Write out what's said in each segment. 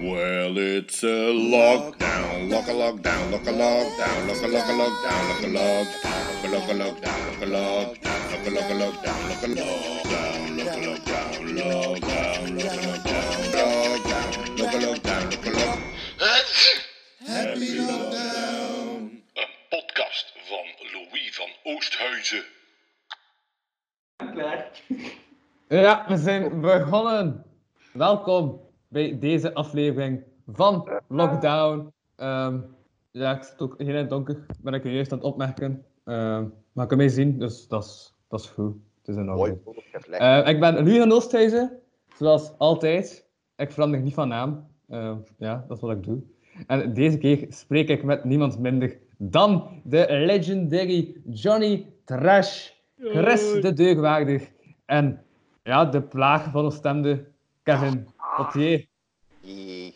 Well, it's a lockdown, lock a lockdown, lock a lockdown, lock a lock a lockdown, lock a lockdown, lock a lockdown, lock a lockdown, lock a lockdown, lock a lockdown, lock a lockdown, lockdown, lock a lockdown, lockdown, lock a lockdown, lock a lock. Happy lockdown. Een podcast van Louis van Oosthuizen. Klaar. Ja, we zijn begonnen. Welkom bij deze aflevering van Lockdown. Ehm, ja, ik zit ook heel in het donker, ben ik juist aan het opmerken. Ehm, maar ik kan mij zien, dus dat is- dat is goed. Het is een orde. Mooi. Perfect. Eh, ik ben Luan Oosthuizen, zoals altijd. Ik verander niet van naam. Eh, ja, dat is wat ik doe. En deze keer spreek ik met niemand minder dan de legendary Johnny Trash, Chris de Deugwaardig en ja, de plaag van ons stemde Kevin Potier. Jee.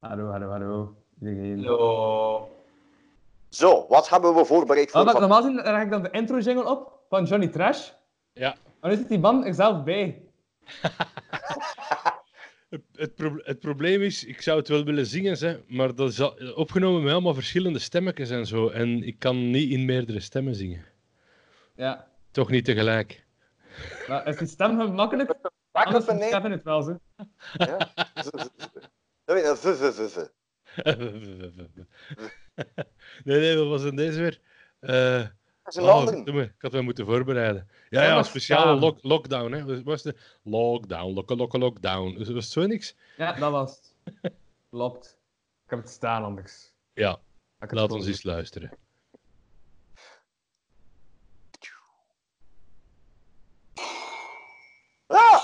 Hallo, hallo, hallo. Iedereen. Hallo. Zo, wat hebben we voorbereid voor Ah, maar van- normaal gezien leg ik dan de intro jingle op van Johnny Trash. Ja. Maar nu zit die man er zelf bij. Het, het proble- het probleem is, ik zou het wel willen zingen, zeg, maar dat is al- opgenomen met allemaal verschillende stemmetjes en zo. En ik kan niet in meerdere stemmen zingen. Ja. Toch niet tegelijk. Maar is die stem gemakkelijk? Anders Makkelijk doet beneden? Kevin het wel, ze. Ja. Z- z- z- Nee, eh, v- v- v- v. nee, nee, wat was dan deze weer? Eh, Dat is een oh, ander. verdomme, ik had wel moeten voorbereiden. Ja, Ja, ja, maar een speciale staan. lock- lockdown. Hè. Wat Was de lockdown, lokke, lokke, lockdown. Was het zo niks? Ja, dat was het. Klopt. Ik heb het staan anders. Ja, Had ik het laat voor ons me. eens luisteren. Ah!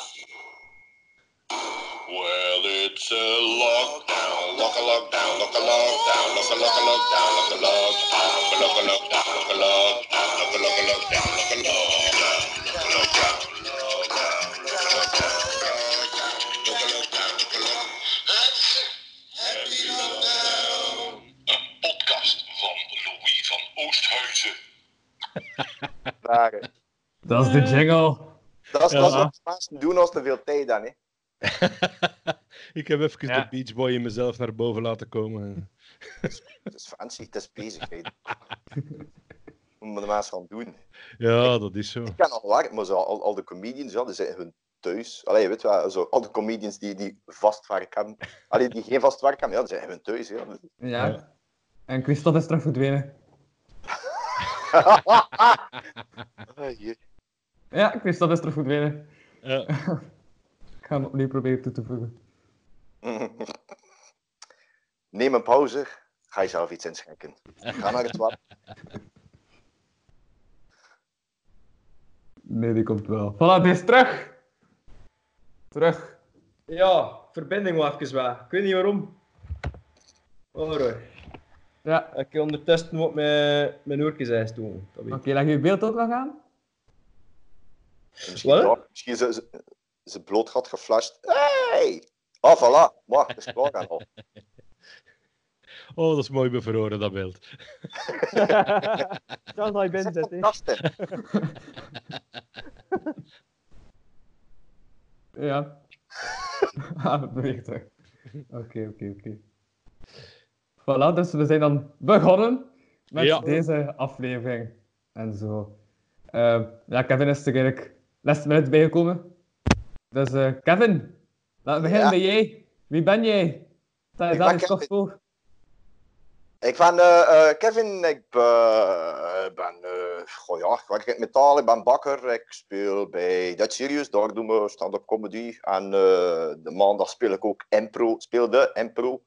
Well, it's a lockdown, lock a lockdown, lock a lockdown, lock a lock a lockdown, lock a lockdown, lock a lockdown, lock a lockdown, lock a lock a lockdown, lock a lockdown, lock a lockdown, lockdown, lock a lockdown, lock a lockdown, lock a lockdown. Happy lockdown. Een podcast van Louis van Oosthuizen. Daar, eh. Dat is de jingle. Dat is, dat is Ja. wat mensen doen als te veel tijd dan. Hè. ik heb even Ja. de Beach Boy in mezelf naar boven laten komen. Het is fancy, het is bezigheid. Hoe moeten de mensen gaan doen? Ja, dat is zo. Ik kan nog waar, maar zo, al, al de comedians, ja, die zitten hun thuis. Allee, je weet wel, zo, al de comedians die, die vast werk hebben, allee, die geen vast werk hebben, ja, die zijn hun thuis. Ja. Ja. Ja. En Christophe is terug verdwenen. Ah, jee. Ja, Christophe is terug verdwenen. Ja. Ik ga hem opnieuw proberen toe te voegen. Neem een pauze. Ga jezelf iets inschenken. Ga naar het toilet. Nee, die komt wel. Voilà, die is terug! Terug. Ja, verbinding was even weg. Ik weet niet waarom. Oh, Roy. Ja. Ik kan ondertussen wat mijn, mijn oortjes eens doen. Dat weet Oké, ik. leg je beeld ook nog aan. Misschien, Wat? daar- misschien ze, ze, ze bloot had geflasht. Hey! Ah, voilà. Maar, dat is klaar dan al. Oh, dat is mooi bevroren, dat beeld. Dat hij Zet bent dat het, hè. kast in. Ja. ah, dat beweegt terug. Oké, oké, oké. Voilà, dus we zijn dan begonnen met Ja. deze aflevering. En zo. Eh, ja, Kevin is er eigenlijk last minute bijgekomen. Dus eh, Kevin, laten we beginnen Ja. bij jij. Wie ben jij? Stel Ik jezelf ben eens kort voor. Ik ben eh, eh, Kevin. Ik be- ben... eh, goh ja, ik werk in het metaal. Ik ben bakker. Ik speel bij Dutch Serious. Daar doen we stand-up comedy. En eh, de maandag speel ik ook impro. Speelde impro.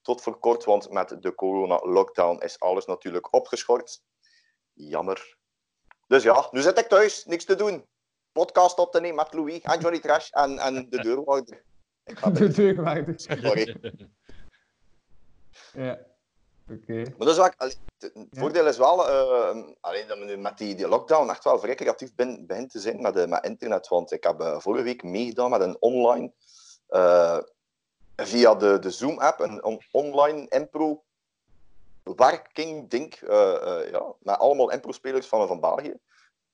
Tot voor kort, want met de corona-lockdown is alles natuurlijk opgeschort. Jammer. Dus ja, nu zit ik thuis. Niks te doen. Podcast op te nemen met Louis en Johnny Trash en, en de deurwaarder. Ik ga De er- deugwaardig. Sorry. Ja. Oké. Maar dat is wel, allee, het het voordeel is wel, eh, alleen dat we nu met die, die lockdown echt wel vrij creatief ben, begint te zijn met, eh, met internet. Want ik heb eh, vorige week meegedaan met een online, eh, via de, de Zoom-app, een on- online impro werking ding, eh, eh, ja, met allemaal impro-spelers van, van België.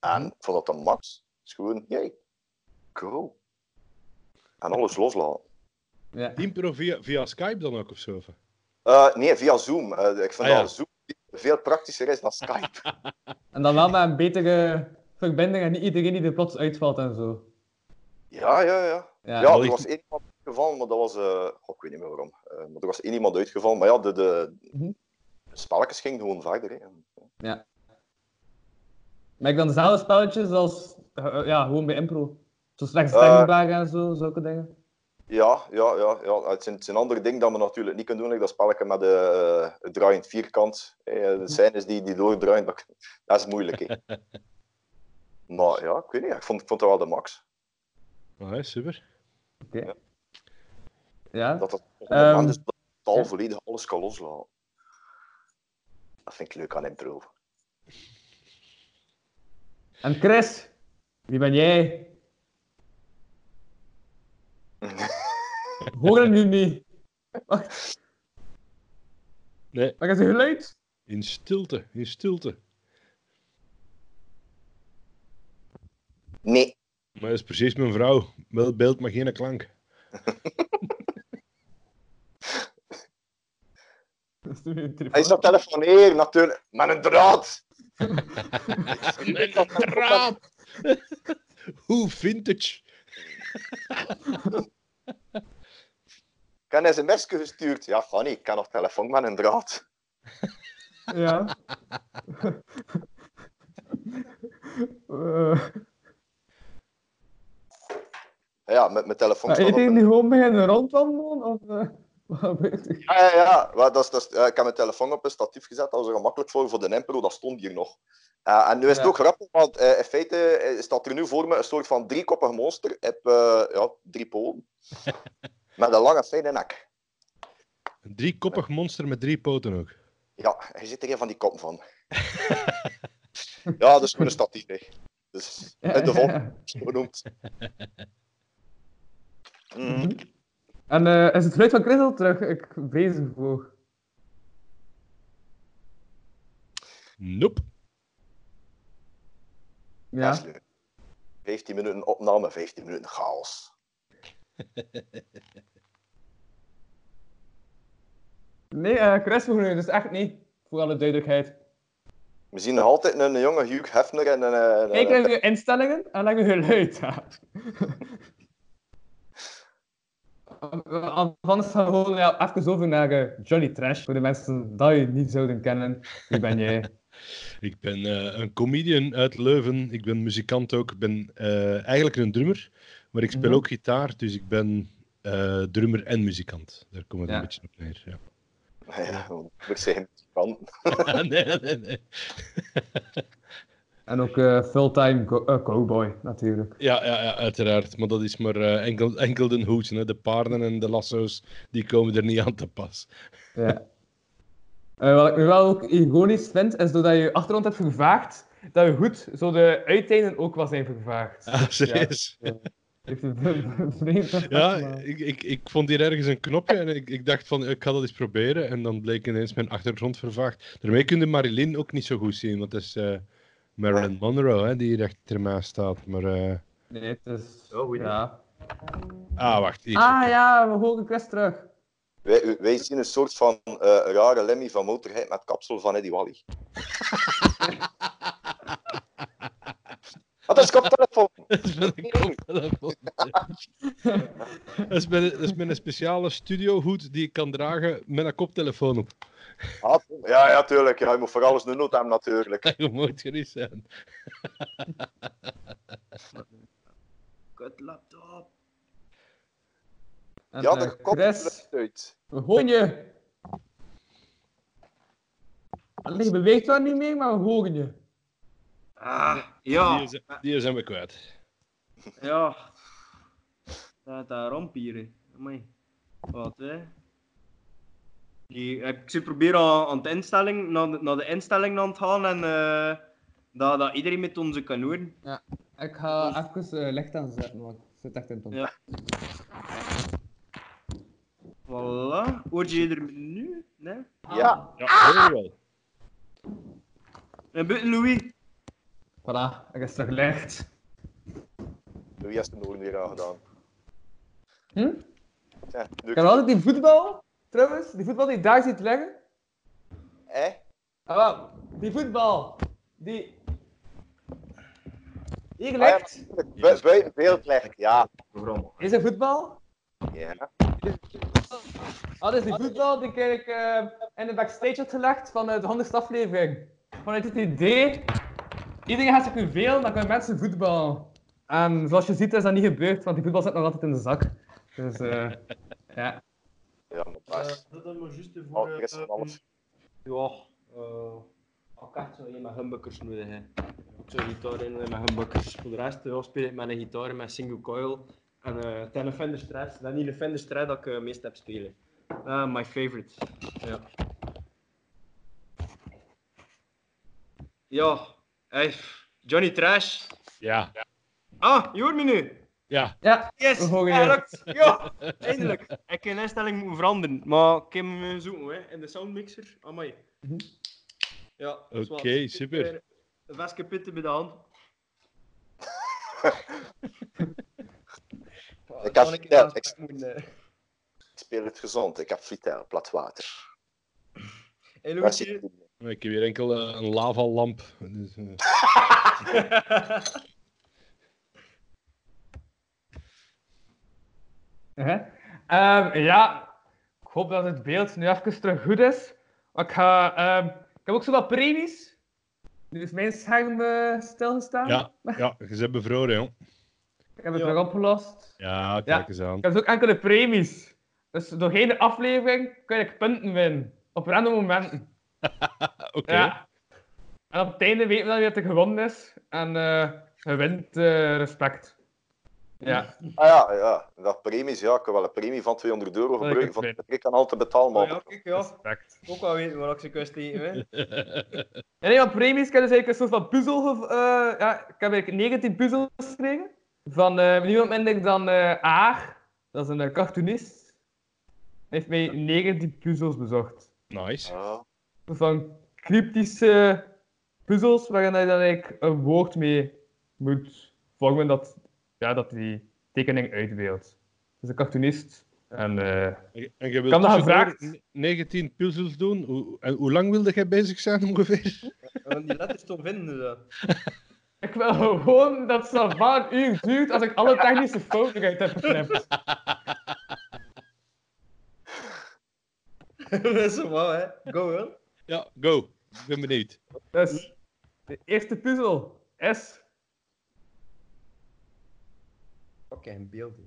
Mhm. En ik vond dat de max. Het is gewoon, hey, go. En alles loslaten. Ja. Impro via, via Skype dan ook of zo? of? Eh, nee, via Zoom. Eh, ik vind Ah, ja. dat Zoom veel praktischer is dan Skype. En dan wel met een betere verbinding en niet iedereen die er plots uitvalt en zo. ja, ja, ja. Ja, Ja, wel er iets- was één iemand uitgevallen, maar dat was... eh, goh, ik weet niet meer waarom. Eh, maar er was één iemand uitgevallen, maar ja, de, de, Mhm. de spelletjes gingen gewoon verder. Hè. Maar ik dan dezelfde spelletjes als eh, ja, gewoon bij impro. Zo slechts Eh. stemmingbaar en zo, zulke dingen. Ja, ja, ja, ja. Het, zijn, het zijn andere dingen dat we natuurlijk niet kunnen doen. like dat spelletje met de het draaiend vierkant. Eh, Mhm. de scènes die, die doordraaien, dat, dat is moeilijk. Hè. Maar ja, ik weet niet. Ik vond, ik vond dat wel de max. Ah, hè, super. Ja. Dat dat Ehm, man dus dat taal ja. volledig alles kan loslaten. Dat vind ik leuk aan impro. En Chris, wie ben jij? Hoor het nu niet. Wacht. Nee. Waar is het geluid? In stilte, in stilte. Nee. Maar dat is precies mijn vrouw. Wel beeld, maar geen klank. Dat is nu een telefoon. Hij is dat telefoneren natuurlijk. Met een draad. Raap! Hoe vintage. Ik heb een sms gestuurd. Ja, ga niet. Ik kan nog telefoon met een draad. Ja. Eh, Ja, met mijn telefoon. maar staat op iedereen een- die gewoon beginnen rondwandelen? Of, eh, wat gebeurt er? Ja, ja, ja. Wel, dat is, dat is- eh, ik heb mijn telefoon op een statief gezet. Dat was er gemakkelijk voor voor de Impro. Dat stond hier nog. Eh, en nu is het Ja. ook grappig, want eh, in feite eh, staat er nu voor me een soort van driekoppig monster. Heb eh, ja, drie poten. met een lange, fijne nek. Een driekoppig monster met drie poten ook. Ja, hij zit er een van die kop van. ja, dat is gewoon een statief. Hè. Dus in de volk is het genoemd. Mm. Mhm. En eh, is het geluid van Chris al terug? Ik vrees het voor. Nope. Dat Ja. is leuk. 15 minuten opname, 15 minuten chaos. Nee, eh, Chris voor nu, dus echt niet. Voor alle duidelijkheid. We zien nog altijd een, een jonge Hugh Hefner en een... eh, een- Kijk een- naar uw instellingen en leg uw geluid aan. Anders gaan we gewoon ja, even over naar eh, Johnny Trash. Voor de mensen die je niet zouden kennen. Wie ben jij? Ik ben eh, een comedian uit Leuven. Ik ben muzikant ook. Ik ben eh, eigenlijk een drummer. Maar ik speel Mhm. ook gitaar. Dus ik ben eh, drummer en muzikant. Daar komt het Ja. een beetje op neer. Ja. eh, eh. Ja, want ik zeg kan. Ah, nee, nee, nee. En ook eh, fulltime go- eh, cowboy, natuurlijk. Ja, ja, ja, uiteraard. Maar dat is maar eh, enkel, enkel de hoed. Hè. De paarden en de lasso's die komen er niet aan te pas. Ja. Eh, wat ik nu wel ook ironisch vind, is doordat je je achtergrond hebt vervaagd, dat je goed zo de uiteinden ook wel zijn vervaagd. Ah, serieus? Heeft een v- vreemd effect, Ja, maar- ik, ik, ik vond hier ergens een knopje en ik, ik dacht van, ik ga dat eens proberen. En dan bleek ineens mijn achtergrond vervaagd. Daarmee kun je Marilyn ook niet zo goed zien, want dat is eh, Marilyn Monroe, hè, die hier achter mij staat. Maar, eh, Nee, het is... Oh, goeie. ja. ah, wacht. Hier. Ah ja, we horen Chris terug. Wij, wij zien een soort van eh, rare Lemmy van Motorhead met kapsel van Eddie Wally. Wat is koptelefoon? Dat is met een koptelefoon. dat, is met, een- dat is met een speciale studiohoed die ik kan dragen met een koptelefoon op. Ah, ja, ja, tuurlijk. Ja, je moet voor alles een nood hebben, natuurlijk. Je moet gerust zijn. Kut laptop. En, Ja, eh, de kop Chris, uit. we horen je. Allee, je beweegt wel niet meer, maar we horen je. Ah, Die, ja. is- die zijn we kwijt. Ja. Dat, dat ramp hier, hè. Amai. Wat, hè? Die, eh, ik zit proberen aan, aan de instelling, naar de, naar de instelling aan te gaan en eh, dat, dat iedereen met onze kan horen. Ik ga even eh, licht aanzetten, want ik zit echt in het donker. Ja. Voilà. Hoort je er nu? Nee? Ja, Ja, heel wel. En buiten Louis? Voilà, ik is terug licht. Louis heeft hem nog weer aangedaan. Hm? Ja, leuk. Kan altijd die voetbal, trouwens, die voetbal die je daar ziet leggen. Eh? Ah, wel, die voetbal, die hier ja. ligt, Bu- Buiten beeldleg, ja. Waarom? is een voetbal. ja. Ah, dat is die voetbal die ik eh, in de backstage had gelegd van eh, de 100ste aflevering. Vanuit het idee, iedereen gaat zich nu veel, dan kunnen mensen voetballen. En zoals je ziet is dat niet gebeurd, want die voetbal zit nog altijd in de zak. Dus eh, ja. Ja, maar pas. Eh, dat is maar juist eh, Oh, er is van alles. Ja, eh ik echt zo in mijn humbuckers nodig. Hè. Ik zou gitaar in met mijn humbuckers. Voor de rest ja, speel ik met een gitaar, met single coil. En eh, het is een Fender Strat. Dat is niet een Fender Strat dat ik eh, meest heb spelen. Ah, my favorite. Ja. Ja, hey, Johnny Trash. Ja, Ah, je hoort me nu. ja. ja. Yes, We volgen ja, je. lukt. Ja, eindelijk. Ik heb een instelling moeten veranderen, maar ik heb hem eh, zoeken hè, in de soundmixer. Amai. Ja, dat is wat. Oké, super. Ik heb eh, Een vestje pitten bij de hand. Ik Kan had in de verteld, ik aanspraak moeten, eh. ik speel het gezond. Ik heb fritel, plat water. Hey, eh, Waar Louis, zit het je- in? Maar Ik heb hier enkel eh, een lavalamp. Dus, eh, Hè? Ehm, ja, ik hoop dat het beeld nu even terug goed is. Maar ik, ga, ehm, ik heb ook zo wat premies. Nu is mijn scherm eh, stilgestaan. ja, ja, je bent bevroren, jong. Ik heb het Ja. terug opgelost. Ja, kijk Ja. eens aan. Ik heb dus ook enkele premies. Dus doorheen de aflevering kan ik punten winnen. Op random momenten. Oké. Ja. En op het einde weten we dan weer dat er gewonnen is. En eh je wint eh, respect. Ja. Ah ja, ja. Dat premies, ja. Ik kan wel een premie van 200 euro gebruiken. Van weet. de ik kan altijd betalen, Oh maar ja, kijk, ja. Respect. Ook wel weten waar ik ze kust tegen, hè. En een van premies kan dus eigenlijk een soort van puzzel. gev- eh, ja, ik heb eigenlijk 19 puzzels gekregen. Van eh, niemand minder dan eh Aar. Dat is een eh, cartoonist. Hij heeft mij 19 puzzels bezorgd. Nice. Ja. Een soort van cryptische puzzels waarin hij dan eigenlijk een woord mee moet vormen dat, ja, dat die tekening uitbeeldt. Dus een cartoonist. En eh, En en je wilt Kan dat tussendoor gevraagd? ne- 19 puzzels doen. Hoe, en hoe lang wilde jij bezig zijn ongeveer? Want die letters toch vinden, dus, zo. ik wil gewoon dat het zo van een uur duurt als ik alle technische fouten uit heb geknipt. eh. Dat is zo wel, hè. Go, hoor. Ja, go. Ik ben benieuwd. Dus, de eerste puzzel is... Fuck, een beeld, hè.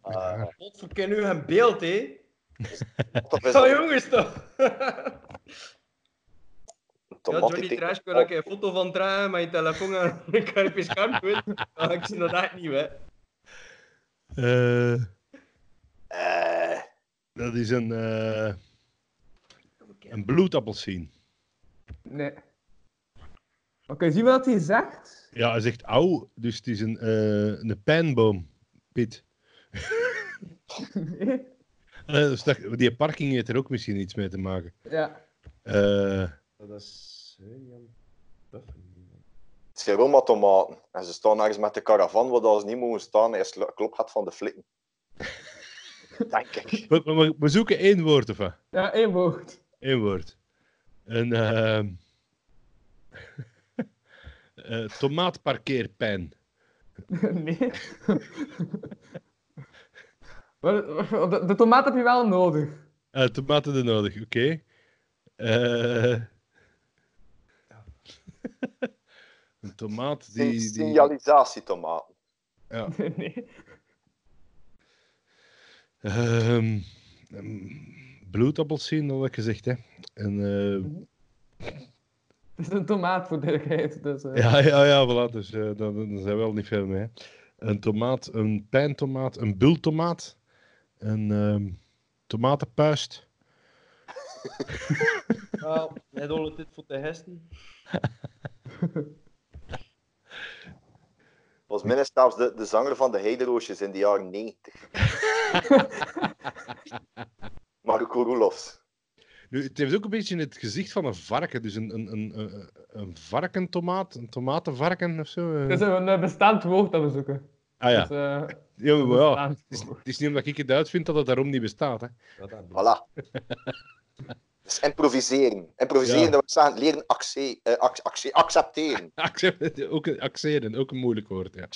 Ah, Godverdomme, nu een beeld, hè. dat is Zo, een jongens, toch. Ja, tomatie Johnny tegen- Trash, ik wil dat ik een foto van dragen met je telefoon en ik kan op je scherm doen. Maar ik zie dat echt niet, hè. Eh, Eh, dat is een, eh een bloedappelsien. Nee. Maar kun je zien wat hij zegt? Ja, hij zegt auw, dus het is een, eh, een pijnboom, Piet. Nee. Eh, dus dat- die parking heeft er ook misschien iets mee te maken. Ja. Eh, Dat is... eh, Het zijn wel maar tomaten. En ze staan ergens met de caravan, waar dat ze niet mogen staan. Eerst lo- klopt gaat van de flikken. Denk ik. we, we- we zoeken één woord ervan. Ja, één woord. Eén woord. Een ehm eh, tomaatparkeerpijn. Nee. Wel, De, de tomaat heb je wel nodig. Eh, tomaten er nodig, oké. Eh, een tomaat die... die Signalisatietomaten. ja. Nee. Ehm, ehm, bloedappels zien, dat had ik gezegd, hè. En, eh, Het is een tomaat voor duidelijkheid. Dus, eh, ja, ja, ja, voilà, dus eh daar daar zijn we wel niet veel mee. hè. Een tomaat, een pijntomaat, een bultomaat, een ehm, tomatenpuist. Nou, net al dit voor de hesten. Volgens mij is zelfs de, de zanger van de Heideroosjes in de jaren 90. Marco Roelofs. Nu, het heeft ook een beetje het gezicht van een varken. Dus een, een, een, een, een varkentomaat, een tomatenvarken of zo. eh. Het is een eh, bestaand woord dat we zoeken. ah ja, Dus, eh, Ja, maar ja, het is niet omdat ik het uitvind dat het daarom niet bestaat. Hè. Voilà. Dus improviseren. Improviseren, Ja. dat we staan leren acce- eh, ac- acce- accepteren. Accept- ook een- Accepteren, ook een moeilijk woord, ja.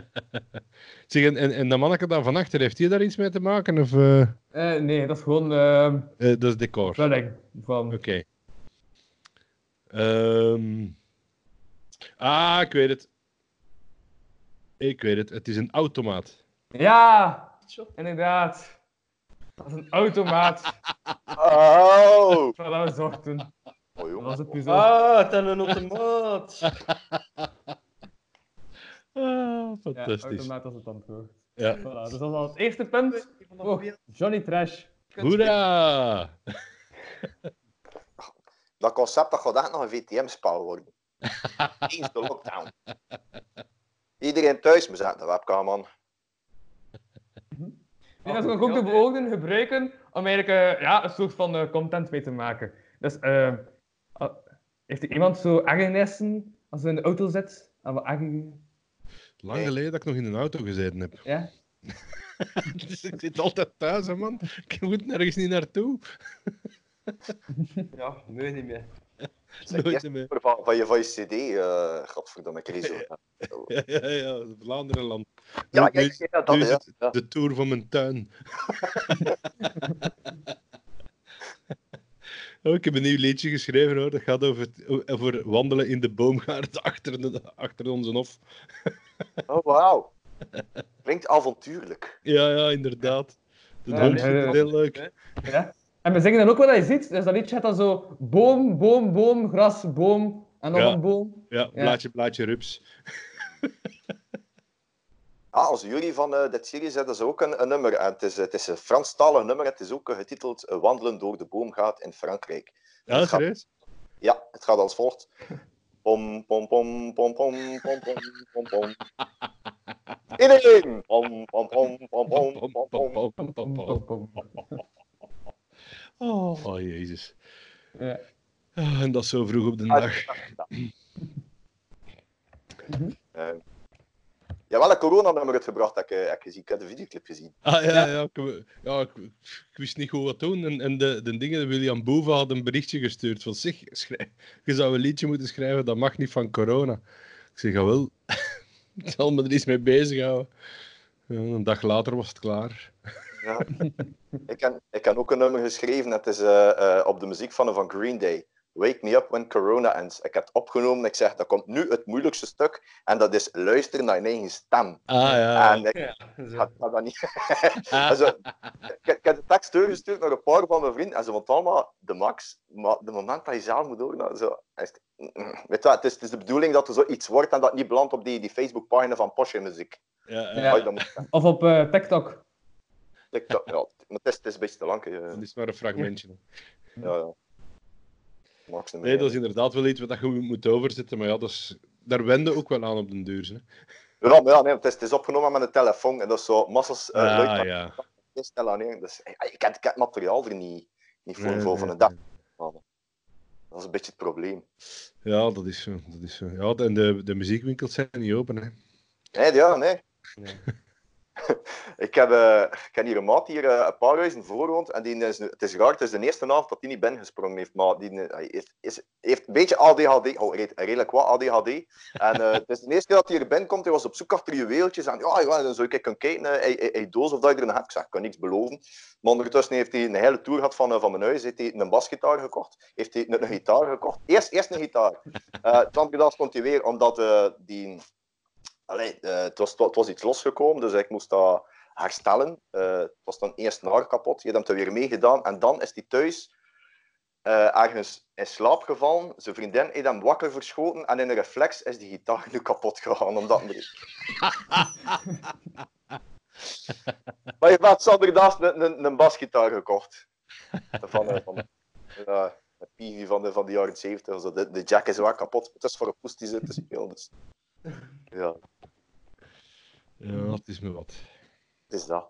zeg, en, en, en dat manneke daar van achter, heeft hij daar iets mee te maken? Of, eh, eh, Eh, nee, dat is gewoon eh dat is decor. Oké. running van... Ehm, ah, ik weet het. Ik weet het, het is een automaat. Ja, inderdaad. Dat is een automaat Oh! waar we zochten. Oh, Dat jongen. was een puzzel. Ah, dan een automaat. Ah, ja, fantastisch. automaat was het antwoord. Ja. Voilà, dus dat was al het eerste punt. Oh, Johnny Trash. Hoera! Dat concept dat gaat echt nog een VTM-spel worden. Eens de lockdown. Iedereen thuis moet zetten, de webcam aan. Die Ah, dat is ook de beoogden gebruiken om eigenlijk eh, ja, een soort van eh, content mee te maken. Dus eh, ah, heeft er iemand zo ergernissen als hij in de auto zit? Ah, Aan wat erger- Lang geleden dat ik nog in een auto gezeten heb. Ja? Dus ik zit altijd thuis, hè, man. Ik moet nergens niet naartoe. Ja, nu niet meer. Zeg, Nooit yes. meer. Van, van, je, van je CD, eh godverdomme, Chris. Ja, ja, ja, het Vlaanderenland. Ja, Nu- ja, ja, ja, dat nu is ja. het de tour van mijn tuin. oh, ik heb een nieuw liedje geschreven hoor. Dat gaat over, het- over wandelen in de boomgaard achter, de, achter onze hof. Oh, wauw. Klinkt avontuurlijk. Ja, ja, inderdaad. De Ja, hond nee, vindt het dat- heel leuk. ja? En we zingen dan ook wat je ziet. Dus dat liedje gaat dan zo boom, boom, boom, gras, boom en nog Ja. een boom. Ja, blaadje, blaadje, rups. Ah, als jullie van eh dit series hebben ze ook een, een nummer. En het, is, het is een Franstalig nummer. Het is ook eh, getiteld eh, Wandelen door de boomgaat in Frankrijk. Ja, serieus? Ja, het gaat als volgt. Pom, pom, pom, pom, pom, pom, pom, pom, pom. Iedereen! Pom, pom, pom, pom, Pom, pom, pom, pom, pom. pom, pom, pom, pom. Pom, pom. Oh, oh, jezus. Ja. Ah, en dat zo vroeg op de Ah, dag. ja. Eh, Jawel, een coronanummer het gebracht, dat ik, eh, heb gezien. ik heb de videoclip gezien. Ah ja, ja. ik, ja ik, ik wist niet goed wat doen. En, en de, de dingen, William Boeva had een berichtje gestuurd van zich. Schrijf, je zou een liedje moeten schrijven, dat mag niet van corona. Ik zeg, jawel, ik zal me er iets mee bezighouden. Ja, een dag later was het klaar. Ja. ik, heb, ik heb ook een nummer geschreven, het is eh, eh, op de muziek van, van Green Day. Wake me up when corona ends. Ik heb het opgenomen, ik zeg, dat komt nu het moeilijkste stuk. En dat is luisteren naar je eigen stem. Ah ja. en ik Zo. had, had dat niet... Also, ik, ik heb de tekst doorgestuurd naar een paar van mijn vrienden en ze vonden het allemaal de max. Maar de moment dat je zelf moet horen, dan zo, is het, weet je wat, het, is, het is de bedoeling dat er zoiets wordt en dat het niet belandt op die, die Facebookpagina van Porsche Muziek. ja, Ja. ja. Ah, dat moet- Of op eh, TikTok. ik- dat- ja, maar het, is, het is een beetje te lang. eh, Dat is maar een fragmentje. ja, ja. Max nummer Nee, dat is één. inderdaad wel iets wat je moet overzetten. Maar ja, dat is, daar wende ook wel aan op den duur. Hè. Ja, maar ja, nee, het, is, het is opgenomen met een telefoon en dat is zo massas eh luid ah maar ja. het is snel aan één. Dus eh, ik heb ik heb het materiaal er niet, niet voor, Nee, voor, nee, voor een nee. dag. Dat is een beetje het probleem. Ja, dat is zo. Dat is zo. Ja, en de, de muziekwinkels zijn niet open. Hè. Nee, ja, nee. ik, heb, eh, ik heb hier een maat die hier eh, een paar huizen voor woont. En die is, nu- het is raar, het is de eerste avond dat hij niet binnengesprongen heeft. Maar die eh, hij is, is, heeft een beetje ADHD, oh, re- redelijk wat ADHD. En eh, het is de eerste keer dat hij hier binnenkomt. Hij was op zoek achter juweeltjes. En ja, ja dan zou ik kunnen kijken, eh, hij- hij- hij doos of dat je er een hebt. Ik zeg, ik kan niks beloven. Maar ondertussen heeft hij een hele tour gehad van, eh, van mijn huis. Heeft hij een basgitaar gekocht. Heeft hij een, een gitaar gekocht. Eerst, eerst een gitaar. Eh het andere dag stond hij weer, omdat eh, die... Allee, eh, het, was, het was iets losgekomen, dus ik moest dat herstellen. Eh, het was dan eerst een haar kapot, je hebt hem er weer mee gedaan. En dan is hij thuis eh, ergens in slaap gevallen. Zijn vriendin heeft hem wakker verschoten en in een reflex is die gitaar nu kapot gegaan. Omdat hem er- maar je hebt Sander Daas een, een, een basgitaar gekocht. Van, eh, van, ja, een Peavy van de, van de jaren 70. Zo. De, de jack is wel kapot. Het is voor een poes die zit te spelen. Dus. Ja. Ja, dat is me wat. Het is dat.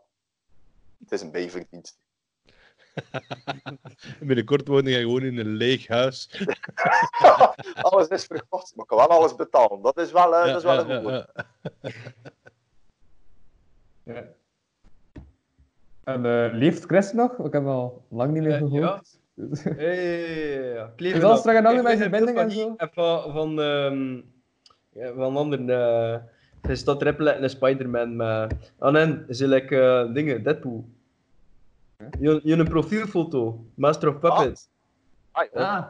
Het is een bijverdienst. Binnenkort woon jij gewoon in een leeg huis. alles is verkocht, maar ik kan wel alles betalen. Dat is wel, eh, dat is wel een goed. woord. Ja, ja, ja. Ja. En eh, leeft Chris nog? Ik heb hem al lang niet meer Eh, ja. gehoord. Ja, ja, ja, ja. Kleven Is alles op. terug en alle Kleven mensen in beeld binding van- en en Van, van, ehm, ja, van anderen. eh, Hij staat Riplet en Spider-Man. Maar... En dan is hij like, eh, dingen, Deadpool. Je, je een profielfoto, Master of Puppets. Ah, joh. Ah,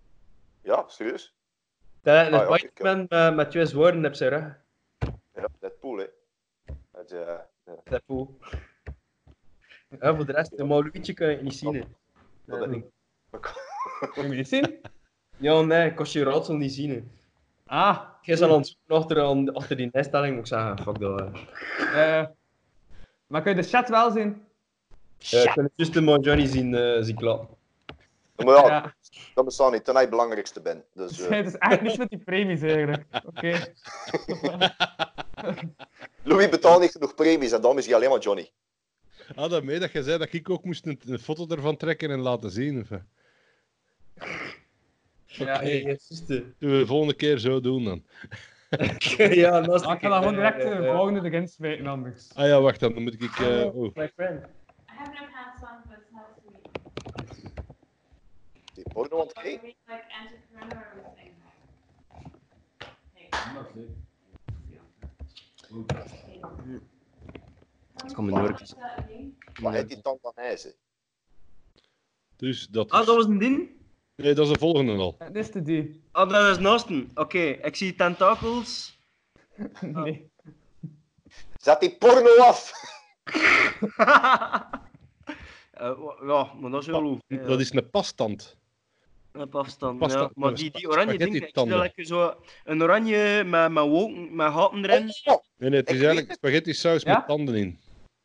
Ja, serieus? Daar En Ah, ja, oké, Spider-Man eh, met twee zwaarden op zijn rug. Ja, Deadpool, hè. Dat, eh, ja. Deadpool. Ja, voor de rest, de Mauluietje kan je niet zien. hè. Oh, Dat heb ik. kun je me niet zien? Ja, nee, ik kon je raadsel niet zien. hè. Ah, Gisteren aan het zoeken achter, aan- achter die instelling moet ik zeggen, fuck dat. hè. eh, maar kun je de chat wel zien? Euh, Ja, ik kan het juist de Manjani zien, eh zien klappen. Maar ja, Ja, dat bestaat niet. Toen hij het belangrijkste bent. Dus, eh, het is echt niks met die premies eigenlijk. Oké. Louis betaalt niet genoeg premies en daarom is hij alleen maar Johnny. Ah, dat mee dat je zei dat ik ook moest een, een foto ervan trekken en laten zien. Of, eh, Ja, eh, Ja, ja, juist, hè. doen we de volgende keer zo doen dan. ja, naast Ah, ik kan dan gewoon direct eh, de volgende erin smijten anders. Ah ja, wacht dan, dan moet ik... eh, oh. My friend. I have no pants on, but it's not sweet. Die porno aan het Are kijken. we like anti-corona or are we saying that? Kom maar door. Maar hij die tand aan ijzer. Dus dat Ah, is... dat was een ding? Nee, dat is de volgende al. Dit is de die. Ah, dat is naast hem. Oké, ik zie tentakels. Nee. Zet die porno af! Eh, wa- ja, maar dat is heel loef. Ja, Dat is een pastand. Op afstand, pasta- ja. Maar die, die oranje ding, ik zie spaghetti-tanden. dat lekker zo... Een oranje met, met wolken, met gaten erin. Oh, Nee, nee, het is Ik eigenlijk spaghetti saus Ja? met tanden in.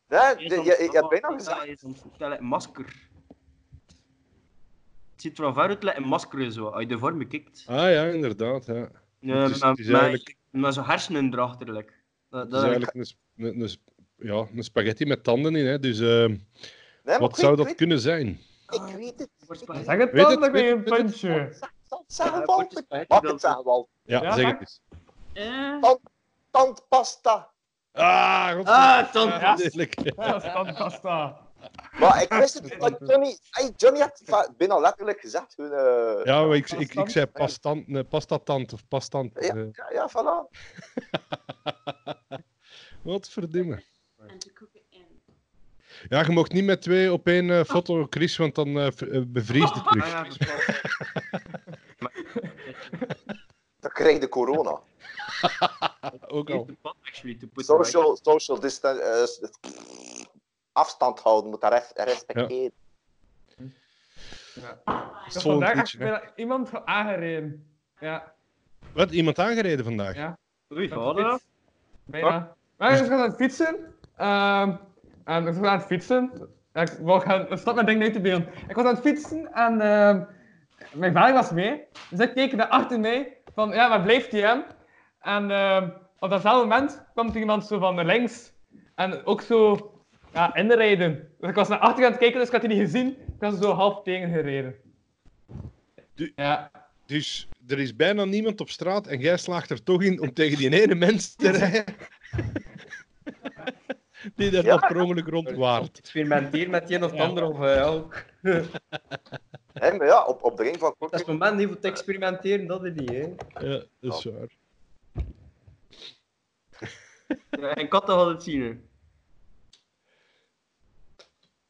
hè, de- je, je hebt bijna gezegd. Ja, je soms- dat lijkt een masker. Het ziet er wel ver uit, lijkt een masker zo, als je de vorm bekijkt. Ah ja, inderdaad. Ja. Ja, het is- met, het is met- eigenlijk- met zo'n hersenen erachter. like. Dat, Het is dat, eigenlijk een, sp- een, een sp- ja, een spaghetti met tanden in. Hè. Dus eh, Nee, maar wat ik zou weet- dat ik kunnen zijn? weet- Ik weet het. Zeg het Weet dan, het, dan kun weet je een het, weet het. puntje. Zal het zeggen, Ja, Walter? dus- Eh, potjes spaghetti Mag dan- het zeggen, Walter? Ja, Ja, zeg maar- het eens. Eh? Tandpasta. Ah, godverdomme. Ah, tanden. Ja, lelijk. Ja, dat is tandpasta. Maar ik wist het niet, want Johnny, hey, Johnny had va- bijna letterlijk gezegd. Hun, eh, Ja, maar ik, ik, ik Pastand? zei pastant, nee, pastatant of pastant. Ja. eh, ja, ja, voilà. wat verdomme. And to cook it in. Ja, je mocht niet met twee op één eh, foto, Chris, want dan eh, v- eh, bevriest het Ah, terug. ja, dat is wel- Dan krijg je corona. Ook al. It's a pot, actually, to put right. Social, social distan- eh, s- afstand houden, moet dat res- respecteren. Ik Fine. heb Zo'n vandaag echt liedje, hè. bijna iemand ge- aangereden. Ja, Wat, iemand aangereden vandaag? ja. Oei, met de voilà. fiets. Bijna. Maar ik was aan het fietsen. ehm, en ik was aan het fietsen. Ja, Ik wou gaan, stop mijn ding nu te beelden. Ik was aan het fietsen en ehm, mijn vader was mee. Dus ik keek naar achter mij van, ja, waar blijft die hem? En ehm, op datzelfde moment kwam er iemand zo van links. En ook zo ja, inrijden. Dus ik was naar achter aan het kijken, dus ik had die niet gezien. Ik was zo half tegengereden. Du- Ja. Dus er is bijna niemand op straat en jij slaagt er toch in om tegen die ene mens te rijden. die daar Ja. dat per ongeluk rondwaart. Experimenteer met die een of het ander. Of, eh, ja, ook. Hè, maar ja, op, op de ring van Dat is het Kortrijk. moment niet voor te experimenteren, dat is niet. Hè. Ja, dat is waar. Ja, en katten hadden het zien. hè.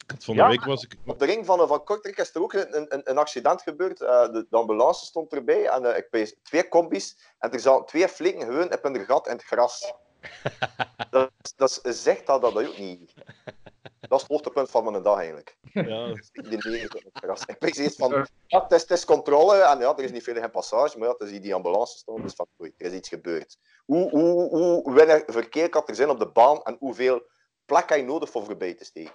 Want Van de Ja. week was ik... Op de ring van, van Kortrijk is er ook een, een- een, een accident gebeurd. Eh, de, de ambulance stond erbij en eh, ik pees twee combis. En er zaten twee flikken gewoon op een gat in het gras. dat, is- dat is- eh, zegt dat, dat, dat ook niet. Dat is het hoogtepunt van mijn dag eigenlijk. Ja, Die negen op het gras. Ik pees eerst van, ja, het is, het is controle en ja, er is niet veel geen passage. Maar ja, het is hier die ambulance stond, dus van, oei, er is iets gebeurd. Hoe, hoe, hoe weinig verkeer kan er zijn op de baan en hoeveel plek heb je nodig voor voorbij te steken?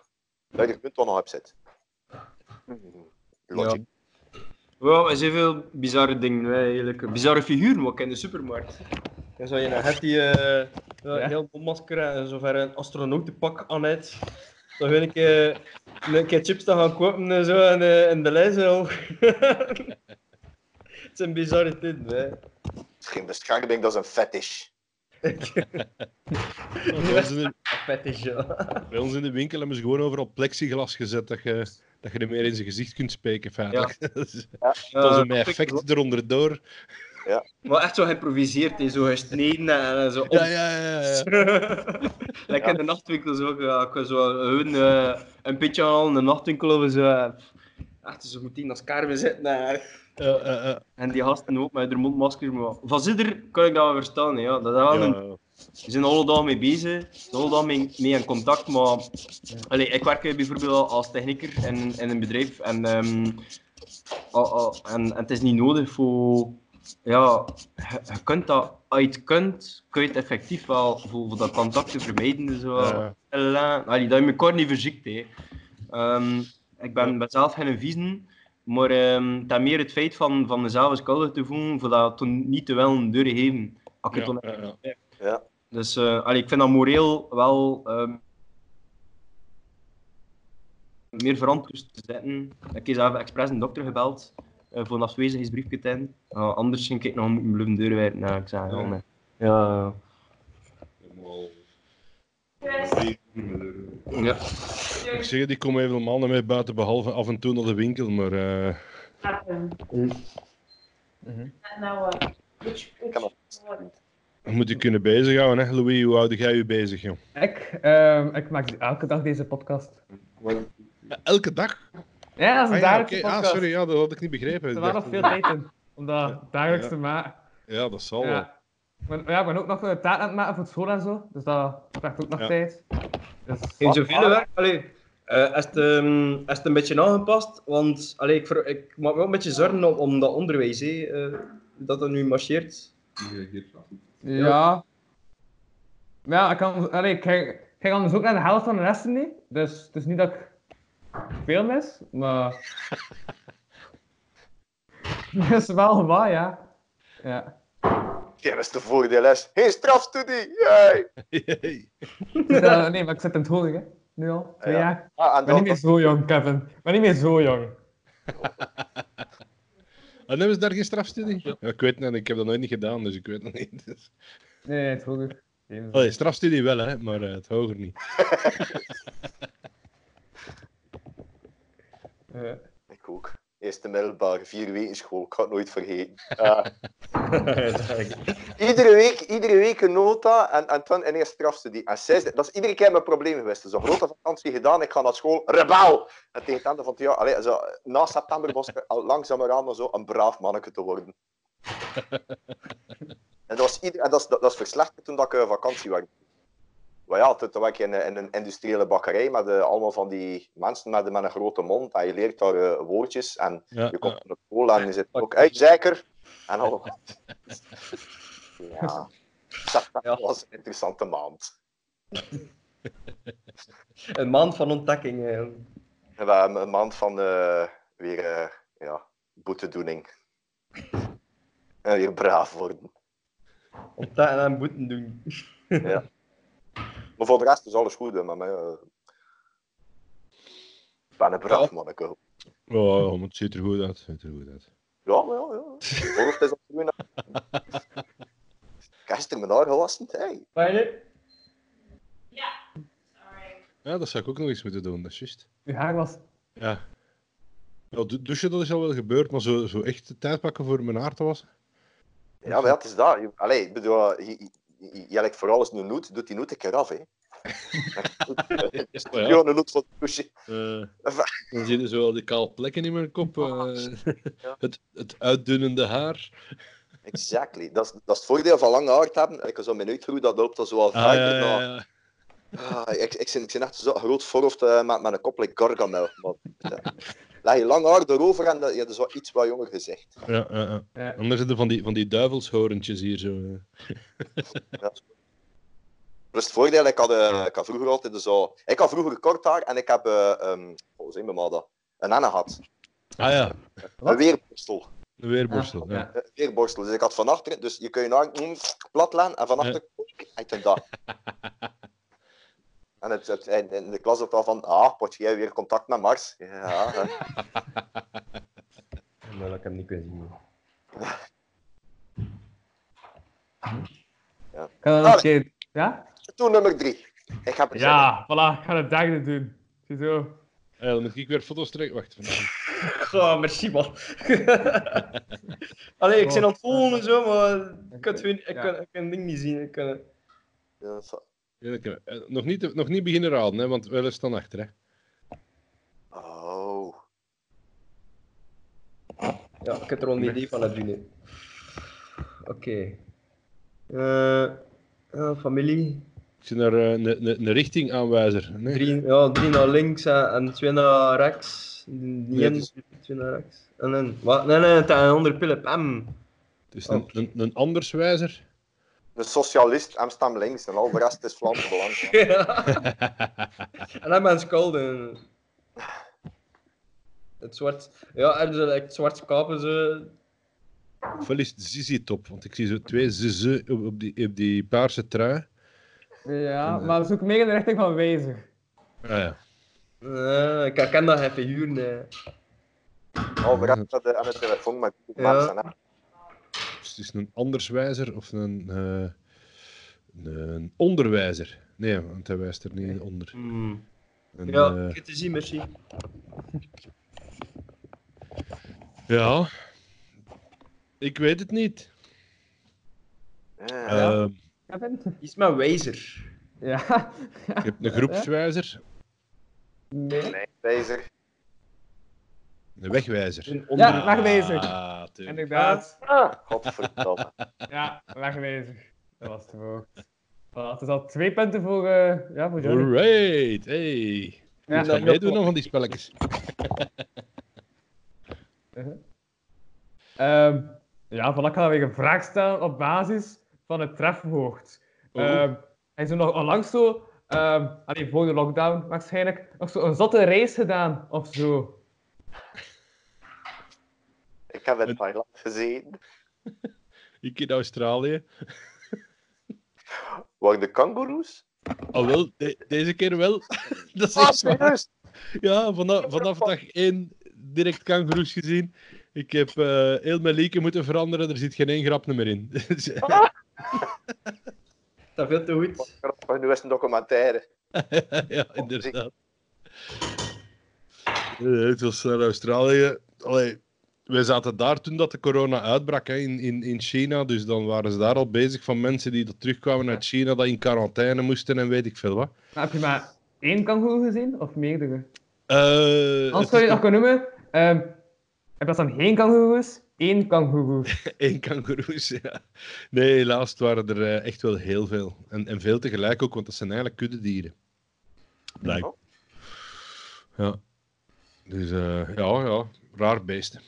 Dat je er kunt wel nog op zit. Logic. Wow, er zijn veel bizarre dingen, hè, eigenlijk. Bizarre figuren, wat ik in de supermarkt. Dan zou je nou hebt die eh, ja, heel bommasker en zover een astronautenpak aan het. Dan wil ik eh, een keer chips te gaan kopen en zo en, eh, in de lijst. al. Het zijn bizarre tijden, hè. Het is geen bescherming, dat is een fetish. dat was een, vet is, joh. Bij ons in de winkel hebben ze gewoon overal plexiglas gezet dat je, dat je er meer in zijn gezicht kunt spelen. feitelijk. dat is dat is een Eh, ik- effect eronder door. Maar echt zo geïmproviseerd, hè, zo gesneden en en zo op. Ja, ja, ja. ja. Lekker in de nachtwinkel zo. Ik ik was zo hun, eh, een beetje al in de nachtwinkel over zo. eh, Echt zo meteen als Carmen zitten. eh. Eh, eh, eh. En die gasten ook met hun mondmaskers. Maar van zitten kan ik dat wel verstaan. hè, Ja. Dat is wel een Ja. we zijn alle dagen mee bezig, we zijn alle dagen mee, mee in contact, maar... Allee, ik werk eh, bijvoorbeeld al als technieker in, in een bedrijf en, ehm, al- al- en, en het is niet nodig voor... Ja, je, je kunt dat... Als je het kunt, kun je het effectief wel voor, voor dat contact te vermijden. Dus wel, Ja. la- Allee, dat je elkaar niet verziekt, hè. Ehm, ik ben, ben zelf geen viezen, maar ehm dat meer het feit van, van mezelf eens schuldig te voelen, voor dat toen niet te wel doorgeven. Als ik het Ja, dan- ja, ja. Ja. dus eh, allee, ik vind dat moreel wel ehm, meer verantwoord te zetten. Ik heb zelf expres een dokter gebeld eh, voor een afwezigheidsbriefje te hebben. Eh, anders ging ik nog moeten blijven deurwerken. Nou, ik zei wel, nee. Ja, Chris, ja. Ik you're zeg, die komen even normaal naar mij buiten, behalve af en toe naar de winkel. Maar eh, nothing. And now what? Which, which Come on. one? je moet je kunnen bezighouden, hè? Louis, hoe houd jij je bezig, joh? Ik, ehm, ik maak elke dag deze podcast. Elke dag? Ja, dat is een Ah, ja, dagelijkse oké. podcast. ah, sorry, ja, dat had ik niet begrepen. Er Ik waren dacht- nog veel tijd in om dat dagelijks Ja. Oh, te maken. Ja, dat zal wel. Ja. Maar, ja, ik ben ook nog een taart aan het maken voor het school en zo. Dus dat vraagt ook nog Ja. tijd. Dus, Geen zoveel werk. Allee, eh, is, het, ehm, is het een beetje aangepast? Want allee, ik, ver- ik maak me wel een beetje zorgen om, om dat onderwijs, hè, eh, dat dat nu marcheert. Ja. Ja, ik, kan, allee, ik, ging, ik ging anders ook naar de helft van de resten niet. Dus het is niet dat ik veel mis, maar... Het is wel waar, ja. Ja. Ja, dat is de voordeel, hè. Geen strafstudie! Yay! Eh, nee, maar ik zit in het hoger, hè. Nu al, twee Ja. jaar. Ah, en Ik ben niet dan, meer zo jong, Kevin. Ik ben niet meer zo jong. En hebben ze daar geen strafstudie? Ja. ik weet het niet, ik heb dat nooit niet gedaan, dus ik weet het niet. Dus... Nee, nee, het hoger. Geen- Allee, strafstudie wel, hè, maar eh, het hoger niet. Eh, ik ook. Eerste middelbare, vier weken school. Ik ga het nooit vergeten. Ja. iedere, week, iedere week een nota en, en dan ineens strafstudie. En zes, dat is iedere keer mijn probleem geweest. Dus een grote vakantie gedaan, ik ga naar school. Rebel! En tegen het einde van het jaar, allee, zo, na september was ik al langzamerhand zo een braaf manneke te worden. en dat, was ieder, en dat, is, dat, dat is verslechterd toen dat ik eh, vakantie werkte. Maar ja, toen toen was ik in, een- in een industriële bakkerij met eh, allemaal van die mensen met, met een grote mond. En je leert daar eh, woordjes en Ja, je ja. komt naar school en je zit ook uit, zeker. En al. Ja. Ja. Dat was een interessante maand. Een maand van ontdekking. eh. En we hebben een maand van eh, weer eh, ja, boetedoening. En weer braaf worden. Ontdekken en boeten doen. Maar voor de rest is alles goed hè, met mij. eh. Ik ben een braaf manneke. Oh, maar het ziet er goed uit. Het ziet er goed uit. Ja, maar ja, ja. Hoofd is opgroeien. Gisteren mijn haar gewassen. Hey. Fijn, hè? Yeah, sorry. Ja, dat zou ik ook nog eens moeten doen, dat is juist. Je haar was... Ja. ja du- douchen, dat is al wel gebeurd, maar zo, zo echt de tijd pakken voor mijn haar te wassen. Ja, maar ja, het is dat. Je- Allee, ik bedoel, eh, je, je, je- je lijkt voor alles een noot, doet die noot een keer af, hè. Maar Ja, een noot van de douche. Eh, dan zie je zo al die kaal plekken in mijn kop. eh, Ja. het, het uitdunnende haar. Exactly. Dat is, dat is het voordeel van lang haar te hebben. Ik zo mijn uitgroei, dat loopt dan zo al vaak. Ah, ja, na. ja, ja. Ah, ik, ik, zit, ik zit echt zo groot voorhoofd eh, met, met een kop like Gargamel. Maar, ja. Leg je lang haar erover en dat- je hebt zo iets wat jonger gezicht. Ja, ja, ja. Ja. Anders zitten van die, van die duivelshorentjes hier zo. eh. Dat is het voordeel. Ik had, eh, ik had vroeger altijd zo... Ik had vroeger kort haar en ik heb... eh ehm hoe zijn we maar dat? Een enne gehad. Ah ja, Wat? Een weerborstel. de weerborstel. Ah, ja. ja. Een weerborstel. Dus ik had van achteren... Dus je kun je haar mm, plat leggen en van achteren... En toen dat. En het, het, in, in de klas ook al van... Ah, pot jij weer contact met Mars? Ja, hè. Maar dat ik hem niet kunnen zien. Kan dat nog een keer... Ja? Oh. Toen nummer drie. Ik heb het zin Ja, voilà, ik ga het derde doen. Ziezo. Eh, dan moet ik weer foto's trekken. Wacht, vandaag. Goh, Oh, merci man. Allee, ik ben aan het volgen en zo, maar ik kan, het weer- ik kan, ik kan het ding niet zien. Ik kan... in. Ja, zo. Ja, dat kunnen we. Eh, nog, niet, nog niet beginnen raden, hè, want wel staan achter. Hè. Oh. Ja, ik heb er al een idee van het doen. hè. Oké. Eh, eh, familie. Ik zie daar eh, een- een een richtingaanwijzer. Nee? Drie, ja, drie naar links en, en twee naar rechts. Niet Nee, het is- twee naar rechts. En dan, wat? Nee, nee, het is een andere pil M. Het is een, een, een anderswijzer. De socialist Amsterdam links en al de rest is Vlaams belang. en dan ben Skalden. Het zwart. Ja, er zijn like, zwart kapen ze. Ofwel is het Zizi Top, want ik zie zo twee Zizi op, op, die, op die paarse trui. Ja, eh, maar dat is ook meer in de richting van wijzig. Ah, ja. Eh, ik herken dat geen figuren. hè. Al de rest dat, eh, aan de telefoon met Ja. mensen. hè. Dus het is een anderswijzer of een, eh, een onderwijzer. Nee, want hij wijst er niet onder. Hmm. Een, Ja, eh, ik heb te zien, merci. ja. Ik weet het niet. Ja. Ja. Ehm, Kevin? Iets met wijzer. Ja. ik heb een groepswijzer, Nee. Nee, bezig. een wegwijzer. Een onder- Ja. wegwijzer. Ah, tuurlijk. Inderdaad. Ah, godverdomme. Ja, wegwijzig. Dat was te hoog. Voilà, het is al twee punten voor, eh ja, voor Johnny. Alright, hey. Ja. Wat wij doen nog van die spelletjes? Ehm, ja, voilà, ik ga weer een vraag stellen op basis van het trefwoord. Oh. Ehm, hij is er nog onlangs zo, ehm allee, voor de lockdown waarschijnlijk, nog zo een zotte race gedaan of zo. Ik heb in Thailand gezien. Ik in Australië. Waar de kangoeroes? Oh, wel, de- deze keer wel. Dat is Ah, echt waar. serieus? Ja, vanaf, vanaf dag 1 direct kangoeroes gezien. Ik heb eh, heel mijn leken moeten veranderen, er zit geen één grap meer in. Dus, Oh. eh, Dat veel te goed. Grappig, Nu is het een documentaire. Oh, ja, inderdaad. Eh, het was naar Australië. Allee, wij zaten daar toen dat de corona uitbrak hè, in, in, in China. Dus dan waren ze daar al bezig van mensen die dat terugkwamen uit China, dat in quarantaine moesten en weet ik veel wat. Maar Nou, heb je maar één kangoeroe gezien of meerdere? Eh, Anders het zou is je nog dat kunnen noemen. ehm, in plaats van geen kangoeroes, één kangoeroe. één kangoeroes, ja. Nee, helaas het waren er eh, echt wel heel veel. En, en veel tegelijk ook, want dat zijn eigenlijk kuddedieren. Oh, Blijkbaar. Ja. Dus eh, ja, ja, raar beesten.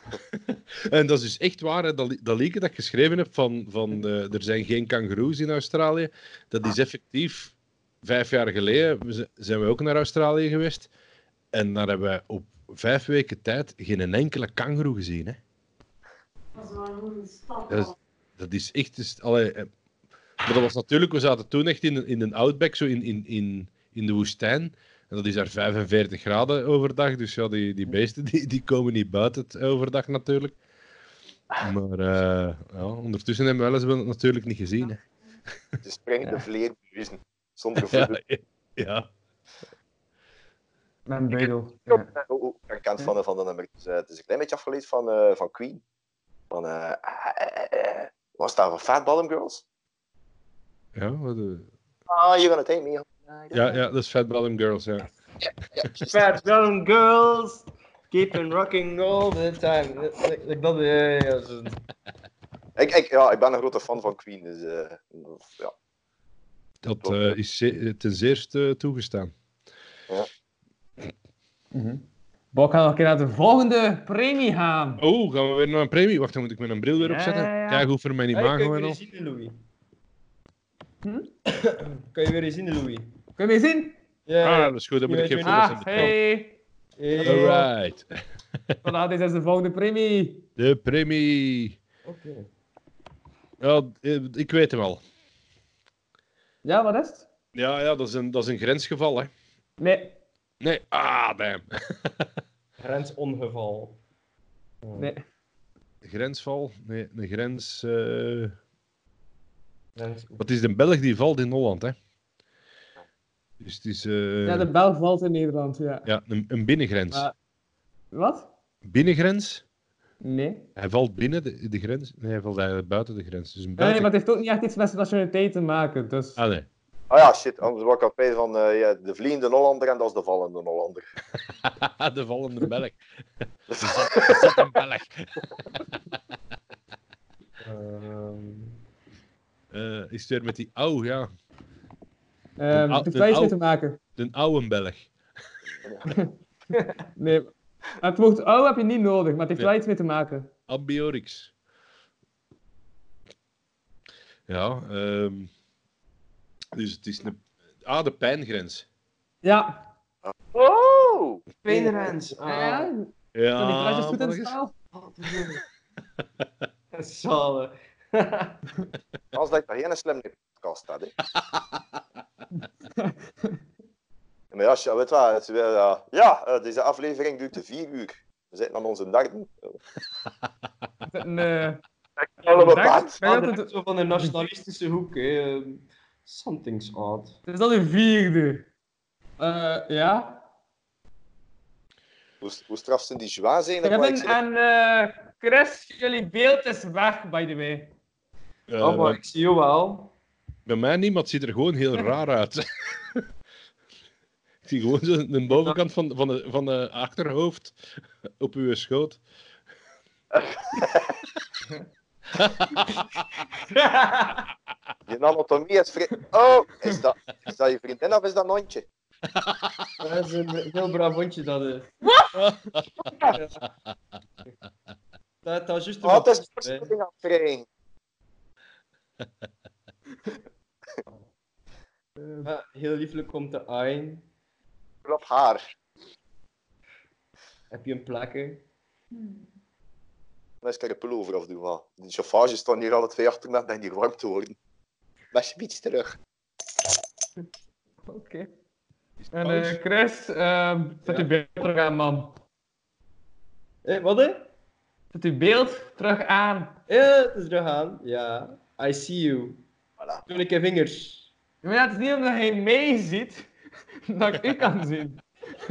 en dat is dus echt waar, hè, dat, li- dat liedje dat ik geschreven heb van, van eh, er zijn geen kangoeroes in Australië, dat is effectief vijf jaar geleden we z- zijn we ook naar Australië geweest. En daar hebben we op vijf weken tijd geen enkele kangoeroe gezien. Hè. Dat is wel een goede stap. Dat is, dat is echt... Is, allee, eh, maar dat was natuurlijk... We zaten toen echt in, een- in een outback, zo in, in, in, in de woestijn. En dat is daar 45 graden overdag. Dus ja, die, die beesten die, die komen niet buiten het overdag natuurlijk. Maar eh, ja, ondertussen hebben we wel eens wel natuurlijk niet gezien. Hè. Ze springen de vleermuizen. Zonder voeten. Ja, ja. Mijn beugel. Ja. Ja. Oh, oh, ik ken het van, van de nummer. Dus, eh, het is een klein beetje afgeleid van, eh, van Queen. Van, eh, eh, eh, was dat van Fat Bottom Girls? Ja, wat, eh, Ah, you're gonna take me home. ja, ja, dat is Fat Bottom Girls, ja. Fat young girls, keep on rocking all the time. Ik- ik- ik Dat, ja, ja, ja, zo. Ah, Ik, ik, ja, ik ben een grote fan van Queen. Dus, eh, ja. Dat eh, is ze- ten zeerste toegestaan. Mhm. Bok, ik ga nog een keer naar de volgende premie gaan. Oh, gaan we weer naar een premie? Wacht, dan moet ik mijn bril weer Ja, opzetten. ja, ja. Kijk hoe voor mijn Hey, kan je imago en weer al. eens zien, Louis? Hm? kan je weer eens zien, Louis? Kun je me zien? Ja. Ah, dat is goed, dan moet ik geen Ja, foto's in Ah, de hey. Hey. Alright. Voilà, dit is de volgende premie. De premie. Oké. Ja, eh, ik weet hem al. Ja, wat is het? Ja, ja dat, is een, dat is een grensgeval, hè. Nee, Nee, ah, damn. Grensongeval. Eh, nee. Grensval? Nee, een grens... eh, Grens... Wat is de Belg die valt in Holland, hè? Dus het is eh, Ja, de Belg valt in Nederland, ja. ja, een, een binnengrens. Maar- Wat? Binnengrens? Nee. Hij valt binnen de, de grens. Nee, hij valt eigenlijk buiten de grens. Dus een Nee, maar buiten... het heeft ook niet echt iets met zijn nationaliteit te maken. Dus Ah, nee. Ah ja, shit. Anders was ik al bij van eh, ja, de vliegende Hollander en dat is de vallende Hollander. de vallende Belg. Er zat, er zat een Belg. Eh, is het weer met die oude, ja. ehm, Een het heeft ou- een wel iets mee te maken. De oude Belg. Nee. Het woord oude heb je niet nodig, maar het heeft Nee. wel iets mee te maken. Ambiorix. Ja, ehm, dus het is een... Ah, de pijngrens. Ja. Oh! Pijngrens. Ja, Ah, ja. Die Duitsers goed in de mannetjes. taal. zalig. Als dat ik daar geen slim podcast had. Hè. Ja, maar ja, shit, weet je wat, het is weer, eh, ja, eh, deze aflevering duurt te vier uur. We zitten aan onze derde. Nee. Allemaal Dag. paard. Ben je Maar altijd- direct zo van de nationalistische hoek. hè. ehm, Something's odd. Het is al de vierde. Eh, ja. Hoe, hoe straf zijn die joie zijn? dat ik Kevin zeg, en eh, Chris, jullie beeld is weg, by the way. Eh, Oh, maar bij, ik zie je wel. bij mij niemand ziet er gewoon heel raar uit. ik zie gewoon zo de bovenkant van, van, de, van de achterhoofd op uw schoot. Die anatomie is vri- Oh, is dat, is dat je vriendin of is dat een hondje? Dat is een heel braaf hondje dat is. Dat, dat is juist Oh, het is een- een voorstelling aan het krijgen. Ja, heel lieflijk komt de ein. Klop haar. Heb je een plekje? Dan is er een pullover of doen, maar de chauffage staan hier alle twee achter me en hier warm te worden. Maar je iets terug. Oké. Is het En eh, pauze? Chris, ehm zet Ja. uw beeld terug aan, man. Eh, wat hè? Zet uw beeld terug aan. Eh, het is er aan. Ja. I see you. Voilà. Toen ik je vingers. Ja, Maar ja, het is niet omdat hij mij ziet, dat ik u kan zien.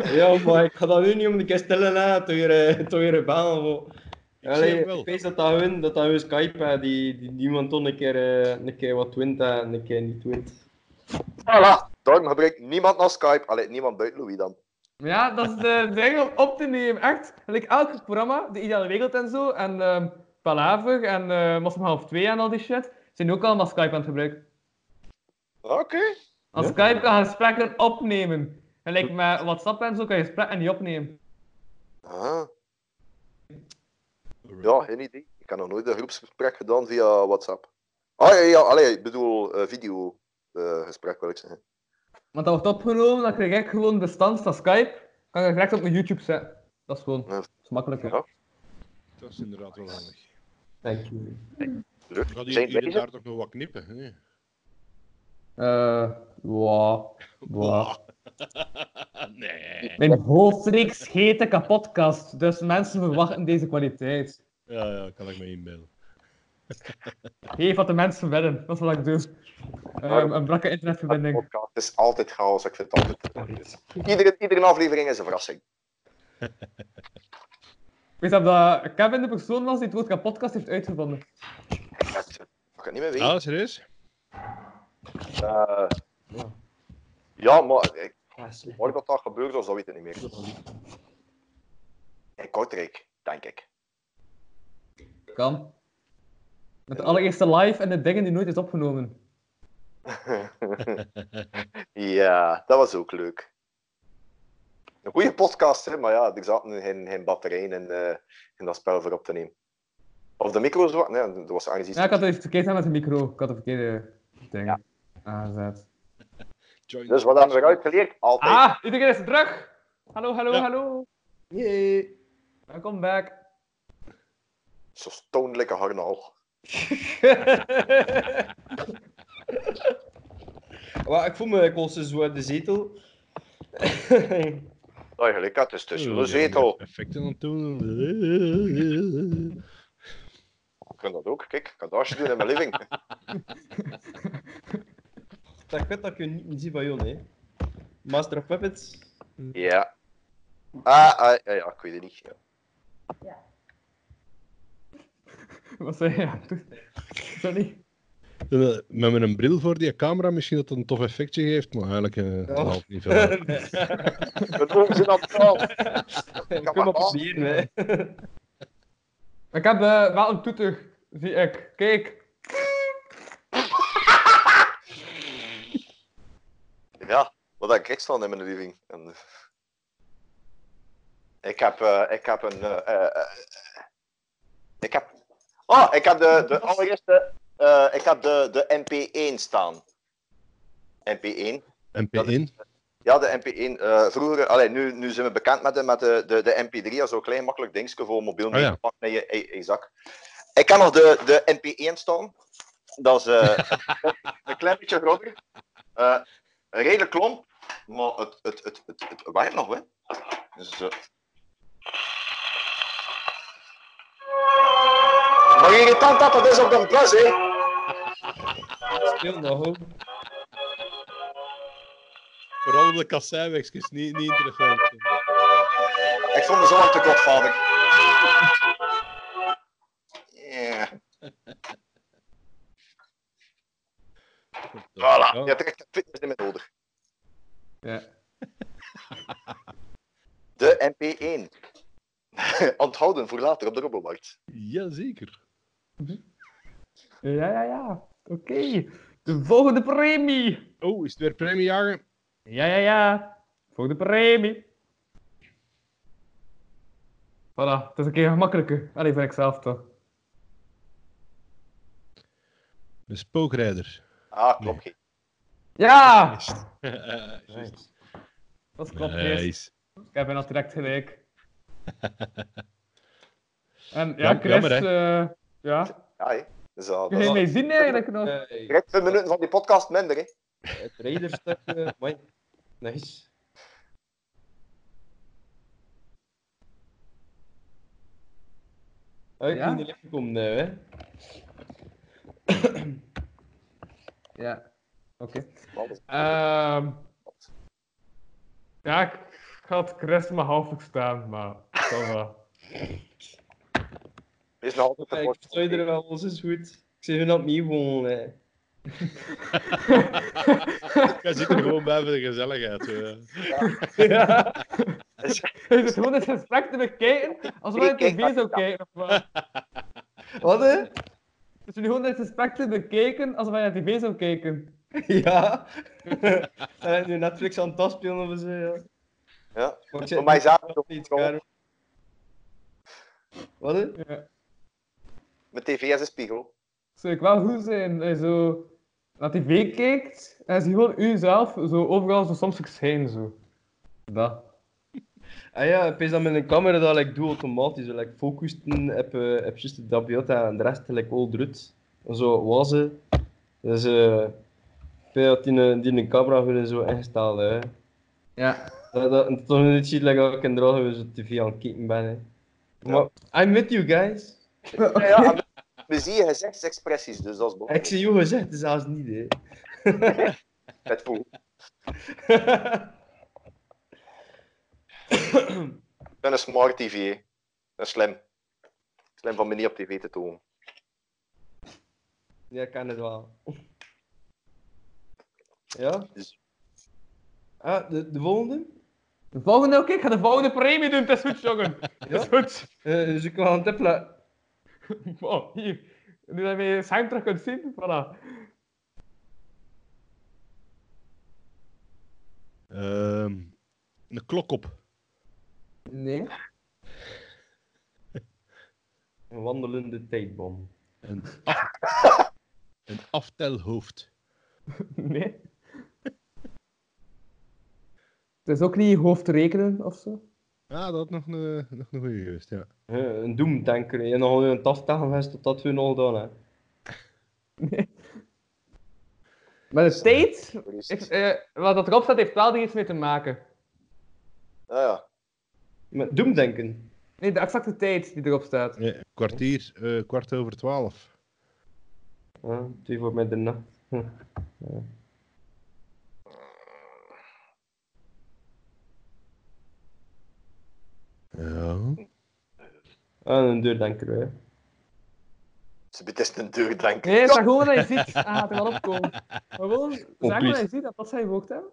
Ja, maar ik ga dat nu niet om de keer stellen hè, tot je, tot eh, je baan. Voor. Ik zie hem Allee, wel. ik weet dat dat hun, dat dat hun Skype hè, die, die, die iemand toch een keer, eh, een keer wat wint hè, en een keer niet wint. Voilà. Daarom gebruikt niemand naar Skype. Allee, niemand buiten Louis dan. Maar Ja, dat is de ding om op te nemen. Echt, like elk programma, De Ideale Wereld en zo, en ehm Palaver en eh Mos om half twee en al die shit, zijn ook allemaal Skype aan het gebruiken. Oké. Als Ja? Skype kan je gesprekken opnemen. En like met WhatsApp en zo kan je gesprekken niet opnemen. Ah. Ja, geen idee. Ik heb nog nooit een groepsgesprek gedaan via WhatsApp. Ah ja, ja allee, ik bedoel eh videogesprek wil ik zeggen. Want dat wordt opgenomen, dan krijg ik gewoon bestand van Skype. Kan ik direct op mijn YouTube zetten. Dat is gewoon Ja. dat is makkelijker. Ja. Dat is inderdaad wel handig. Dank je. Druk. Gaat Zijn hier, we hier en daar toch nog wat knippen? Hè? Eh, wow. Wow. nee. Mijn hoofdreeks heet de kapotkast, dus mensen verwachten deze kwaliteit. Ja, ja, kan ik me inbeelden. Geef wat de mensen willen, dat is wat ik doe. Ehm, een brakke bezig? internetverbinding. Podcast is altijd chaos, ik vind het altijd. Iedere, iedere aflevering is een verrassing. Weet je dat Kevin de persoon was die het woord kapotkast heeft uitgevonden? Dat mag ik niet meer weten. Ah, serieus? Eh, ja, maar ik, Ja, slecht. waar dat dat gebeurd was, dat weet ik niet meer. In Kortrijk, denk ik. Kan. Met de allereerste live en de dingen die nooit is opgenomen. ja, dat was ook leuk. Een goede podcast, hè, maar ja, er zaten geen, geen batterijen in, eh, in dat spel voor op te nemen. Of de micro's wat? Nee, dat was aangezien. Ja, ik had het verkeerd aan met de micro. Ik had de verkeerde ding Ja. aangezet. Join Dus wat hebben we eruit geleerd? Altijd. Ah, iedereen is terug! Hallo, hallo, Ja. hallo! Jee. Welkom back. Zo stonelijke harnaal. Maar ik voel me ik was zo uit de zetel. Eigenlijk, dus het is tussen de Oh, zetel. ja, Effecten aan het doen. Ik kan dat ook. Kijk, ik kan dat doen in mijn living. dat ik weet dat ik je niet meer zie van Jon, hè. Master of Puppets. Ja. Ah, ah, ja, ja, ik weet het niet. Ja. Wat zei je? Sorry. Eh, Met mijn bril voor die camera misschien dat dat een tof effectje geeft, maar eigenlijk eh dat haalt niet veel. uit. Mijn ogen zijn aan het dalen. Ik kom op Hier, hè. Ik heb eh, wel een toeter, zie ik. Kijk. Ja, wat heb ik staan in mijn living? En, eh, ik heb, eh, ik heb een, eh, eh, eh, ik heb, oh, ik heb de, de allereerste, eh, ik heb de, de MP1 staan. MP1. MP1. Ja, de MP1. eh, vroeger, allee, nu, nu zijn we bekend met de, met de, de, de MP3 als zo'n klein makkelijk dingetje voor mobiel Ah, ja. mee te pakken in je, in je zak. Ik kan nog de, de MP1 staan. Dat is eh, een klein beetje groter. Eh, een redelijk klomp, maar het, het, het, het, het waait nog wel. Dus, eh. Maar irritant dat dat is op de plas, hè? Speel nog, hoor. Vooral op de kasseiwegjes, niet, niet interessant. Ik vond me zo op de godvader. Ja. Voilà, je Ja. hebt er echt fitness niet meer nodig. Ja. De MP1. Onthouden voor later op de Robomarkt. Jazeker. Ja, ja, ja. Oké. De volgende premie. Oh, is het weer premiejagen? Ja, ja, ja. Volgende premie. Voilà, het is een keer gemakkelijker. Allee, vind ik zelf toch. De spookrijder. Ah, klopt. geen. Ja! Eh, juist. Dat klopt, Chris. Nice. Ik heb bijna direct gelijk. en ja, Ja, Chris, jammer, eh, ja. Ja, hè. Dus, ah, dat Kun je is mij zien eigenlijk nog? Eh, direct twee minuten van die podcast minder, hè. het raiderstuk. eh, Mooi. Nice. Hey, Ja? in de licht gekomen nou, hè. Ja. Oké. Alles. Ehm, ja, ik ga het Chris maar half staan, maar toch wel. Is nog altijd Ja, ik vertrouw je er wel, ons is goed. Ik zie hun opnieuw gewoon, hè. Jij zit er gewoon bij voor de gezelligheid. eh. ja. Hij zit gewoon het gesprek te bekijken, alsof hij Dus- Ik kijk tv zou dat- kijken. Of wat? Wat, hè? Hij zit gewoon het gesprek te bekijken, alsof hij naar tv zou kijken. Ja. Zijn het nu Netflix aan het afspelen of zo, ja. Ja. Maar ik zit Voor mij zaten nog niet klaar. Wat, hè? Ja. Mijn tv is een spiegel. zou ik wel goed zijn dat je zo naar tv kijkt en zie gewoon u zelf zo overal zo soms verschijnen zo. Dat. Ah ja, ik pees dat met een camera dat ik doe automatisch. Like, focusten heb, eh, heb juist de Dabiota en de rest like, all drut. Zo was het. Dus eh ik had die, eh, die een camera gewoon zo ingesteld. Hè. Ja. Dat, dat, het is toch niet ziet like, dat ik in de radio zo tv aan het kijken ben. Hè. Maar I'm with you guys. Ja, ja, en we zien je gezichtsexpressies, dus dat is Ik belangrijk. zie jou gezegd zelfs niet. Hè. Het voel. Ik ben een smart tv. hè. Dat is slim. Slim van me niet op tv te tonen. ja, ik ken het wel. Ja? Dus- Ah, de, de volgende? De volgende ook, ik ga de volgende premie doen, het is goed jongen. Het is goed. Eh, dus ik wil aan het tippelen. Oh, hier. Nu dat je mijn scherm terug kunt zien, voilà. Ehm, een klok op. Nee. Een wandelende tijdbom. Een, af- een aftelhoofd. Nee. Het is ook niet hoofd rekenen of zo. Ah, dat had nog een, nog een goede geweest, ja. Ja, Eh, een doemdenker. Je nog een tas tegen tot dat we nog gedaan hè. Maar de tijd, Voor is ik, het. eh, wat dat erop staat, heeft wel er iets mee te maken. Ah, ja. Met doemdenken. Nee, de exacte tijd die erop staat. Nee, een kwartier, eh, kwart over twaalf. Ja, twee voor middernacht. Ah, een deurdenker, hè. Ze betest een deurdranker. Nee, maar gewoon dat je ziet. Ah, gaat er wel opkomen. Maar gewoon, zeg maar dat je ziet dat dat zijn woord hebben.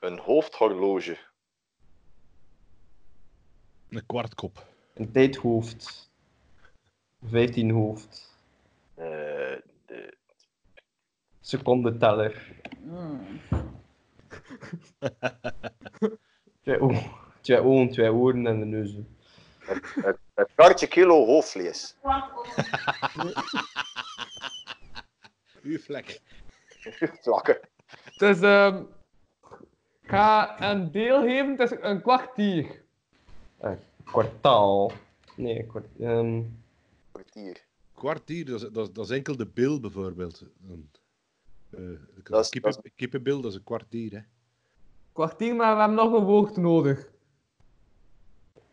Een hoofdhorloge. Een kwartkop. Een tijdhoofd. Vijftien hoofd. Eh, de- Secondeteller. Twee, o- twee ogen, twee oren en een neus. het kwartje kilo hoofdvlees. Uw vlek. Vlakke. Dus ehm, ik ga een deel geven, het is een kwartier. Kwartaal. Nee, kwart, ehm, Kwartier. Kwartier, dat is, dat, is, dat is enkel de bil bijvoorbeeld. Een, eh, Dat is- kippen, dat Kippenbil, dat is een kwartier. Hè. Kwartier, maar we hebben nog een woord nodig.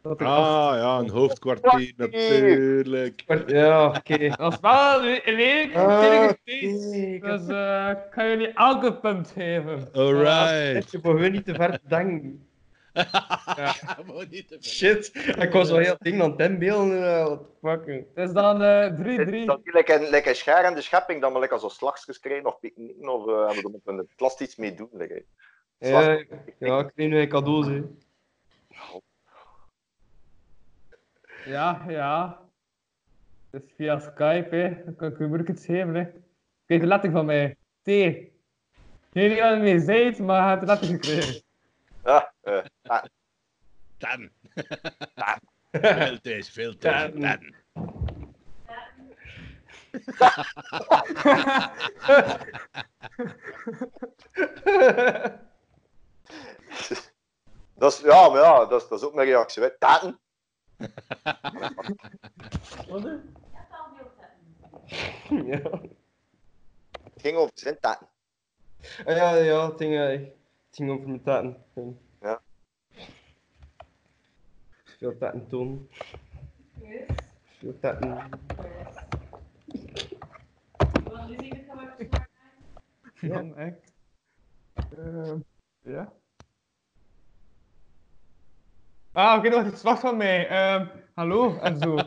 Dat ik- Ah ja, een hoofdkwartier natuurlijk. kwart- ja, oké. Dat is wel een redelijk Ah, stevige feest. Nee, ik heb- Dus eh, ik kan jullie elke punt geven. Alright. Je mag niet te ver denken. Dat moet niet te ver. Shit, ik was al heel het ding aan het inbeelden. eh, Wat fucking. Het is dan eh, 3-3. Dat is lekker, lekker schaar aan de schepping, dan maar lekker zo slagjes krijgen of picknicken of eh, hebben we er met een plast iets mee doen. Lekker. Slag- Ja, ja, ik kreeg nu een cadeau, hè. Ja, ja. Dus via Skype, hè. Dan kan ik u moeilijk iets geven, hè. Kijk, de letter van mij. T. Ik weet niet wat het mee zit, maar hij heeft de letter gekregen. Ah, eh, Ten. Veel thuis, veel thuis. Ten. Ten. dat is, ja, maar ja, dat is, dat is ook mijn reactie. Hè. Taten. Ja. Het ging over zijn taten. Ah, ja, ja, het ging, eh, het ging over mijn taten. Ja. Veel taten tonen. Veel taten. Ja, echt. Ehm, ja. Ah, oké, dat was het zwart van mij. Ehm, hallo, en zo.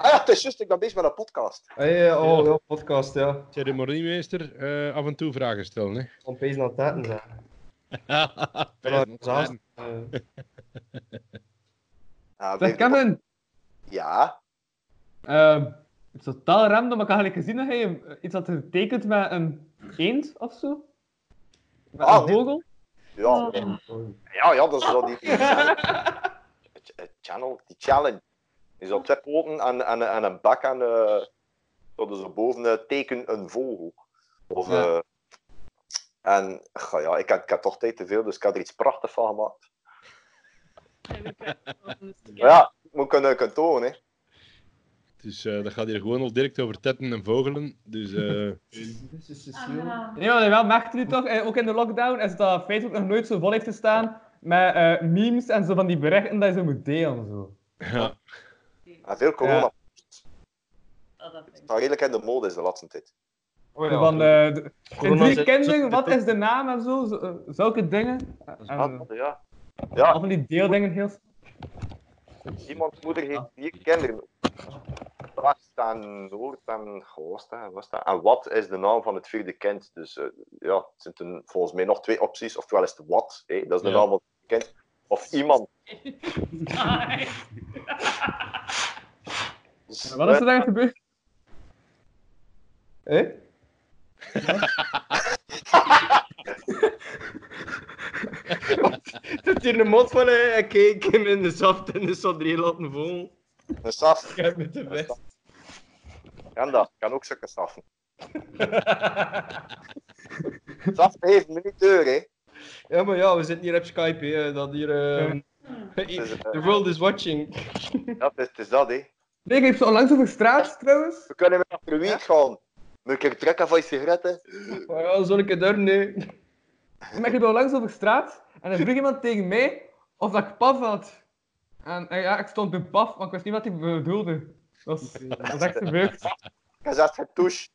Ah ja, het is juist, ik ben bezig met een podcast. Hey, eh, oh, ja, podcast, ja. Ceremoniemeester, eh, af en toe vragen stellen. Hè. Om pees naar taten zijn. Ten. Ten. Eh, Ah, Zeg, blijf- Kevin. Ja, ehm, het is totaal random, maar ik had eigenlijk gezien dat hij eh, iets had getekend met een eend of zo. Met Ah, een nee. vogel. ja, Oh, ja, ja, dat is zo die, die het- het channel, die challenge. Is op twee poten en, en, en een bak en eh dat is boven eh, teken een vogel. Of, Ja. eh, en goh, ja, ik had, ik had toch tijd te veel, dus ik had er iets prachtigs van gemaakt. Maar ja, moet kunnen kunnen tonen, hè. Dus eh, dat gaat hier gewoon al direct over tetten en vogelen. Dus eh, This is Cecile. Nee, maar wel merkt nu toch, eh, ook in de lockdown, is dat Facebook nog nooit zo vol heeft gestaan met eh, memes en zo van die berichten dat je zo moet delen. Zo. ja, En veel corona. Ja. Dat redelijk in de mode is de laatste tijd. Oh, Zo ja. van, eh, de- in Corona drie zit- kinderen, zit- wat is de naam en zo, zo- eh, zulke dingen. En, Ah, eh, ja. al ja, van die deeldingen heel snel. iemands moeder heeft vier kinderen. Wat en Noord en Gost en was dat? En wat is de naam van het vierde kind? Dus eh, ja, het zijn toen volgens mij nog twee opties. Oftewel is het wat, hè, dat is de Ja. naam van het vierde kind. Of iemand. Dus, Wat is eh, er daar gebeurd? Eh? Zit hier een mot van, hè? Ik keek hem in de zaft en is zo drie laten vol. Een saf. Ik heb het de best. Kan dat? Kan ook zulke saffen. Saf heeft minuteur, hè? Ja, maar ja, we zitten hier op Skype, hè. Dat hier... eh, Dus, eh, The world is watching. ja, het is, het is dat, hè? Nee, ik heb ze onlangs over straat trouwens. We kunnen met een week gaan. Moet ik er trekken van je sigaretten? Maar ja, zal ik het daar nu? Maar ik heb onlangs over straat en er vroeg iemand tegen mij of dat ik paf had. En, eh, ja, ik stond bij paf, want ik wist niet wat hij bedoelde. Dat is, dat is echt gebeurd. Ik heb zelfs geen touche.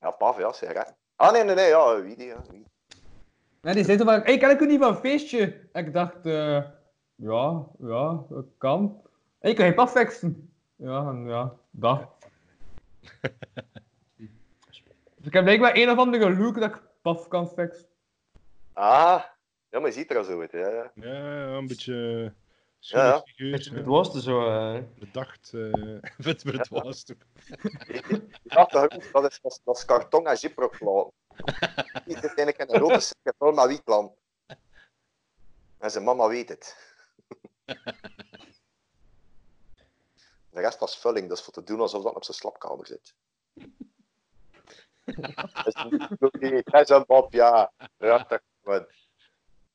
Ja, paf, ja, sigaretten. Ah, nee, nee, nee, ja, wie die, ja, wie. En die zei toen van, hey, kan ik u niet van een feestje? En ik dacht, eh, ja, ja, dat kan. Hey, kan je pap faxen? Ja, en ja, dag. dus ik heb blijkbaar een of andere look dat ik paf kan faxen. Ah, ja, maar je ziet er al zo uit. Ja, ja. Ja, een beetje... eh, Ja, ja. schuurfiguur, Beetje eh, met worsten zo. eh. Bedacht. eh met het was toch. Die achtergrond, dat is, dat is, dat is karton en gyproklaat. Dit is eigenlijk een rode secretar, maar wie plan? En zijn mama weet het. De rest was vulling, dat is voor te doen alsof dat op zijn slapkamer zit. Hij is een mop, ja. Rattig.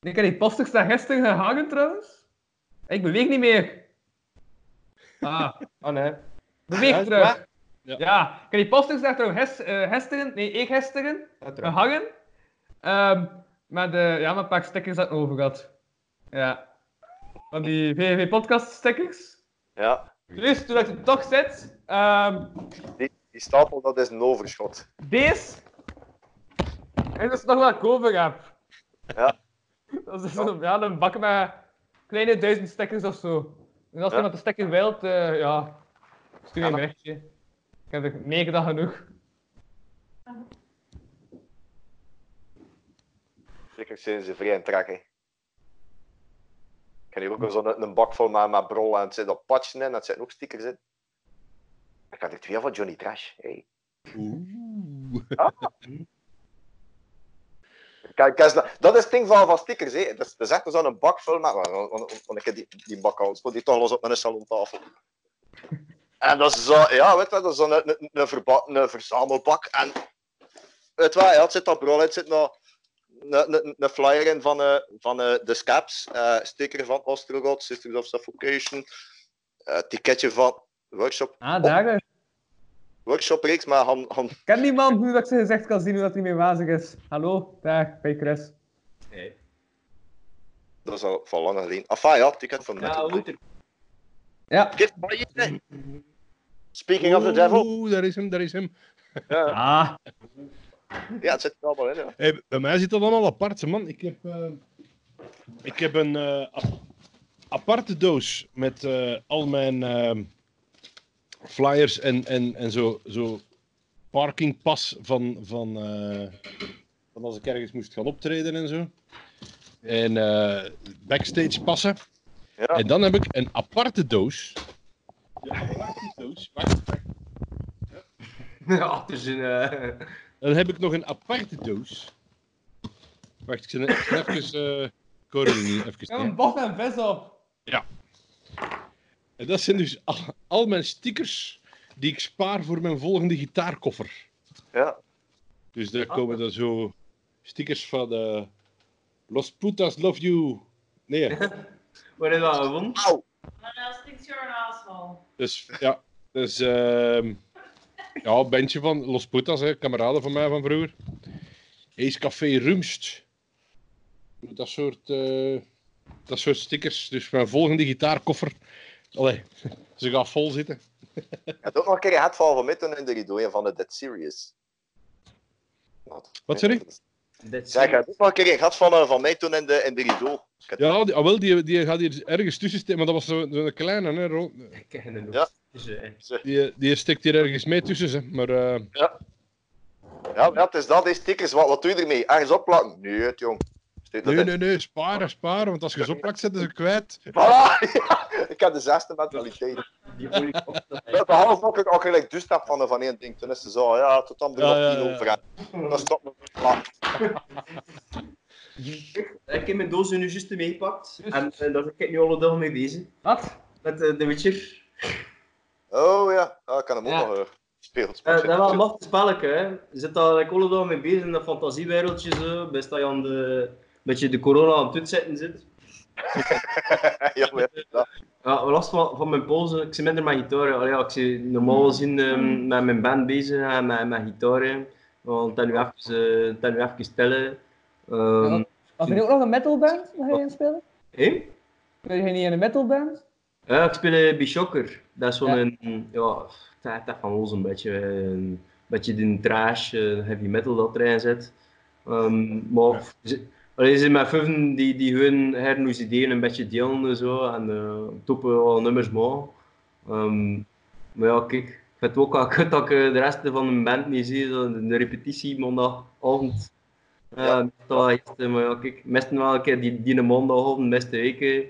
Ik heb die posters daar gisteren gehangen trouwens. Hey, ik beweeg niet meer. Ah, oh nee. Beweeg Ja, terug. ja. Ja. Ja. ik heb die posters daar trouwens ges- eh, gisteren, nee, ik gisteren, gehangen. Ehm met, eh, ja, met een paar stickers dat ik nog over had. Ja. Van die VVV podcast stickers. Ja, Dus toen ik er toch zit, ehm, die, die stapel, dat is een overschot. deze. En dat is dus nog wat ik over heb. Ja. Dat is dus een, ja, een bak met kleine duizend stickers of zo. En als Ja. iemand een sticker wilt, eh, ja, stuur Ja, me dat- een berichtje. Ik heb er meer dan genoeg. Zeker sinds ze vrij en trekken. Ik heb hier ook zo'n een bak vol met, met brol en het zit op patchen in en het zitten ook stickers in. Ik had er twee van Johnny Trash. Hey. Oeh. Kijk, kijk, eens na- dat is het ding van, van stickers. Hè. Dat, is, dat is echt zo'n bak vol met... Want, want- want- want ik heb die, die bak al, stond die toch los op mijn salontafel. En dat is zo, ja, weet je, wel, dat is zo'n een, een, een, verba- een verzamelbak. En weet je, wel, ja, het zit op brol, het zit nog een, een, een flyer in van, eh, van eh, de Scaps, eh, sticker van Ostrogoth, Sisters of Suffocation, eh, ticketje van workshop, Ah, daar. Ik workshop reeks, maar Han, Han, ken die man nu dat ik zijn gezicht kan zien hoe dat hij mee wazig is. Hallo, daar, bij Chris. dat is al van lang geleden. Enfin ja, ticket van Ja, Metal. Wouter. Ja. Dit van je, hè. Speaking of the devil. Oeh, daar is hem, daar is hem. Ja, Ah, ja, het zit er allemaal in. Ja. Hey, bij mij zit dat allemaal apart, hè, man. Ik heb, eh, ik heb een eh, ap- aparte doos met eh, al mijn eh, flyers en, en, en zo, zo parkingpas van, van, eh, van als ik ergens moest gaan optreden en zo. En eh, backstage passen. Ja. En dan heb ik een aparte doos. Een aparte doos. Wacht, Ja, dus een. eh, Dan heb ik nog een aparte doos. Wacht, ik zet ik zet even... eh Coralie, ik even heb neer. een bocht en vis op. En dat zijn dus al, al mijn stickers die ik spaar voor mijn volgende gitaarkoffer. Ja. Dus daar komen dan zo stickers van... eh, Los putas love you. Nee, dat Waar is dat gewonnen? Au, What else thinks you're an asshole? is... Dus, Ja, dat is... ehm, ja, een bandje van Los putas, hè, kameraden van mij van vroeger. Ace Café Rumst. Dat soort... eh, dat soort stickers. Dus mijn volgende gitaarkoffer... Allee, ze gaat vol zitten. je hebt ook nog een keer een headval van mij toen in de ridooi van de Dead Series. Wat, sorry? Dit Zeg, je hebt ook nog een keer een gat van, eh, van mij toen in de, in de ridooi. Ik heb- Ja, die, ah, wel, die, die gaat hier ergens tussen steken, maar dat was zo'n zo'n kleine, hè, Ro- Ik ken het nog. Ja. Dus, eh, die, die steekt hier ergens mee tussen, hè. maar eh, Ja, maar het is dat, die stickers. Wat, wat doe je ermee? Ergens opplakken? Nee, het, jong. Steek dat nee, in. nee, nee, sparen, sparen, want als je ze opplakt, zitten ze kwijt. Voilà, ja. Ik heb de zesde mentaliteit. die olie op dat hij- Ja, Behalve ook, ook gelijk dus stap van, van één ding. Toen is ze zo, ja, tot dan ben ik Ja, nog ja, tien ja. over. En Dan stop ik. Ja, Ik heb mijn doos nu juist meegepakt. Juist. En eh, daar ben ik nu al een dag mee bezig. Wat? Met eh, The Witcher. Oh ja, ja ik kan hem ook Ja. nog eh, speelt. Eh, dat is wel een machtig spelletje, hè. Zit daar ik alle dag mee bezig in dat fantasiewereldje zo. Best dat je aan de... beetje de corona aan het uitzetten zit. ja, maar ja, dat- Ja, last van, van mijn polsen. Ik zit minder met gitaren. Allee, ja, ik zit normaal gezien Hmm. ehm, met mijn band bezig en met, met gitaren. Want dat nu even, eh, het is nu even stellen. Ehm, Ja. Was er nu ook nog een metalband waar jij in speelde? hé? Wil je niet in een metalband? Ja, ik speel eh, Bishocker. Dat is zo'n... Ja, ja dat, dat van ons een beetje. eh, Een beetje die trash, eh, heavy metal dat erin zit. Ehm, maar Ja. ze- Allee, ze met vuffen die, die hun hernoes ideeën een beetje delen en zo. En eh toppen al nummers maken. Ehm, maar ja, kijk. Ik vind het ook wel kut dat ik eh, de rest van de band niet zie. zo in De repetitie maandagavond. Eh, Ja. dat wel echt, eh, maar ja, kijk. Meestal wel een keer die, die maandagavond, meeste weken.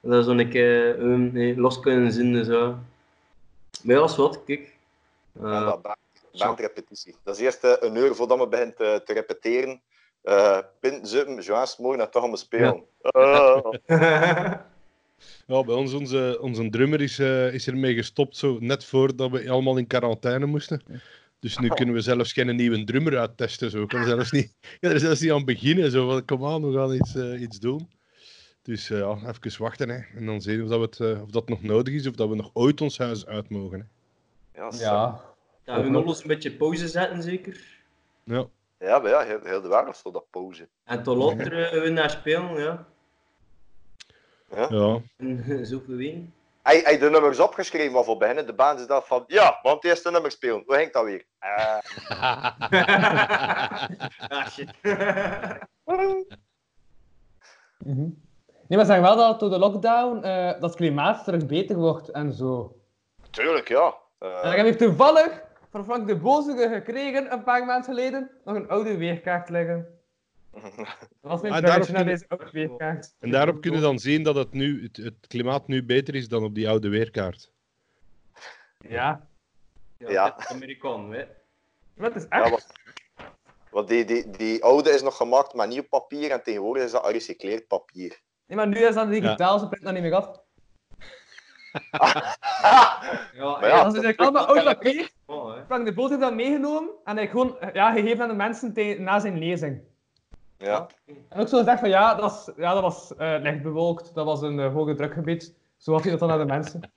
Dat is dan een keer ehm, nee, los kunnen zien en zo. Maar ja, dat is wat, kijk. Eh, Ja, dat band- bandrepetitie. Dat is eerst eh, een uur voordat men begint eh, te repeteren. eh pinten, zuppen, joints, morgen en toch gaan we spelen. Eh, Ja, bij ons, onze, onze drummer is, eh, is ermee gestopt, zo net voordat we allemaal in quarantaine moesten. Dus nu kunnen we zelfs geen nieuwe drummer uittesten. Zo. Ik kan er zelfs niet, ik kan er zelfs niet aan beginnen. Zo. van, Kom aan, we gaan iets, eh, iets doen. Dus eh, ja, even wachten. Hè. En dan zien we of dat, we het, eh, of dat nog nodig is of dat we nog ooit ons huis uit mogen. Hè. ja, ja. Ja. ja, we nog eens een beetje pauze zetten, zeker. Ja. ja, maar ja, heel, heel de wereld stond dat pauze. En tot later eh, hun naar spelen, ja. Ja. En eh, zoveel win. Hij hij de nummers opgeschreven waarvoor beginnen. De baan is dat van, ja, want het eerste nummer spelen. Hoe hangt dat weer? Eh, Ah, shit. Mhm. Nee, maar zeg wel dat door de lockdown eh, dat het klimaat terug beter wordt en zo. tuurlijk, ja. En Eh, ik heb hier toevallig van Frank de Bozige gekregen, een paar maanden geleden, nog een oude weerkaart liggen. Dat was mijn Ah, daarop bruggetje naar kunnen- deze oude weerkaart. En daarop kunnen we dan zien dat het, nu, het, het klimaat nu beter is dan op die oude weerkaart. Ja. Ja, Ja. het is Amerikaan, hè. Maar het is ja, echt... want- want die, die, die oude is nog gemaakt met nieuw papier en tegenwoordig is dat gerecycleerd papier. Nee, maar nu is dat digitaal, ze print dat niet meer af. Ja, Maar ja. Dat is eigenlijk allemaal oud papier. Amerikaan, hè. Frank de Boot heeft dat meegenomen en hij gewoon eh, ja, gegeven aan de mensen te- na zijn lezing. Ja. En ook zo gezegd van ja, dat, is, ja, dat was eh licht bewolkt, dat was een eh, hoge drukgebied. Zo had hij dat dan aan de mensen.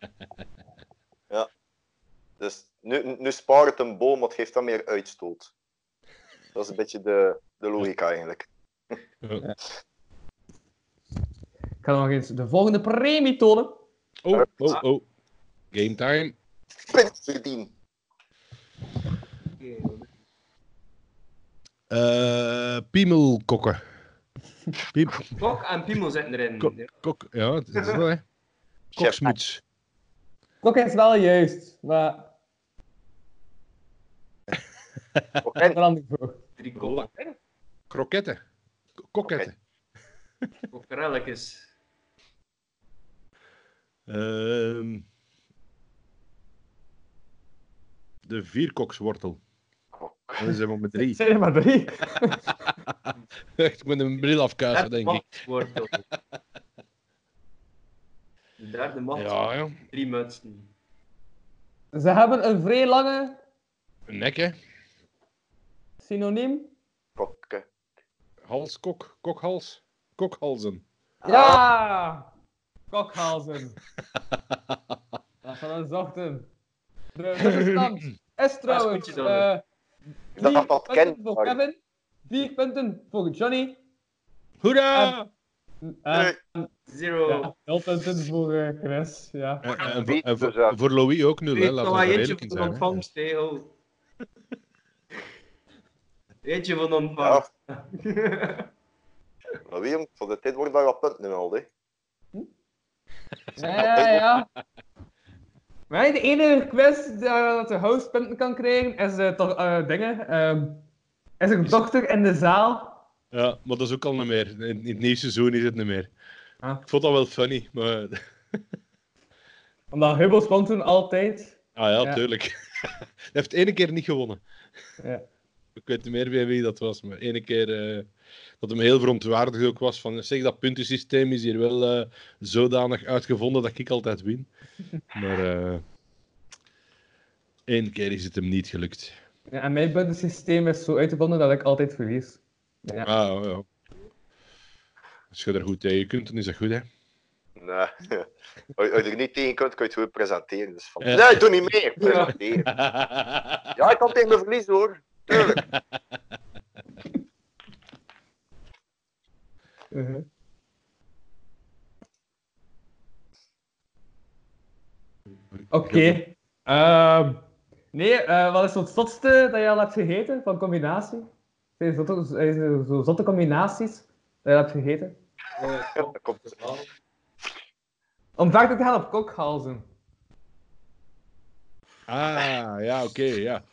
Dus nu, nu spaart het een boom, wat geeft dan meer uitstoot? Dat is een beetje de, de logica eigenlijk. Ik ga nog eens de volgende premie tonen. Oh, oh, oh. Game time. Prins verdien. Eh piemelkokken. Piem- Kok en Piemel zitten erin. Kok. kok, ja, het is dat, hè. Koksmuts. Klok is wel juist, maar Oké, een ander voor. Drie kokken. Kroketten. K- Kokketten. Kokkerelletjes. Ehm, de vierkokswortel. Dat is helemaal met drie. Zijn er maar drie. Echt, ik moet een bril afkuisen, denk ik. Machtswortel. De derde macht. Ja, ja. Drie mutsen. Ze hebben een vrij lange Een nek, hè. synoniem. kokken. Hals, kok, kokhals. Kokhalzen. Ja! Kokhalzen. Dat van een zochten. De rubberstand is trouwens puntje dan. eh, Ik dacht vier dat dat punten Ken voor was. Kevin, vier punten voor Johnny Hoera! en Zero. ja, nul punten voor eh, Chris. Ja. En, en en voor, en dus, voor, ja. voor Louis ook nul, Ik hè. weet Laten nog we wel daar eentje eerlijk in van zijn. hè. ontvangst, hè. oh. joh. Eentje van ontvangst. Ja, maar William, voor de tijd wordt daar wat punten in al, hè. Ja, ja, ja. Maar nee, de enige quiz eh, dat de host punten kan krijgen is eh, toch eh, dingen. ehm, is er een dokter in de zaal? Ja, maar dat is ook al niet meer. In, in het nieuwe seizoen is het niet meer. Ah. Ik vond dat wel funny, maar... Omdat Hubbels won toen altijd. Ah ja, Ja. tuurlijk. Hij heeft ene keer niet gewonnen. Ja. Ik weet niet meer bij wie dat was, maar ene keer eh, dat hem heel verontwaardigd ook was van zeg, dat puntensysteem is hier wel eh, zodanig uitgevonden dat ik altijd win. Maar eh één keer is het hem niet gelukt. Ja, en mijn puntensysteem is zo uitgevonden dat ik altijd verlies. Ja. Ah, ja. Als je er goed tegen kunt, dan is dat goed, hè. Nee. Als als je er niet tegen kunt, kun je het goed presenteren. Dus van... Ja. Nee, doe niet meer. Presenteren. Ja, ik kan tegen me verliezen, hoor. Tuurlijk. Mhm. Oké. Ehm, nee, eh, wat is het zotste dat je al hebt gegeten van combinatie? Zijn er zo, zijn er zo zotte combinaties? dat je hebt gegeten? Dat komt dus wel. Om verder te gaan op kokhalzen. Ah, ja, oké, ja.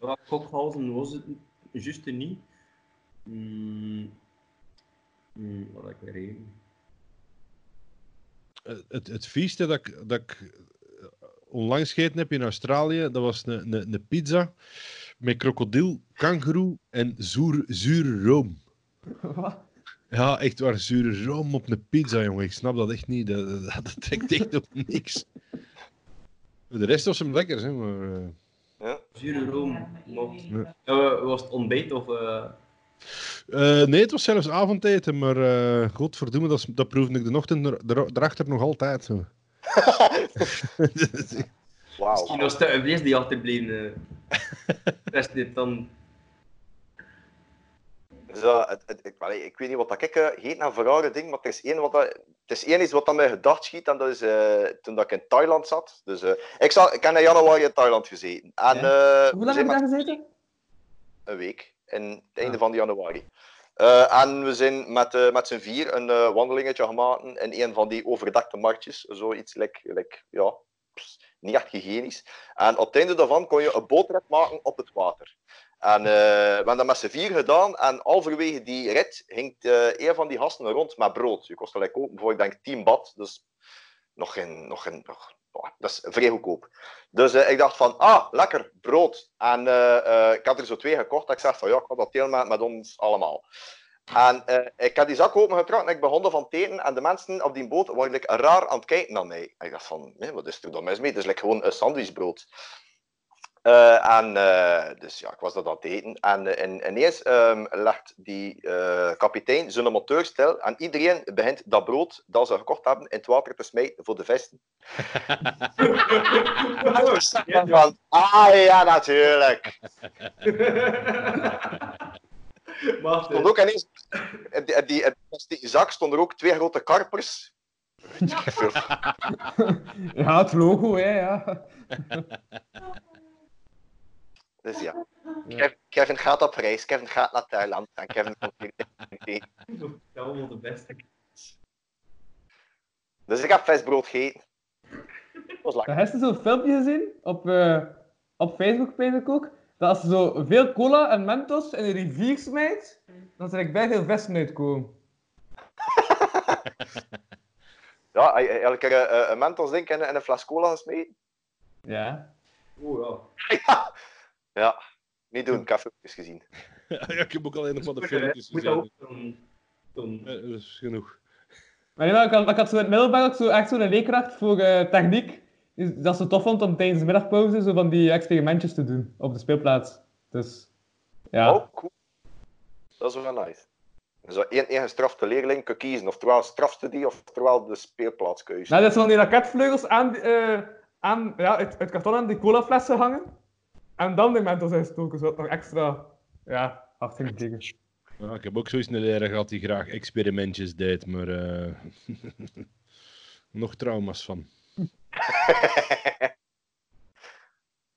Ja, kokhalzen was het juist niet. Hmm. Hmm, wat had ik weer heen? Eh, Het, het vieste dat ik, dat ik eh, onlangs gegeten heb in Australië, dat was een, een, een pizza met krokodil, kangeroe en zoer, zure room. Wat? Ja, echt waar, zure room op een pizza, jongen. Ik snap dat echt niet. Dat, dat, dat trekt echt op niks. De rest was hem lekker, hè, maar... eh, Zure room. Mot. Ja. Eh, was het ontbijt of... eh, Eh, nee, het was zelfs avondeten, maar eh godverdomme, dat, is- dat proefde ik de ochtend er- er- erachter nog altijd. Zo. Misschien Wauw. was het een vlees die achterbleven. eh. Best niet dan... Zo, Dus het- het- ik, allee, ik weet niet wat dat ik eh, heet naar verhouden ding, maar er is één, wat dat, het is één iets wat aan mij gedacht schiet en dat is eh, toen dat ik in Thailand zat. Dus, eh, ik, zal, ik heb in januari in Thailand gezeten. En, Ja. eh, Hoe we zijn lang heb je met- daar gezeten? een week. In het einde van januari. Eh, en we zijn met, eh, met z'n vier een eh, wandelingetje gemaakt in een van die overdekte marktjes. Zoiets, like, like, ja, pss, niet echt hygiënisch. En op het einde daarvan kon je een bootrit maken op het water. En eh, we hebben dat met z'n vier gedaan. En halverwege die rit ging eh een van die gasten rond met brood. Je kost gelijk kopen voor, ik denk, 10 bad. Dus nog geen... Nog geen nog, oh, dat is vrij goedkoop. Dus eh, ik dacht van, ah, lekker, brood. En eh, eh, ik had er zo twee gekocht. Ik zei van, ja, ik had dat deel met, met ons allemaal. En eh, ik had die zak opengetrokken en ik begon ervan te eten. En de mensen op die boot waren like, raar aan het kijken naar mij. En ik dacht van, nee, wat is er dan mis mee? Het is like, gewoon een sandwichbrood. Eh, en eh, dus ja, ik was dat aan het eten. En eh, in- ineens ehm, legt die eh, kapitein zijn motor stil. En iedereen begint dat brood dat ze gekocht hebben in het water te smijten voor de vesten. En van, ah ja, natuurlijk. Wacht, Stond ook ineens, in die, in die, in die zak stonden er ook twee grote karpers. Ja, het logo, hè, ja. Dus ja. Ja. Kev- Kevin gaat op reis, Kevin gaat naar Thailand. En Kevin komt hier eten. dat is allemaal de beste. Dus ik heb visbrood gegeten. Dat was lekker. Daar heb je zo'n filmpje gezien, op, eh, op Facebook weet ik ook, dat als je zo veel cola en mentos in een rivier smijt, dan zal ik bij veel vissen uitkomen. Ja, hij- hij- elke keer eh, een mentos ding en, en een fles cola gesmeten. Ja. Oh ja. Ja, niet doen, ik heb filmpjes gezien. ja, ik heb ook alleen nog wat de Moet dat- filmpjes Moet dat ook gezien. zo'n- zo'n- Eh, dat is genoeg. Maar, ja, maar ik, had, ik had zo in het middelbaar ook zo echt zo'n leerkracht voor eh, techniek, dus dat ze tof vond om tijdens de middagpauze zo van die experimentjes te doen op de speelplaats. Dus, ja. Oh, cool. Dat is wel nice. Zo één, één gestrafte leerling kan kiezen, oftewel strafstudie of terwijl de speelplaatskeuze. Nou, dat zijn van die raketvleugels aan, die, eh, aan ja, het, het karton aan die colaflessen hangen. En dan de mentos instoken, zodat het nog extra ja, hard ging vliegen. Ja, ik heb ook zoiets een leraar gehad die graag experimentjes deed, maar... eh, nog trauma's van.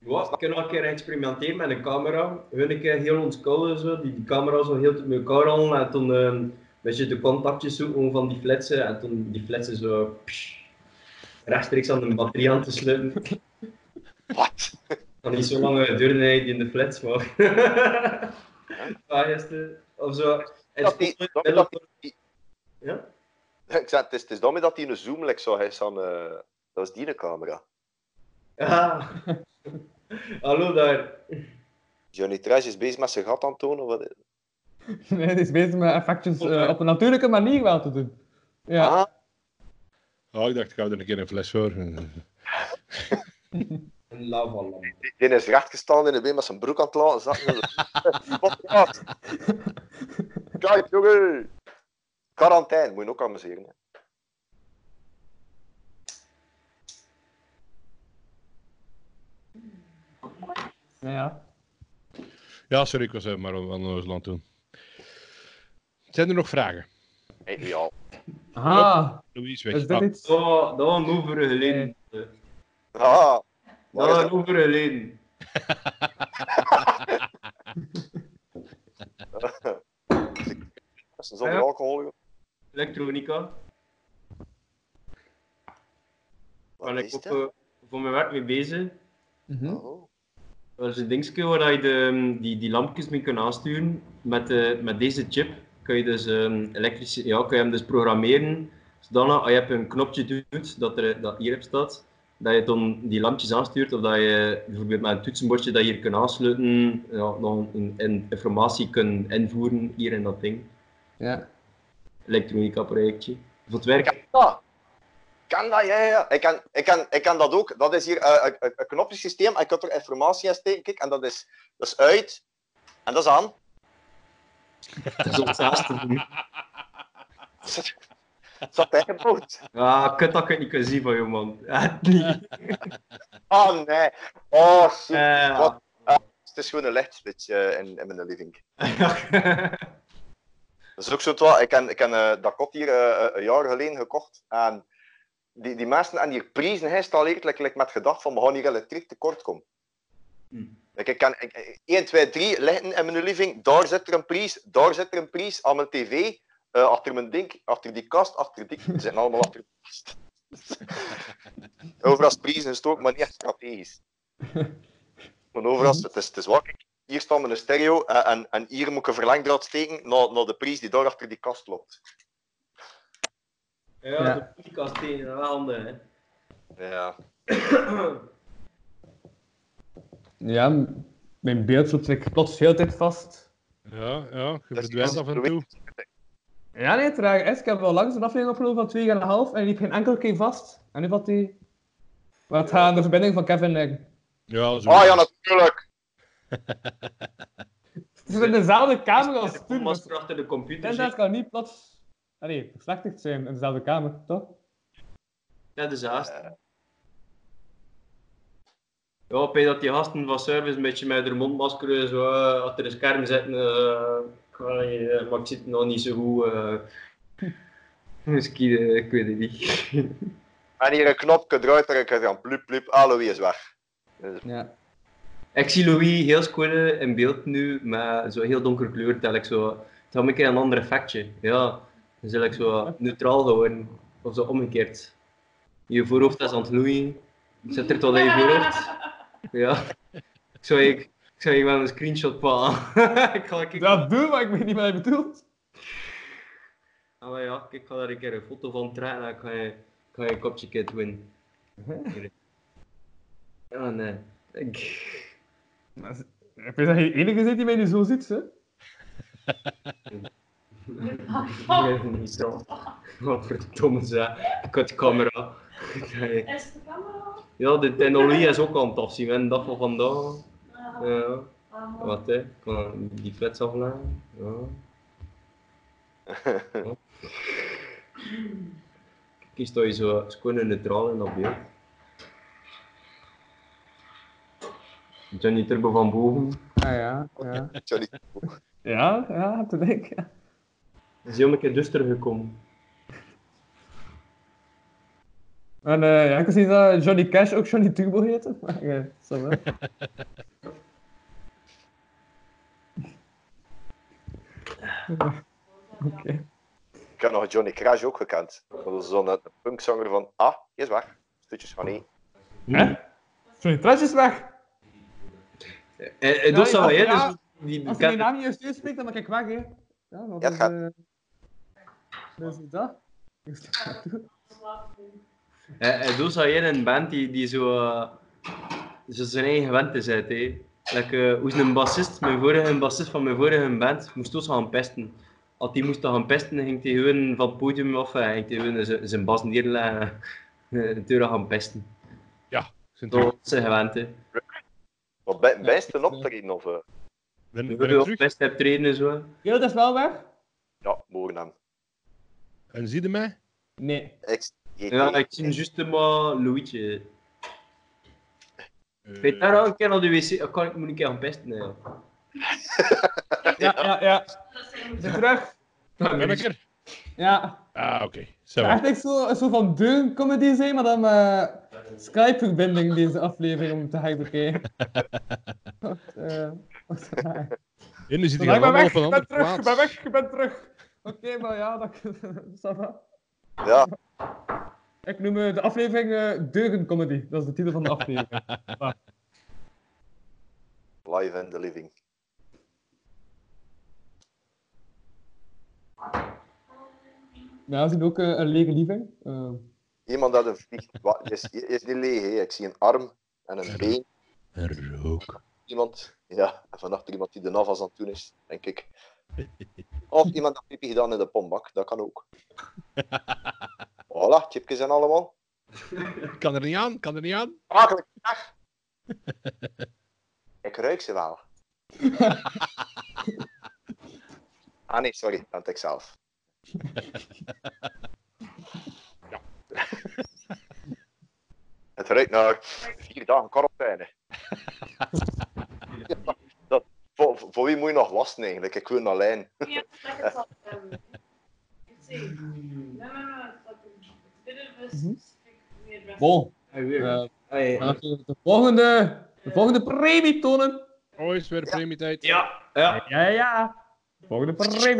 Ja, ik kan al een keer experimenteren met een camera. Hun een keer heel ontkouden, zo, die, die camera zo heel met elkaar rollen en toen eh, een beetje de contactjes zoeken van die fletsen en toen die fletsen zo psh, rechtstreeks aan de batterij aan te sluiten. Wat? Dan niet zo lang eh, duurde hij die in de flets, maar... ja, juiste. Of zo. En Dat die- spoelt- dat- dat- Ja? Ik zei, het is, het is daarmee dat hij een zoom like, zo is aan... eh, dat is die camera. Ah. Hallo daar. Johnny Trash is bezig met zijn gat aan het tonen. Wat... Nee, het is beter met effectjes eh, op een natuurlijke manier wel te doen. Ja. Ah, Oh, ik dacht, ik hou er een keer een fles voor. Een lava lamp. die, die is rechtgestaan in de been met zijn broek aan het laten zakken. Wat gaat? Kijk, jongen! Quarantaine, moet je ook amuseren. Hè. Ja, ja. Ja, sorry, ik was eh, maar aan Oosland toen. Zijn er nog vragen? Hey, nu al. Ah, Louis is is weg. dit Ah, iets? Dat was dat was een over geleden. Dat Ah, waar is was dat? een over geleden. ze zonder Ja. alcohol. Elektronica. Wat Waar is ik ook hm? dat? eh, voor mijn werk mee bezig. Mhm. Oh. Dat is een dingetje waar je de, mm, die, die lampjes mee kunt aansturen. Met, eh, met deze chip kun je, dus, ehm elektrische, ja, kun je hem dus programmeren. Zodanig als je op een knopje doet, dat, er, dat hierop staat, dat je dan die lampjes aanstuurt. Of dat je bijvoorbeeld met een toetsenbordje dat je hier kunt aansluiten, ja, nog een, een informatie kunt invoeren hier in dat ding. Ja. Elektronica projectje. Voor het werk. Ja. Kan dat, ja, ja, ja. Ik kan, ik, kan, ik kan dat ook. Dat is hier eh, een, een, een knopjesysteem. Ik kan er informatie in steken. Kijk, en dat is, dat is uit. En dat is aan. Dat is ons naaste. Dat is bijgebouwd. Ah, kut dat ik het niet kan zien van jou, man. Echt niet. Oh, nee. Oh, shit. Eh, Wat? Het is gewoon een lichtspits eh, in, in mijn living. Dat is ook zo twa. Ik heb ik heb, eh, dat kot hier eh, eh, een jaar geleden gekocht. En die, die mensen en hier prijzen geïnstalleerd like, like met gedacht van we gaan hier elektriek tekort komen. Hm. Like, ik kan ik- ik, 1, 2, 3 liggen in mijn living. Daar zit er een prijs. Daar zit er een prijs. Aan mijn tv. eh, achter mijn ding. Achter die kast. Achter die... Ze zijn allemaal achter de kast. overal is prijzen gestoken, maar niet echt strategisch. Maar overal, is- het is, het is wakker hier staat mijn stereo en, en, en hier moet ik een verlengdraad steken naar, naar de prijs die daar achter die kast loopt. ja, Ja. de podcast tegen de handen, hè. Ja. ja, m- mijn beeld loopt like plots heel de tijd vast. Ah, Ja, ja, je is verdwijnt af en toe. Ja, nee, het rare is, ik heb wel langs een aflevering opgenomen van 2,5 en die liep geen enkele keer vast. En nu valt die... Wat gaat aan de verbinding van Kevin eh, liggen? Ja, zo. Ah ja, natuurlijk. Ze zijn in dezelfde kamer als De toen. was Dus er achter de computer. internet zit. kan niet plots... Allee, verslechtigd zijn in dezelfde kamer, toch? Dat is haast. Ja, op een dat die gasten van service een beetje met hun mondmasker zo eh, achter een scherm zitten. eh, ik weet niet, eh, maar ik zit nog niet zo goed. eh. Misschien, eh, ik weet het niet. En hier een knopje eruit en ik gaan plup plup, Aloe is weg. Eh, Ja. ik zie Louis heel schoon in beeld nu, met zo heel donker kleur. Tel ik zo. Het had een keer een ander effectje. Ja, dan zal ik zo neutraal geworden. Of zo omgekeerd. Je voorhoofd is aan het gloeien. Zit er tot aan je voorhoofd. Ja. Ik zou je, ik zou je wel een screenshot pakken. ik ga kijken. Dat doe, maar ik weet niet wat hij bedoelt. Ah, maar ja, ik ga daar een keer een foto van trekken en dan kan je, ik ga je een kopje kit winnen. Ja, nee. Ik... Maar ze- Ik weet dat je de enige bent die mij nu zo ziet, hè? Oh. Ik weet niet zo. Wat Oh, verdomme ze. Ik had de camera. Is de camera? Ja, de technologie is ook aan het afzien. We hebben de dag van vandaag. Ah, Ja. ah. Wat hè? Ik kan die flits afleggen. Ja. Ja. Kies dat je zo schoon en neutraal in dat beeld. Johnny Turbo van boven. Ah ja, ja. Sorry. Ja, ja, heb te denken. Is heel een keer duster gekomen. En eh, ja, ik wist niet dat Johnny Cash ook Johnny Turbo heette, maar eh, zo wel. Oké. Ik heb nog Johnny Crash ook gekend. Dat is zo'n eh, punkzanger van, ah, die is weg. Stukjes van nee. Hè? Johnny Trash is weg! En, en dat Ja, zou ja, je ja. dus die Als je mijn naam niet juist uitspreekt, dan ben ik weg, hè. Ja, dat Ja, is... gaat. eh, dat is dat. En, en dus had je een band die, die zo, eh, zo zijn eigen wend is uit. Hè. Like, eh, hoe is een bassist, mijn vorige bassist van mijn vorige band, moest dus gaan pesten. Als die moest gaan pesten, dan ging hij gewoon van het podium af en ging hij gewoon z- zijn bas neerleggen en deuren gaan pesten. Zijn Dat terug. was zijn gewend. hè. Wat bij, bijst een optreden of... eh, Ben, ben Je ik hoorde op terug? pest hebt treden en zo. Yo, dat is wel weg? ja, morgen hem. En zie je mij? Nee. Ik, Ja, ik zie juist maar Louietje. Eh, Weet je, daar al een keer naar de wc, eh, kan ik moet een keer gaan pesten. hè. Ja, ja, ja. Dat zijn Ik ben terug. ben ik er? Ja. Ah, oké. Het Zo. gaat Echt zo, een soort van deun-comedy zijn, maar dan met Skype-verbinding deze aflevering om te gaan bekijken. Wat, eh, wat raar. En nu zit Ik hij ben allemaal op weg, een ik ben andere terug, ik plaats. ben weg, ik ben terug. Oké, Nee, maar ja, dat... ça va. Ja, Ik noem eh, de aflevering eh Deugencomedy. Dat is de titel van de aflevering. live and the living. ja, we zien ook eh, een lege liever. Eh, Iemand dat een vlieg... Wat, is, is die leeg, hè? Ik zie een arm en een been. En rook. Iemand, ja, en van achter iemand die de navas aan het doen is, denk ik. Of iemand dat pipi gedaan in de pombak, dat kan ook. Voilà, chipjes en allemaal. Kan er niet aan, kan er niet aan. Makkelijk, dag. Ik ruik ze wel. ah nee, sorry, dat ik zelf. Het ruikt naar vier dagen quarantaine. dat, voor, voor wie moet je nog wassen eigenlijk? Ik wil alleen. Ja, dat is al. Ik zie. Nee, nee, nee. Dit is een stuk meer bon. Hey, weer. Eh, Hey, we gaan natuurlijk de volgende, de volgende premie tonen. Oh, is weer premietijd. Ja, ja. Ja, ja. Volgende premie.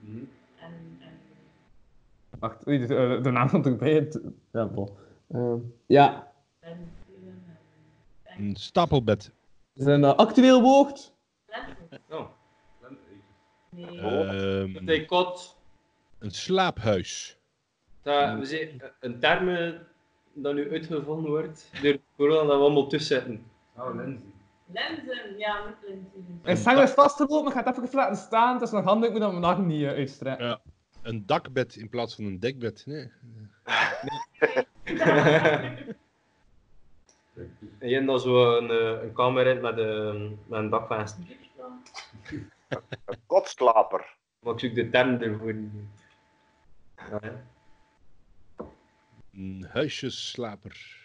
Mhm. En, en Wacht, oei, de, eh, de naam stond ook bij het... Ja, bon. Eh, ja, En vielen Een stapelbed. is een eh, actueel woord. en Oh. Nee. Ehm, Dekot. een slaaphuis. Dat we zien, eh, een term eh, dat nu uitgevonden wordt door corona dat we allemaal tussen Oh, lenzen. Lenzen, ja, met lenzen. Mijn zang is vastgelopen, ik ga het even laten staan. Het is nog handig, ik moet dat vandaag niet eh, uitstrekken. Een dakbed in plaats van een dekbed. Nee. En je hebt dan zo een, eh, een kamer in met, een met een dakvenster. Kopslaper. Maar ik zoek de term ervoor niet. Ja, hè. Een huisjesslaper.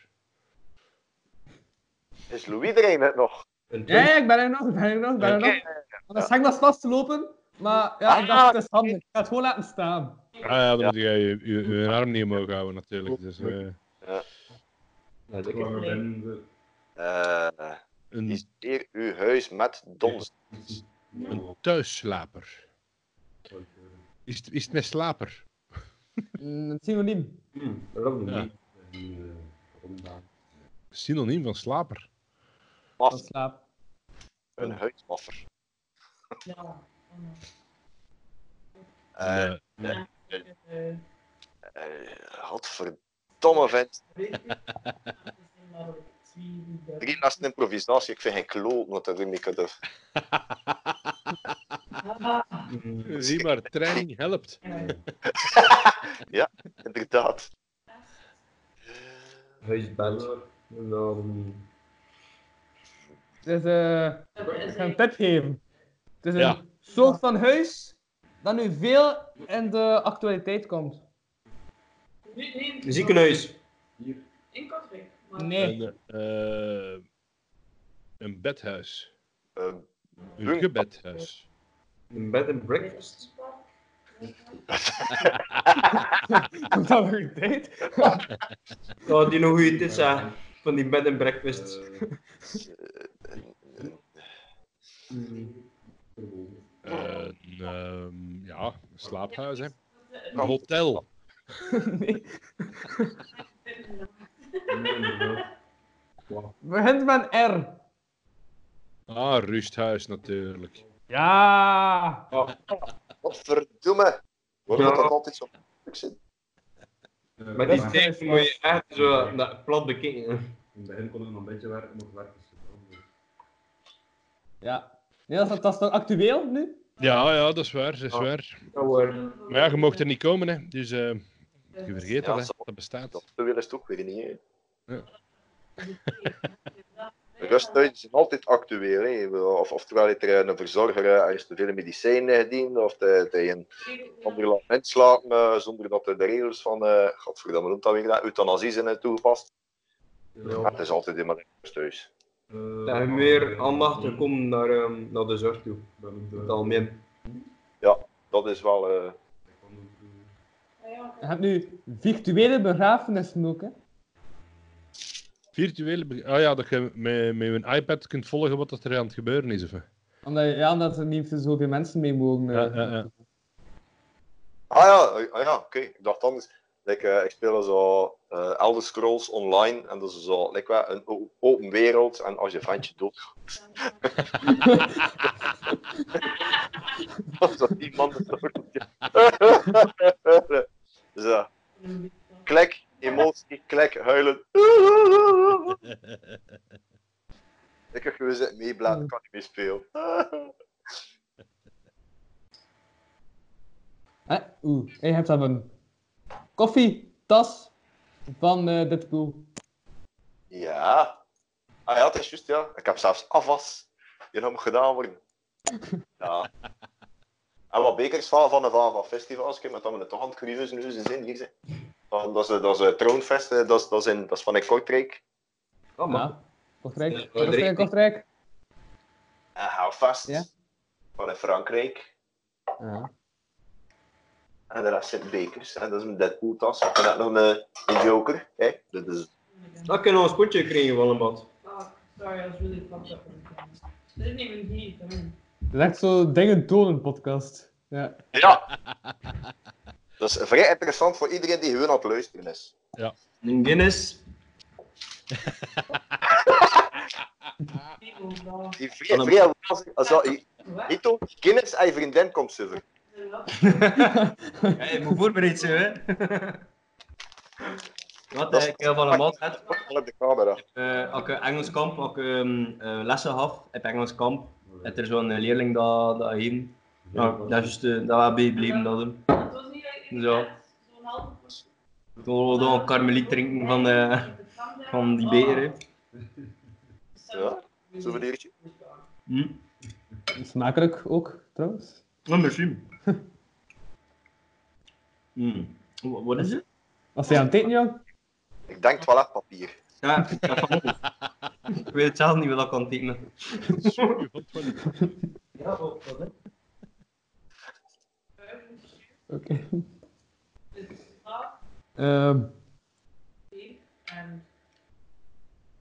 Is Louis er een het nog? Een Ja, ja, ik ben er nog, ik ben er nog, ik ben er nog. Want het zang was vastgelopen, maar ja, ik dacht, het is handig. Ik ga het gewoon laten staan. Ah ja, dan Ja. moet jij je, je, je arm niet omhoog houden natuurlijk. Dus, eh, Ja, dat kan. Eh, een, is hier uw huis met dons. een thuisslaper. eh, Is het, is het met slaper? Mm, Het synoniem. Hmm, dat ook Ja. niet. eh, Synoniem van slaper. Van Mas, slaap. een huismaffer. Ja. Eh eh Eh, godverdomme vent. weet je? Dat zijn maar twee, drie, Drie naast een improvisatie, ik vind geen kloot wat dat ermee kan doen. Ah, Hmm. Eh, zie maar, training helpt. ja. Inderdaad. Huisbed. En dan... Dus eh, Dat ik is ga een echt- tip geven. Het is een Ja. soort van huis dat nu veel in de actualiteit komt. Nee, nee, Een ziekenhuis. In Kortrijk. maar- Nee. Een, eh, een bedhuis. Eh, Een gebedhuis. Een bed and Bij de breakfast. Oostpark. Komt dat nog een tijd? Oh, die nog goede tips hè, van die bed and breakfast. Een, ehm, ja, een slaaphuis. Hè. Dat is Een hotel. Nee. een- Begint met een R. Ah, rusthuis natuurlijk. Ja. Godverdomme. Waarom Ja. moet dat altijd zo moeilijk zijn? Met die sterren moet je echt zo dat plat bekijken. Ja. Nee, dat is, dat is toch actueel nu? Ja, ja, dat is waar, dat is Ah. waar. Dat wordt. Maar ja, je mocht er niet komen, hè. Dus eh, je vergeet Ja, dat, hè. zo. Dat bestaat. Dat willen ze toch weer niet. hè. Rustig. Rusthuizen zijn altijd actueel. Hè. Of, oftewel heeft er een verzorger eh, er is te veel medicijnen gediend, of dat hij een ander laat inslapen eh, zonder dat er de regels van, eh godverdomme noemt dat weer, dat, euthanasie zijn eh, toegepast. Maar het is altijd helemaal in rusthuis. Dat je meer aandacht te komen naar, ehm, naar de zorg toe. Het algemeen. Dat is wel... eh, Je hebt nu virtuele begrafenissen ook, hè? Virtuele... be- Ah ja, dat je met, met een iPad kunt volgen wat dat er aan het gebeuren is. Of... hè. Omdat, ja, omdat er niet zoveel mensen mee mogen. eh. Ja, ja, ja. Ah ja, eh, ah, ja oké. Ik dacht anders. Like, eh, ik speel zo eh, Elder Scrolls online en dat is zo like, wat, een o- open wereld. En als je ventje dood, was dat iemand dat ook doet. Dus ja, klik, emotie, klik, huilen. Ik heb gewoon zitten meebladen, ik kan niet meer spelen. Hè? Oeh, en je hebt dan een koffietas van eh Deadpool. Ja. Ah ja, dat is juist, ja. Ik heb zelfs afwas. Hier nog moet gedaan worden. Ja. En wat bekers van van de van, van festivals, kijk, maar dan met de toch aan het crisis nu ze zijn hier. Ze. Dat, dat is dat is eh, Troonfest, eh, dat is, dat is, in, dat is van in Kortrijk. Oh, man. Ja. Kortrijk, Kortrijk. Kortrijk, Kortrijk. En Houvast, Ja. van in Frankrijk. Ja. En daar zit bekers. En dat is een Deadpool-tas. En dat nog een, een Joker. Hè? Dat is Dat kunnen we een potje krijgen, Wallenbad. Oh, sorry, I was really fucked up. They didn't even heat them. Dat is echt zo dingen tonen podcast. Ja. Ja. Dat is vrij interessant voor iedereen die gewoon aan het luisteren is. Een Guinness. People go. Die vrij, vrij als dat, Hito, Guinness en je vriendin komt zitten. Ja, je moet voorbereid zijn, hè. Wat Dat is- eh, ik heel van een mat had. Op de camera. Eh, Als ik eh, Engels kamp, als ik ehm, eh, lessen had, op Engels kamp, had er zo'n eh, leerling dat, dat heen. Nou, dat is juist, eh, dat was bijgebleven, dat hem. Het was niet echt Zo. zo'n halve portie. Toen wilde we dan een karmeliet drinken van, eh, van die beer, hè. Ja, souvenirtje. Hm? Smakelijk ook, trouwens. Oh, merci. Hm. Wa- Wat is het? Was hij aan het eten, jong? Ik denk toiletpapier. Ja, dat is van ons. Ik weet zelf niet wat ik kan tekenen. Ja, wat, wat, Oké. Ehm, En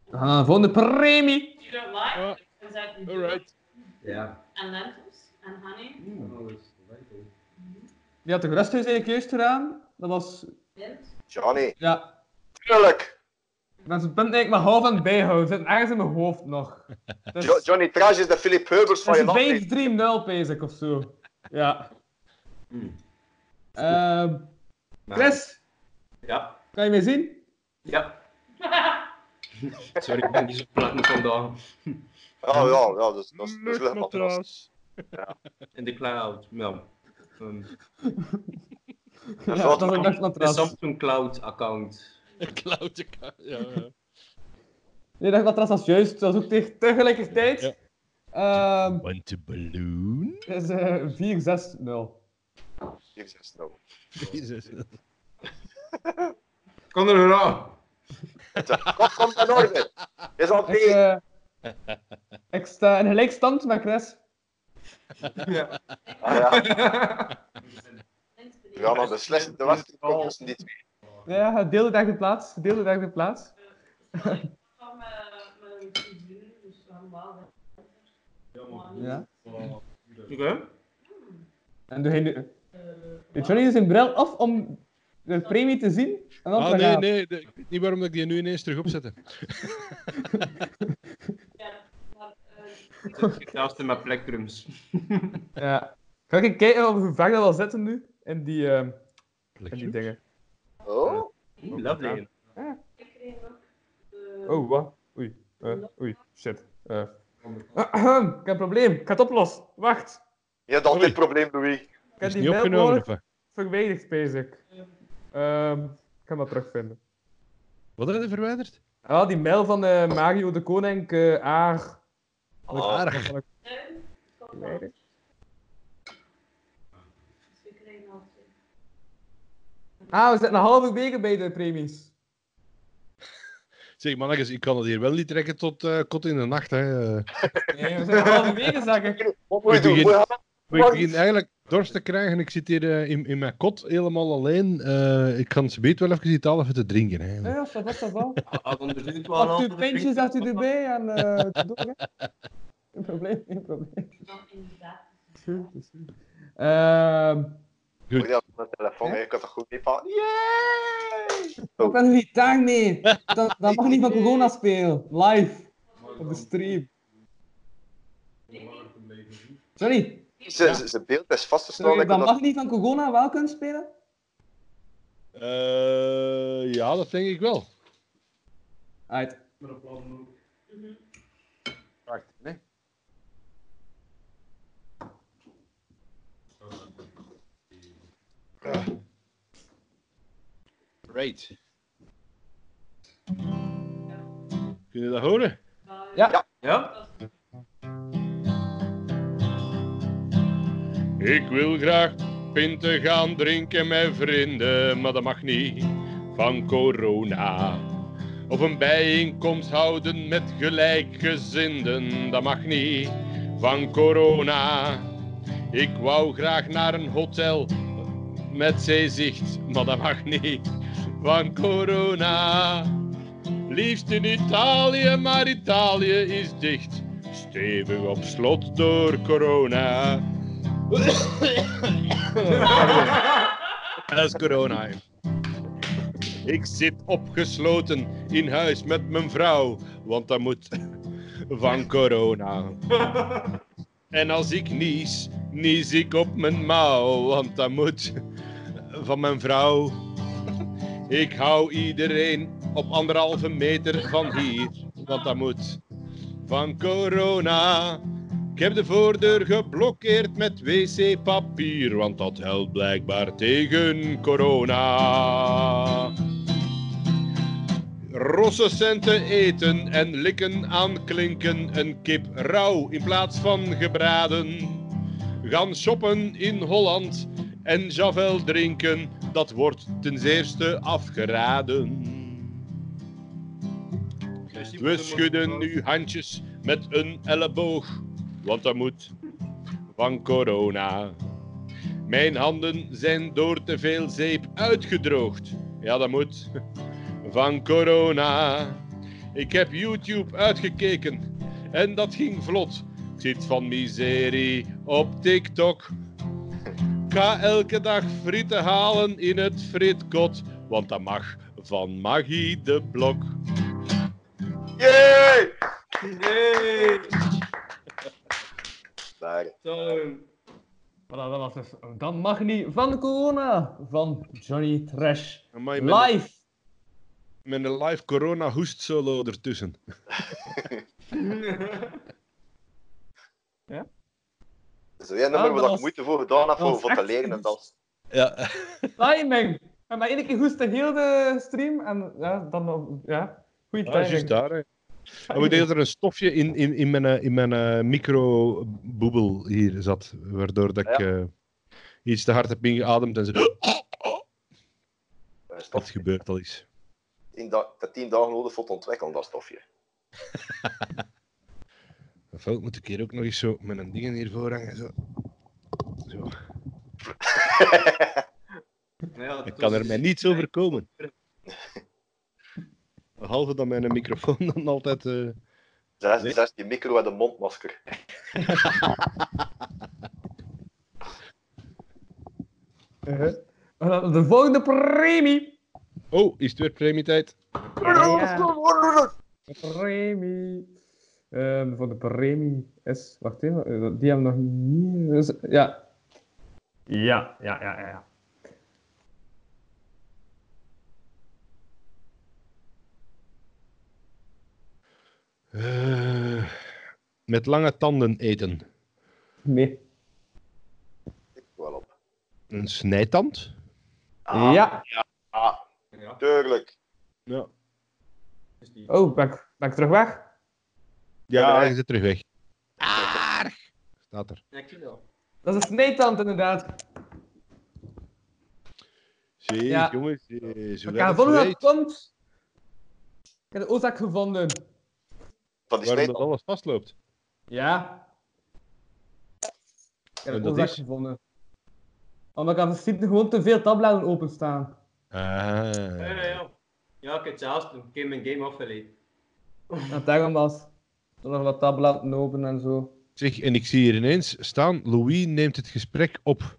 we gaan naar de volgende premie. you don't like Ah, is that you alright. Ja. and lentils and honey. Die had de rusthuis eigenlijk juist gedaan. Dat was, Mint. Johnny, ja, tuurlijk. mensen punten ik maar half aan het bijhouden. Zitten ergens in mijn hoofd nog. Dus, Jo- Johnny Trash is de Philip Heubers van je dat land. is hè. een 5-3-0 bezig of zo. Ja. Hm. Hmm. Ehm, Chris, Ja. kan je mij zien? Ja. Sorry, ik ben niet zo plat vandaag. Oh ja, ja, dat is dat is- dat is leuk, man. Dat is- Luchtmatras. In de cloud, ja. Ehm, Ja, zoals- dat is een de dagmatras. Samsung Cloud account. Een klauwtje. ka- Ja, ja. Nee, dagmatras was juist. Dat was ook tegen tegelijkertijd. Ja. Ehm, Want a balloon? het is eh, 4-6-0. Hier zijn ze nou. Jezus. Kan er raar. Kom, kom in orde. Is al Ik, tegen. eh, ik sta in gelijkstand met Chris. Ja. Ah, ja. We gaan naar de slechtste wedstrijd komen tussen die twee. Ja, deelde daar de plaats. Deelde daar de plaats. Van mijn- mijn vriendin, dus normaal. hè. Ja. Oké. En doe hij nu... Doet Johnny zijn bril af om de premie te zien? En dan Ah, te nee, gaan. nee. de- ik weet niet waarom ik die nu ineens terug opzette. Ja, maar, eh, Ik dacht in mijn plektrums. Ja. Ga ik even kijken of hoe ver dat wel zitten nu? In die, ehm, in die dingen. Oh? Oeh, Lovely. ik kreeg ook de- Oh, wat? Oei. Eh, oei, shit. Eh. Ahem, ik heb een probleem. Ik ga het oplossen. Wacht. Je hebt altijd Oei. probleem, Louis. Ik heb Is die niet mail opgenomen, nodig. of wat? Verwijderd, basic. Ehm, ik ga hem terugvinden. Wat had je verwijderd? Ah, die mail van eh, Mario de Koning, eh Aar. Oh. Aar. Dat kan ik Nee, ik kan wel. verwijderen. Dus ik kreeg nog twee. Ah, we zitten een halve weken bij de premies. Zeg, mannetjes, ik kan het hier wel niet trekken tot eh kot in de nacht. Hè. Eh, Nee, we zijn een halve weken, zeg ik. Wat moet je doen? begin- Moet je- Maar ik begin eigenlijk dorst te krijgen. Ik zit hier eh, in, in mijn kot helemaal alleen. Eh, ik kan ze beet wel even iets halen even te drinken. Hè. Ja, dat was dat wel. Had onderzoek wel Pakt u pintjes, zegt u erbij en eh, doe maar, hè. Geen probleem, geen probleem. Dan inderdaad. Het is goed, het is goed. Ehm, Moet je dat op mijn telefoon, hè? ik had er goed mee van. wat ben je die taak mee? Dat, dat mag niet van corona spelen. Live. Op de stream. Sorry, Ze, ze, ze beeld is vastgesteld. sorry Ik dat kon mag dat... niet van corona wel kunnen spelen? Eh, ja, dat denk ik wel. Uit. Wacht, nee. Great. Kun je dat horen? Ja. Ja? Ik wil graag pinten gaan drinken met vrienden, maar dat mag niet van corona. Of een bijeenkomst houden met gelijkgezinden, dat mag niet van corona. Ik wou graag naar een hotel met zeezicht, maar dat mag niet van corona. Liefst in Italië, maar Italië is dicht. Stevig op slot door corona. Dat is corona. hè. Ik zit opgesloten in huis met mijn vrouw, want dat moet van corona. En als ik nies, nies ik op mijn mouw, want dat moet van mijn vrouw. Ik hou iedereen op anderhalve meter van hier, want dat moet van corona. Ik heb de voordeur geblokkeerd met wc-papier, want dat helpt blijkbaar tegen corona. Rossecenten eten en likken aan klinken, een kip rauw in plaats van gebraden. Gaan shoppen in Holland en Javel drinken, dat wordt ten zeerste afgeraden. We schudden nu handjes met een elleboog, want dat moet van corona. Mijn handen zijn door te veel zeep uitgedroogd. Ja, dat moet van corona. Ik heb YouTube uitgekeken en dat ging vlot. Ik zit van miserie op TikTok. Ik ga elke dag frieten halen in het fritkot, want dat mag van Maggie de Blok. Yay! Nee! Daar. Zo. Voilà, dat was dus. Dat mag niet van corona. Van Johnny Trash. Amai, met, een- Live. met een live corona hoest solo ertussen. Dat is weer een nummer waar dat ik was- moeite voor gedaan heb dat om was voor te echt leren en dan. Ja. Timing. En maar één keer goed de hele stream. En ja, dan. nog- Ja. Goeie Ah, Ja, timing. juist daar. Hè. En we deden er een stofje in, in, in mijn, eh, in mijn eh, microboebel hier zat, waardoor dat ik eh, iets te hard heb ingeademd en zo. eh, stof- Dat gebeurt al eens. tien da- Dat tien dagen nodig voor te ontwikkelen, dat stofje. Dat veld moet ik hier ook nog eens zo met een ding hiervoor hangen. Zo. Zo. Ja, Ik kan er mij niets over komen. Behalve dat mijn microfoon dan altijd. eh, Zes, Nee. zes, je micro en een mondmasker. Eh, en dan De volgende premie. Oh, is het weer premietijd? Premie. Ehm, voor de premie is. Wacht even, eh, die hebben we nog niet. dus- ja. Ja, ja, ja, ja. ja. Eh, met lange tanden eten. Nee. Ik wel op. Een snijtand? Ah. ja. Ah, Ja. tuurlijk. Ja. Oh, ben ik, ben ik terug weg? Ja, Ja. je zit terug weg. Staat er. Ik zie dat. Dat is een snijtand, inderdaad. Zie, Ja. jongens. eh, Zo Ik werd ga het vonden hoe dat verwijt. komt. Ik heb de oorzaak gevonden. Van die Waarom dat snijden. alles vastloopt. Ja. Ik heb En de dat oorzaak is? gevonden. Omdat ik aan de site gewoon te veel tabbladen openstaan. Ah. Ja, ja, ja. Ja, ik heb het zelfs toen ik mijn game afgeleid. En daarom was. Toen nog wat tab laten lopen en zo. Zeg, en ik zie hier ineens staan, Louis neemt het gesprek op.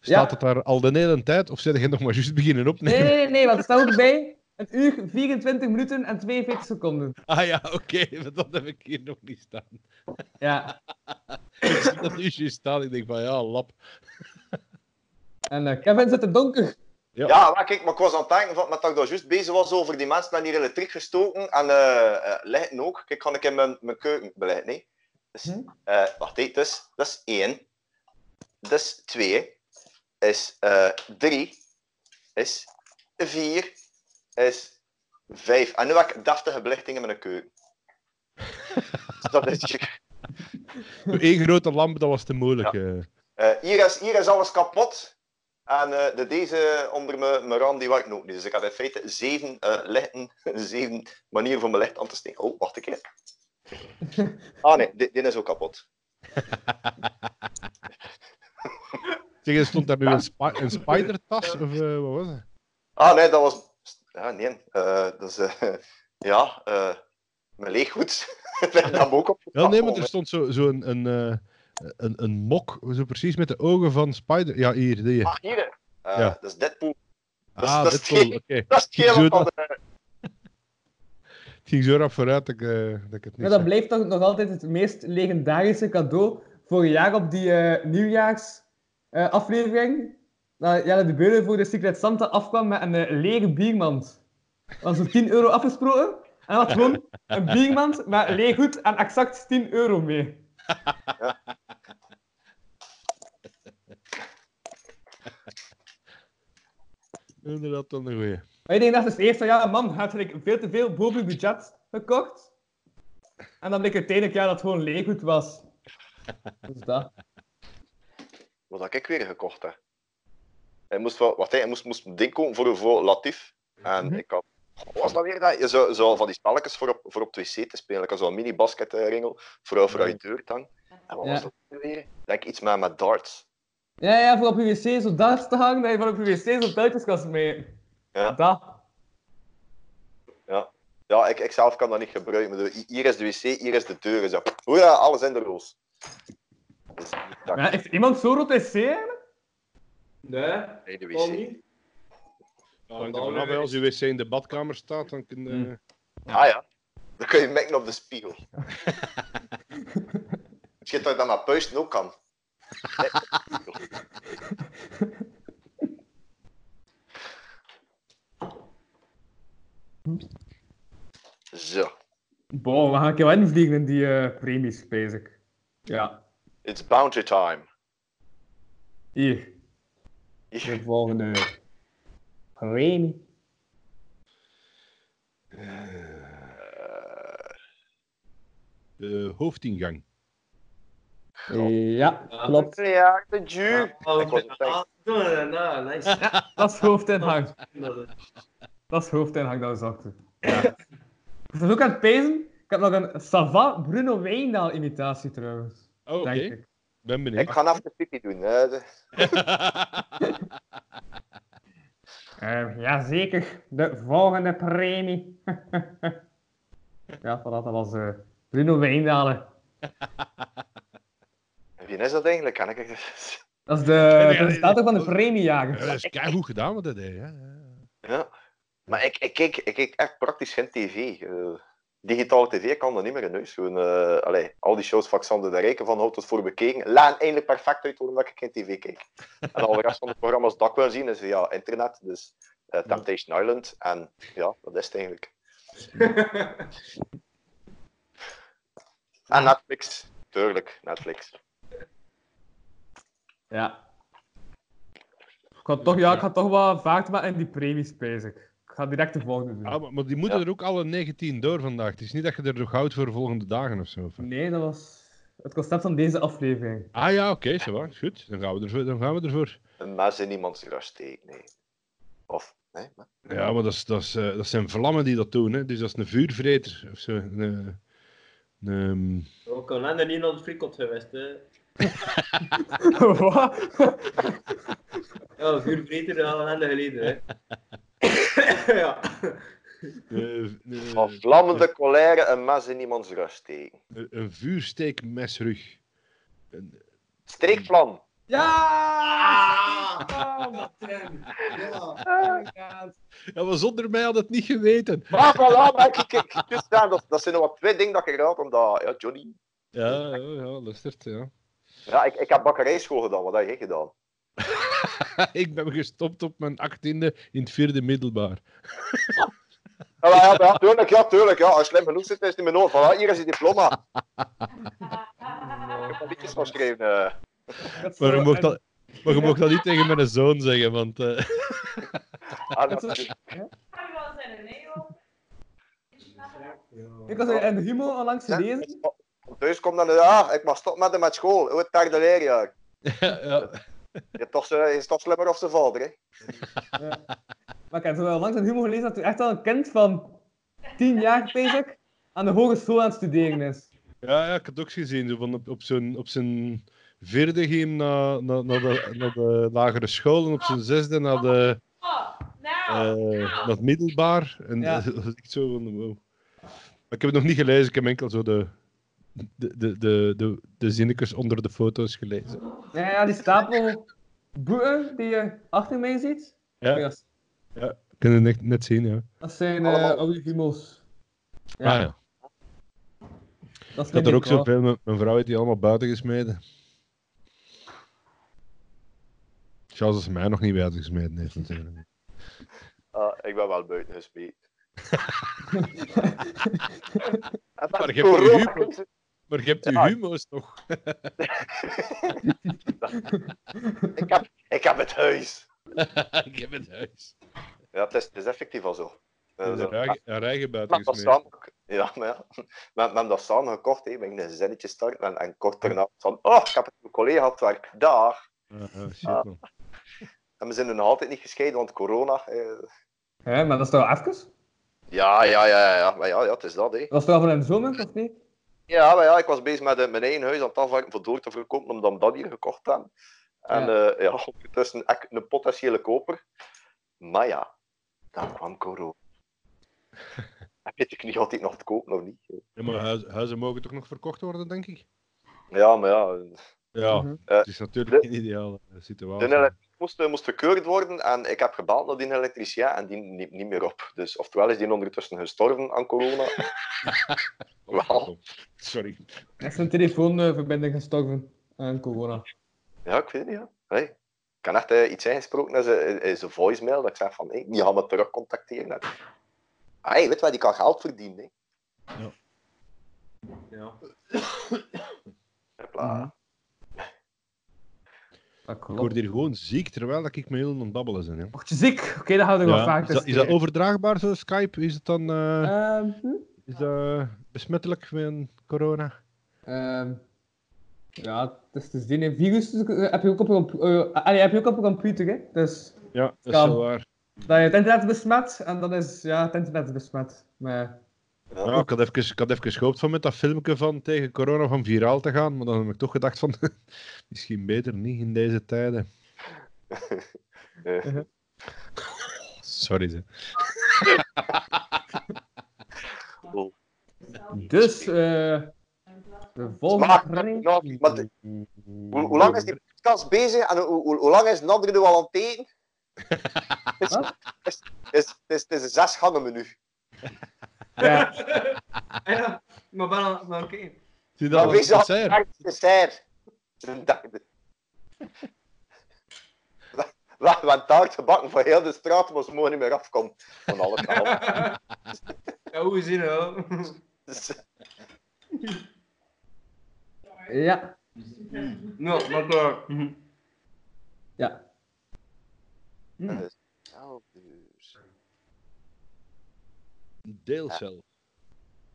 Staat het daar al de hele tijd, of zijn jij nog maar juist beginnen Nee, opnemen? nee, nee, nee, want er staat ook bij. Een uur, 24 minuten en 42 seconden. Ah ja, oké, want dat heb ik hier nog niet staan. Ja. Ik zie dat nu juist staan, ik denk van ja, lap. En eh, Kevin zit in donker. Ja, maar kijk, maar ik was aan het denken van, maar dat ik daar juist bezig was over die mensen die hier elektriek gestoken en eh eh, lichten ook. Kijk, kan ik in mijn, mijn keuken beleggen, nee. Dus, Hm? eh, wacht, hé, dus, dat is één. Dat is twee. Is eh, drie. Is vier. Is vijf. En nu heb ik deftige belichting in mijn keuken. Dus dat is Eén grote lamp, dat was te moeilijk. eh. Eh, hier, is, hier is alles kapot. En eh, de, deze onder mijn, mijn raam die werkt ook niet. Dus ik had in feite zeven eh lichten, zeven manieren voor mijn licht aan te steken. Oh, wacht een keer. Ah nee, dit, dit is ook kapot. Zeg, er stond daar nu een, spi een spidertas, of eh, wat was dat? Ah nee, dat was. Ja, nee. eh, dat is. eh, ja, eh mijn leeggoed. Leg dat ook op. Wel, nee, want er stond zo'n zo een, een, eh, een, een mok, zo precies met de ogen van Spider... Ja, hier, die. Ah, hier. eh, Ja. Dat is Deadpool. Dat is, Ah, dat is dat is cool, het- oké. Dat is het Ik doe gele van dat. de- Het ging zo rap vooruit dat ik, eh, dat ik het niet Maar dat zag. blijft toch nog altijd het meest legendarische cadeau voor een jaar op die eh, nieuwjaarsaflevering. dat Jelle de Beulen voor de Secret Santa afkwam met een eh, lege biermand. Dat was voor 10 euro afgesproken. En hij had gewoon een biermand met leeg goed en exact 10 euro mee. Inderdaad, dan een goeie. Maar ik denk dat is eerst van ja, man, hij had gelijk veel te veel boven je budget gekocht. En dan bleek uiteindelijk ja, dat het gewoon leeggoed was. Dus dat. Wat had ik weer gekocht, hè? Hij moest, wel, wat, hij moest, moest een ding kopen voor, voor Latif. En Mhm. ik had... Wat was dat weer? Dat? Je zou, zou van die spelletjes voor op, voor op het wc te spelen. Ik had zo'n mini-basketringel voor, voor uit je deur te hangen. En wat Mhm. Ja. was dat weer? Ik Denk iets met, met darts. Ja, ja, voor op je wc zo daar te hangen, dat je van op je wc zo'n pijltjeskast mee. Ja. Dat. Ja, ik, ik zelf kan dat niet gebruiken. maar de- Hier is de wc, hier is de deur. en Zo. Hoera, alles in de roos. Dus, dat Ja, heeft iemand zo rood wc eigenlijk? Nee, nee, de kan wc. niet. Ja, hangt er vanaf, hè. als je wc in de badkamer staat, dan kun je... eh, Ah ja, dan kun je mekken op de spiegel. Misschien dat ik dat met puisten ook kan. Zo, Bon, we gaan een keer wel invliegen in die eh, premies, bezig. Ja, it's bounty time. hier. Hier. De volgende premie. De hoofdingang. Ja, klopt. Ja, de ju. Ik was op tijd. Ah, nou, nou, nice. Dat is hoofdinhang. Dat is- Dat is hoofdinhang, dat is achter. Ja. Ik was dus ook aan het pezen. Ik heb nog een Sava Bruno Wijndaal imitatie trouwens. Oh, oké. Denk ik. Ben benieuwd. Ik ga even de pipi doen. hè. De- Eh, jazeker, de volgende premie. ja, voilà, dat was eh, Bruno Wijndalen. Wie is dat eigenlijk? Kan ik het? Dat is de nee, presentator van de dat- premiejager. Ja, dat is keigoed gedaan wat dat deed, hè. Ja. Maar ik, ik, kijk, ik kijk echt praktisch geen tv. Eh, digitale tv kan er niet meer in huis. Gewoon, eh, allee, al die shows van Xander de Rijken van houdt het voor bekeken. Laan eindelijk perfect uit waarom dat ik geen tv kijk. En al de rest van de programma's dat ik wil zien is via internet. Dus eh, Temptation Island. En ja, dat is het eigenlijk. en Netflix. Tuurlijk, Netflix. Ja. Ik ga toch, ja, ik ga toch wel vaak maar in die premies bezig. Ik ga direct de volgende doen. Ah, maar, maar die moeten Ja. er ook alle 19 door vandaag. Het is niet dat je er nog houdt voor volgende dagen of zo. Nee, dat was het concept van deze aflevering. Ah ja, oké, zo waar. Goed, dan gaan we ervoor. Dan gaan we ervoor. Een mes in iemands rust steken. Nee. Of, nee, maar... Ja, maar dat, is, dat, is, eh, dat zijn vlammen die dat doen, hè. Dus dat is een vuurvreter of zo. Een, eh, een, ehm, We kunnen er niet naar het frikot geweest, hè. Wat? Ja, vuur beter dan een maand geleden, hè. ja. Eh, eh, Van vlammende colère een mes in iemands rust steken. Een een vuursteekmesrug. Een- Streekvlam. Ja! Ah, Martijn. Ja, inderdaad. Ja, maar zonder mij had het niet geweten. Maar Ah, voilà, maar kijk, kijk, dus daar, dat, dat zijn nog wat twee dingen dat ik raad, omdat, ja, Johnny... Ja, ja, ja lustert, ja. Ja, ik, ik heb bakkerijschool gedaan, wat heb jij gedaan? ik ben gestopt op mijn achttiende in het vierde middelbaar. Ja, maar Ah, ja, maar ja, tuurlijk, ja, tuurlijk, ja. Als je slim genoeg zit, is het niet meer nodig. Voilà, hier is je diploma. Ik heb al liedjes van geschreven. eh. Dat Maar je zou- mocht dat, maar je mocht dat niet tegen mijn zoon zeggen, want... eh, Ah, dat- Dat is- Kan je wel zijn in Nederland? Ik was in de Humo onlangs gelezen. Thuis komt dan, ja, ik mag stop met hem met school. Hoe het derde leerjaar. ja, Je hebt toch, eh, is toch slimmer of zijn vader, hè? Maar ik heb zo onlangs in de Humo gelezen dat er echt al een kind van 10 jaar, basic, aan de hogeschool aan het studeren is. ja, ja, ik had het ook gezien. Zo van op, op zijn, op zijn vierde ging hem naar, naar, naar, de, naar de lagere school en op zijn zesde naar, de, Oh, eh, nou! naar het middelbaar. En eh, Ja. dat was echt zo van, wow. Maar ik heb het nog niet gelezen, ik heb enkel zo de, de, de, de, de, de zinnetjes onder de foto's gelezen. Ja, ja, die stapel boeken die je achter mij ziet. Ja. dat- Ja, ik kan het net, net zien, ja. Dat zijn eh, Allemaal. oude Humo's. Ja. Ah, ja. dat Ik had er ook zoveel. Mijn, mijn vrouw heeft die allemaal buiten gesmeden. Charles is mij nog niet buiten gesmeden heeft natuurlijk. Ah, ik ben wel buiten gespeeld. Maar je hebt toch een humor? Maar je hebt die Ja. humo's nog. Ik heb, ik heb het huis. ik heb het huis. Ja, het is, het is effectief al zo. Eh, zo. Een eigen- een We eigen buiten hebben dat gesmeden. samen, ja, maar ja. We, we hebben dat samen gekocht, hè. we gingen een zinnetje starten en, en kort daarna van, oh, ik heb het mijn collega op het werk, dag. Ah, ah, shit, man. En we zijn er nog altijd niet gescheiden, want corona. eh. Ja, maar dat is toch even? Ja, ja, ja, ja, maar ja, ja, het is dat, hè. Dat is toch van in de zomer, of niet? Ja, maar ja, ik was bezig met eh, mijn eigen huis aan het afwerken voor door te verkopen, omdat we dat hier gekocht hebben. En ja, ja ondertussen ek- een potentiële koper. Maar ja, dan kwam corona. En weet ik niet altijd nog te kopen of niet. Ja, maar huizen, huizen mogen toch nog verkocht worden, denk ik? Ja, maar ja, Ja, Mhm. het is natuurlijk de- geen ideale eh, De situatie. elektricien moest, eh, moest gekeured worden en ik heb gebeld naar die elektricien en die neemt niet meer op. Dus oftewel is die ondertussen gestorven aan corona. Wel. Sorry. Er is een telefoonverbinding gestorven aan corona. Ja, ik weet het niet. Ja. Hey. Ik heb echt eh, iets ingesproken in zijn- in zijn voicemail dat ik zeg van, hey, die gaan me terug contacteren. En, Ah, hey, weet wat, die kan geld verdienen. hè. Ja. Hopla. Mhm. Dat Ik word klopt. hier gewoon ziek terwijl dat ik me heel aan het babbelen ben. Hè. Mocht je ziek? Oké, dan gaan we nog wat Ja. vaak dus Is, dat, is dat overdraagbaar, zo Skype? Is het dan... eh, Ehm, hm? Is dat eh, besmettelijk met corona? Ehm, ja, het is te zien. hè. Virus eh, heb je ook op je, comp- eh, allee, heb je, ook op je computer, hè? Dus Ja, dat Kan. waar. dat je het internet besmet en dan is ja, het internet besmet. Maar Ja, ik, had even, ik had even gehoopt van met dat filmpje van tegen corona van viraal te gaan, maar dan heb ik toch gedacht van misschien beter niet in deze tijden. Eh, Sorry. Ze. oh. dus, eh de volgende Smaak, ring. nou, maar de- hoe, hoe lang is die podcast bezig en hoe, hoe, hoe lang is Nader nu al aan het eten? Het is- Wat? het is- het is- het is een zes gangen menu. Ja, Ah Ja, maar wel, maar oké. Zie je Dat dat is was dat het dessert. dessert? dessert. Een derde. We- We hebben een taart gebakken voor heel de straat, maar ze mogen niet meer afkomen. Van alle kanten. Ja, hoe is het nou? Dus, ja, Nou, maar klaar. ja. Hmm. eh, nou, dus. Deelcel.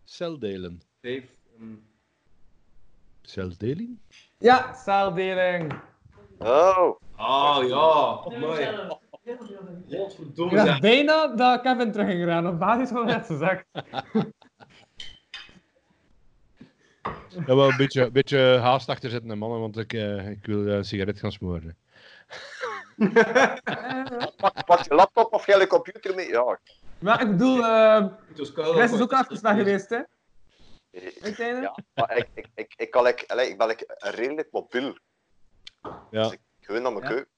Celdelen. Dave. ehm, Celdeling? Ja, zaaldeling. Oh, Ah ja, mooi. Zelf. Heel veel. Ik Godverdomme. dacht zeg. bijna dat ik Kevin terug ging gaan, op basis van wat ze zegt. Ja, wel een beetje, een beetje haast achter zetten, hè, mannen, want ik, eh, ik wil eh, een sigaret gaan smoren. pak, pak je laptop of je hele computer mee? Ja, Maar ik bedoel, eh Het was koud. Chris is ook afgeslagen geweest, hè? Uiteindelijk. Ja, maar ik, ik, ik, ik, kan, ik, allee, ik ben like, redelijk mobiel. Ja. Dus ik gewoon naar mijn Ja. keuken.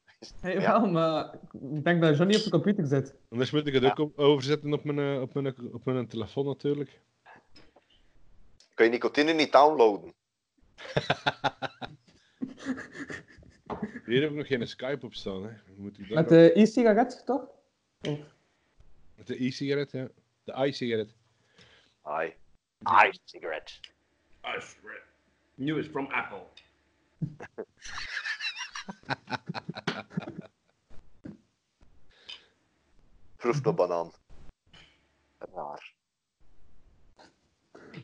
Hey, wel, maar ik denk dat Johnny op de computer zit. Anders moet ik het ook op- overzetten op mijn, eh, op, mijn, op mijn telefoon natuurlijk. Kun je nicotine niet downloaden? Hier heb ik nog geen Skype op staan. Hè. Moet ik dat Met ook- de e-sigaret, toch? met de e-sigaret, ja. De i-sigaret. Ai. Ai, cigarette. Ice Red. News from Apple. Proef de banaan. Raar.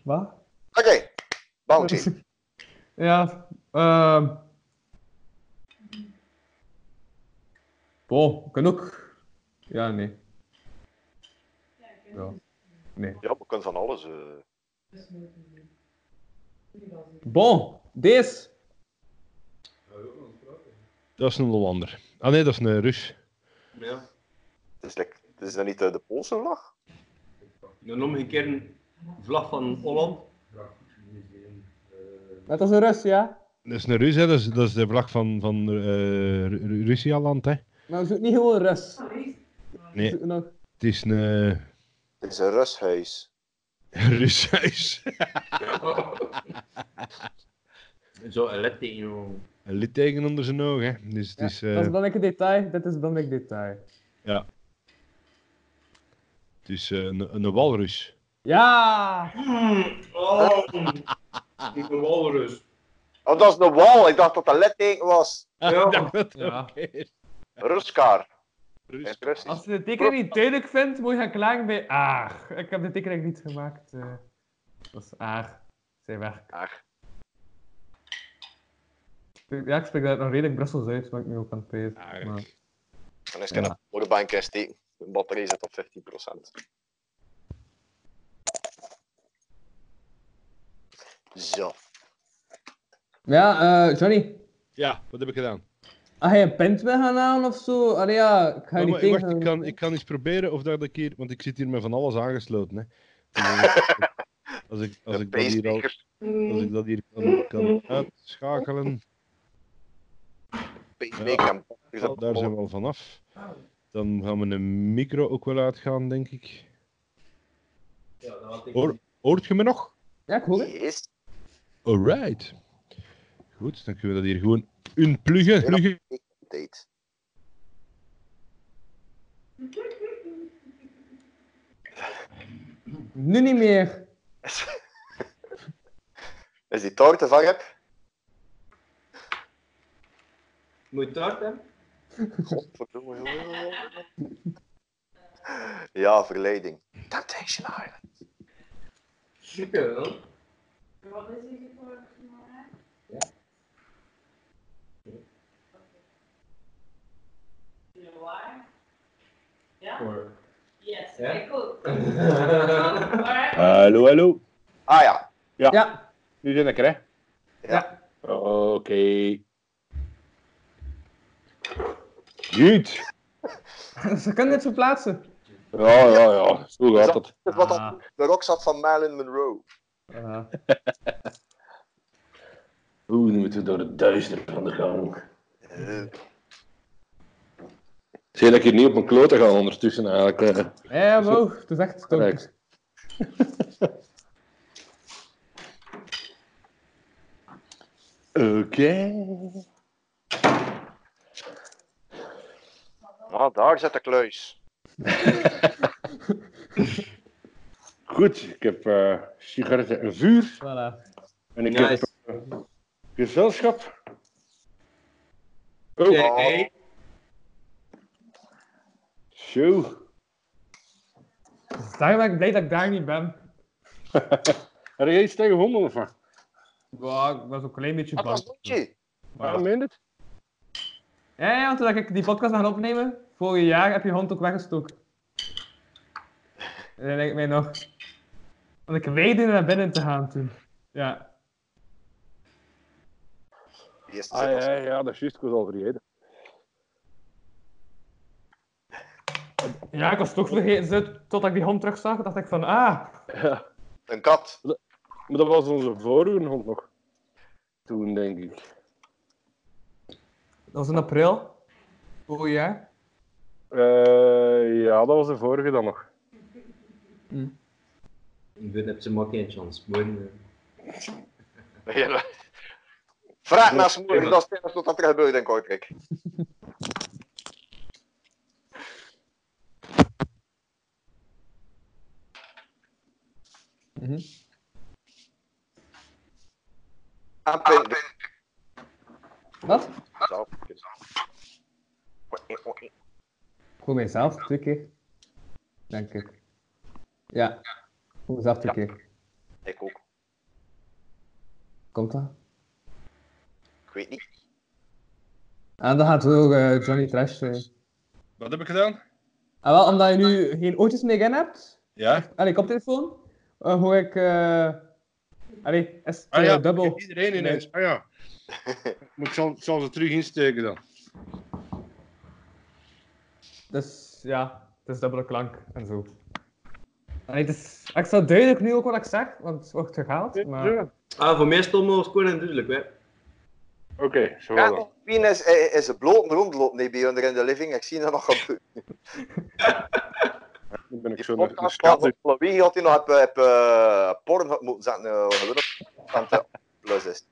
Wat? Oké. Bounty. ja, ehm. Wow, kan ook. Ja, nee. Ja. Nee. Ja, we kunnen van alles. eh. Bon, deze. Dat is een Hollander. Ah nee, dat is een Rus. Ja. Het is, like, het is dat niet eh, de Poolse vlag? Dan noem ik een keer een vlag van Holland. Dat is een Rus, ja. Dat is een Rus, hè. Dat is, dat is de vlag van, van eh, Ru- Ru- Russialand, hè. Maar we zoeken Nou, niet gewoon een Rus. We Nee, zoeken nog... het is een eh, Het is een rusthuis. Rushuis. Zo, een let in jou. Een litteken onder zijn oog, hè. Dus het Ja, is... Dat eh, is een belangrijk detail. Dit is een belangrijk detail. het is eh, een, een walrus. Ja! Oh, ik ben walrus. Oh, dat is een wal. Ik dacht dat dat letteken was. Ja. Ja. Ruskar. In Rus. het Russisch. Als je de tekening niet duidelijk vindt, moet je gaan klagen bij Aar. Ik heb de tekening niet gemaakt. eh. dat is Aar. Zijn werk. Aar. Ja, ik spreek dat nog redelijk Brussels uit, maar ik nu ook aan het pezen. Aar. Maar- Dan is het een powerbank in steken. De batterij zit op 15%. Zo. Ja, eh, Johnny. Ja, wat heb ik gedaan? Als je een pint wil gaan halen of zo? Allee, ja, ik ga je Ja, niet maar, wacht, tegen. ik kan, ik kan eens proberen of dat ik hier... Want ik zit hier met van alles aangesloten, hè. Dus, eh, Als ik, als Een ik dat hier al... pacemaker. Als ik dat hier kan, kan uitschakelen, Pacemaker en batterij zit dus op daar zijn we al vanaf. Dan gaan we een micro ook wel uitgaan, denk ik. Hoor, hoort je me nog? Ja, ik hoor het. Yes. Alright. Goed, dan kunnen we dat hier gewoon unpluggen. pluggen. Date. Nu niet meer. Is die taart te van heb? Moet je taart hebben? Godverdomme, jongen. Ja, verleiding. Temptation Island. Super, hoor. Wat is hier voor gemaakt? Ja. Oké. Waar? Ja? Voor- Yes, Ja? oké, goed. Hallo, hallo. Ah ja. Ja. Nu ben ik er, hè. Ja. Oké. Goed. Ze kunnen dit verplaatsen. Ja, ja, ja. Zo gaat het. Dat is wat Ah. op de rok zat van Marilyn Monroe. Ah. Oeh, nu moeten we door het duister van de gang. Eh, Zie dat ik hier niet op mijn kloten ga ondertussen eigenlijk. eh. Ja, wow, Dus het is echt stonk. Correct. Oké. Ah, daar zit de kluis. Goed, ik heb eh, sigaretten en vuur. Voilà. En ik Nice. heb eh, gezelschap. Oh, Oké. zo. Dus daarom ben ik blij dat ik daar niet ben. Heb je iets tegen honden of wat? Wow, ik was ook een klein beetje Wat was bang. Ah, dat? Jee? Ja, meen het? Ja, ja, want toen ik die podcast gaan opnemen, vorig jaar heb je hond ook weggestoken. En dat lijkt mij nog. Want ik weigerde naar binnen te gaan toen. Ja. Die eerste Ah, zit als- ja, ja, dat is juist. Ik was al vergeten. Ja, ik was toch vergeten, zo, totdat ik die hond terugzag, dacht ik van, ah, Ja. Een kat. Maar dat was onze vorige hond nog. Toen, denk ik. dat was in april. Oh ja. Eh, ja, dat was de vorige dan nog. Dan heb je maar geen chance. Morgen, eh, Ja. Vraag naar smoren, dat is het enige wat er gebeurt in Kortrijk. Mhm. Aan Pin- Wat? Zo. Ik hoor mijzelf twee keer. Denk ik. Ja. Ik hoor mezelf twee keer. Ik ook. Komt dat? Ik weet niet. En dan gaat ook eh, Johnny Trash. eh. Wat heb ik gedaan? En wel, omdat je nu geen oortjes meer in hebt, Ja? allee, koptelefoon, eh, hoor ik... eh allee, is het Ah ja, eh, dubbel. Iedereen ineens. Ah ja. Moet ik zal, zal ze terug insteken dan. Dus ja, het is dubbele klank en zo. Allee, het is extra duidelijk nu ook wat ik zeg, want het wordt gehaald. Maar... Ja. Ah, voor mij stond nog gewoon en duidelijk, hè. Oké, zo Ja, dan. Pien is, eh, is bloot rondlopen nee, bij onder in de living. Ik zie dat nog gebeuren. Dan ben ik Die zo naar de podcast gaat schaduw. op Louis had hij nog op, op eh, Pornhub moeten zetten. eh, wat gebeurt er? Want, eh, plus is.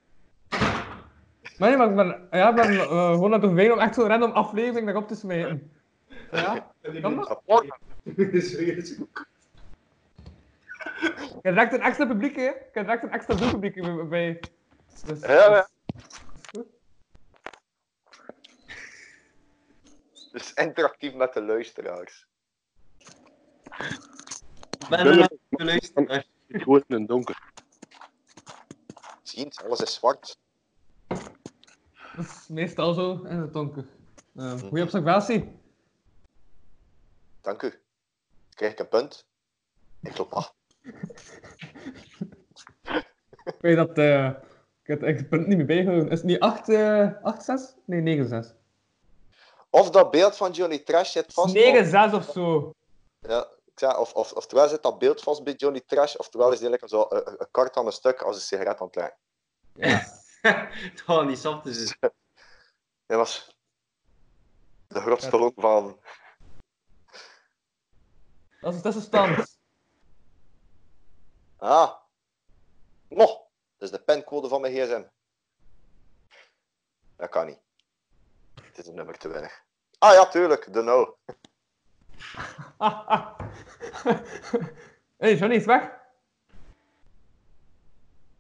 Maar nee, maar ik ben, ja, ik ben eh, gewoon aan het overwegen om echt zo'n random aflevering erop te smijten. Ja, kan dat? Op Pornhub. Je hebt direct een extra publiek, hè? Je hebt direct een extra doelpubliek bij. Dus, Ja, ja. dus- Dus interactief met de luisteraars. Ben ben er er- geluisterd? Ah, Ik hoor in het donker. Zie je, alles is zwart. Dat is meestal zo in het donker. Eh goeie observatie. Dank u. Krijg ik een punt? Ik loop af. Ik weet dat. eh, ik heb het echt punt niet meer bijgehouden. Is het niet 8, eh 8 6? Nee, 9 6. Of dat beeld van Johnny Trash zit vast. 9 6 of zo. Ja, ik zei, of, of, oftewel zit dat beeld vast bij Johnny Trash, oftewel is die lekker zo eh, eh, een kart aan een stuk als een sigaret aan het trekken. Het gaat niet zacht, dus... het- Dat was de grootste lok van... Dat is de tussenstand. Ah. Nog. Dat is de pincode van mijn gsm. Dat kan niet. Het is een nummer te weinig. Ah ja, tuurlijk. De nul. hey, Johnny is weg.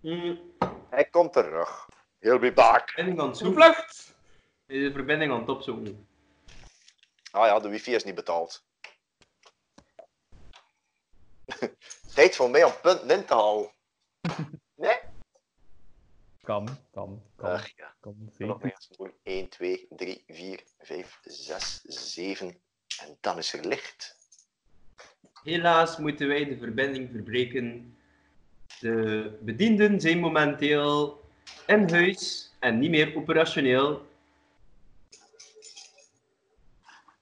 Mm, Hij komt terug. He'll be back. verbinding aan het zoeken. Gevlucht! Is de verbinding aan het opzoeken. Ah ja, de wifi is niet betaald. Tijd voor mij om punten in te halen. Nee? Kan, kan, kan. Ach ja. kan Nog zeker. eens doen. 1, 2, 3, 4, 5, 6, 7. En dan is er licht. Helaas moeten wij de verbinding verbreken. De bedienden zijn momenteel in huis en niet meer operationeel.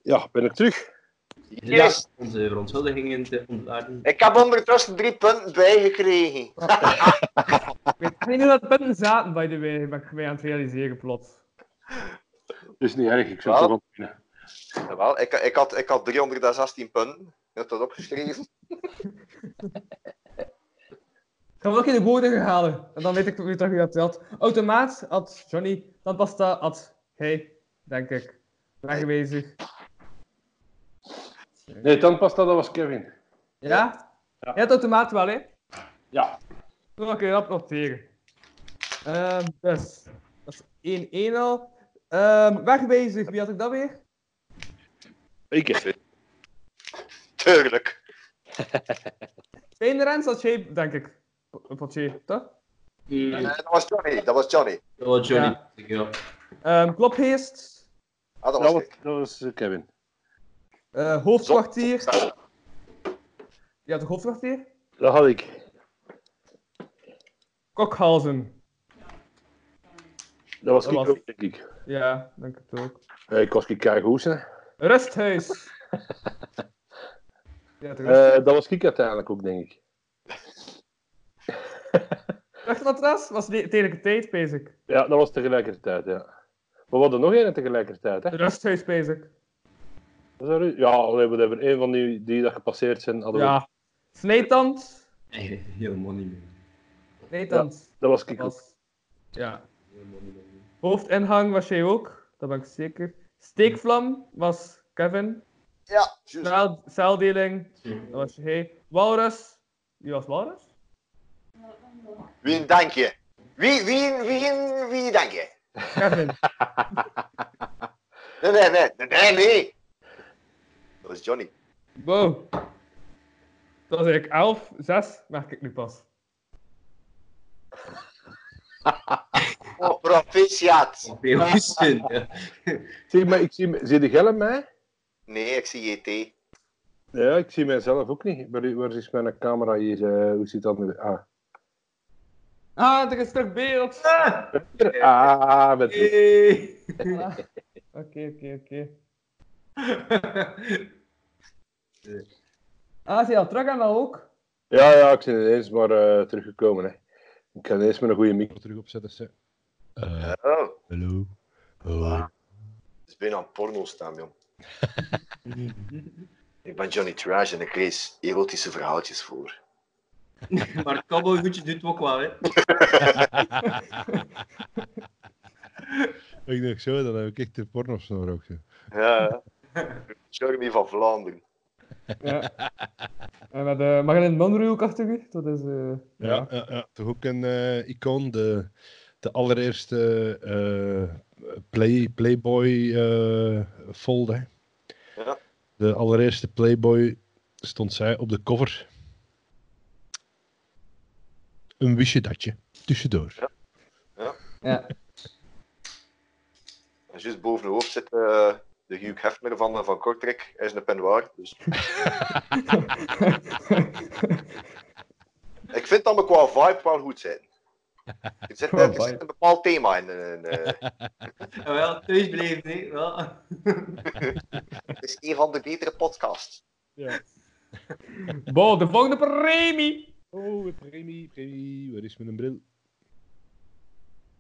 Ja, ben ik terug. Helaas onze verontschuldigingen te ontladen. Ik heb ondertussen drie punten bijgekregen. Ik weet niet hoe dat punten zaten, by the way. Ben ik mij aan het realiseren plots. Dat is niet erg, ik zou Wel? toch op binnen. Jawel, ik, ik, had, ik had 316 punten. Ik had dat opgeschreven. Ik heb ook in de woorden halen. En dan weet ik weer dat u dat telt. Automaat had Johnny, tandpasta had hij, denk ik. Wegwezen. Nee, tandpasta, dat was Kevin. Ja? Ja, het automaat wel, hè? Ja. Dan kun je dat noteren. Ehm, dus, dat is 1-1 al. Ehm, wegwezen, wie had ik dat weer? Ik heb het. Tuurlijk. Fijn Rens had jij, denk ik. P- Potje, toch? Eh, Mm, dat was Johnny. Dat was Johnny. dat was Johnny. Ja. Ja. Ehm klopgeest, Ah, dat Dat was was, ik. dat was eh, Kevin. eh, hoofdkwartier. Ja, het hoofdkwartier. Dat had ik. Kokhalzen. Dat was Dat ik was- ook, denk ik. Ja, denk ik het ook. Eh, Ik was kijk hoe hè. Rusthuis. Eh, dat was ik uiteindelijk ook, denk ik. Rechtermatras was die- tegen de tijd bezig. Ja, dat was tegelijkertijd, ja. Maar we hadden nog één tegelijkertijd, hè? Rusthuis bezig. Was dat er- Ja, we hebben één van die die dat gepasseerd zijn. Hadden we- Ja. Sneetand. Eigenlijk helemaal niet meer. Sneetand. Dat was ik ook. Was... Ja. Hoofdinhang was jij ook. Dat ben ik zeker. Steekvlam was Kevin. Ja, juist. Zaal- Zaaldeling. Dat was jij. Walrus. Wie was Walrus? Wie denk je? Wie, wie, wie, wie denk je? Kevin. Nee, nee, nee, nee, nee, nee. Dat is Johnny. Wow. Dat was eigenlijk 11, 6, merk ik nu pas. Oh, proficiat. Peelsen. Zeg, maar ik zie... me- Zie jij mij? Nee, ik zie E JT. Ja, ik zie mijzelf ook niet. Waar, waar is mijn camera hier? eh, hoe zit dat nu? Ah, Ah, er is terug beeld. Hier. ah met... Hey. Ah, Oké, oké, oké. Ah, is hij al terug en wel ook? Ja, ja, ik ben ineens maar eh, teruggekomen. Hè. Ik kan ineens met een goede mic. Wat terug opzetten. ze. Oh, Hallo. het is bijna een porno stem, jong. ik ben Johnny Trash en ik lees erotische verhaaltjes voor. maar het kabbelgoedje doet het ook wel, hè. Ik denk zo, dan heb ik echt de porno's nog ook. zo. Ja, ja. Jeremy van Vlaanderen. Ja. En met uh, Marilyn Monroe ook achter u. Dat is... eh ja. Ja, ja, ja. toch ook een eh, icoon. De, de allereerste eh, play, Playboy eh folder. Ja. De allereerste Playboy stond zij op de cover. Een wistje datje. Tussendoor. ja. En juist boven het hoofd zit eh, de Hugh Hefner van, van Kortrijk. Hij is een penwaar. Dus. ik vind dat we qua vibe wel goed zijn. Er zit, er zit een bepaald thema in. in, eh, Ja, wel, thuis blijven, hè. Wel. het is een van de betere podcasts. Bo, de volgende premie! Oh, een premie, premie. Waar is mijn bril?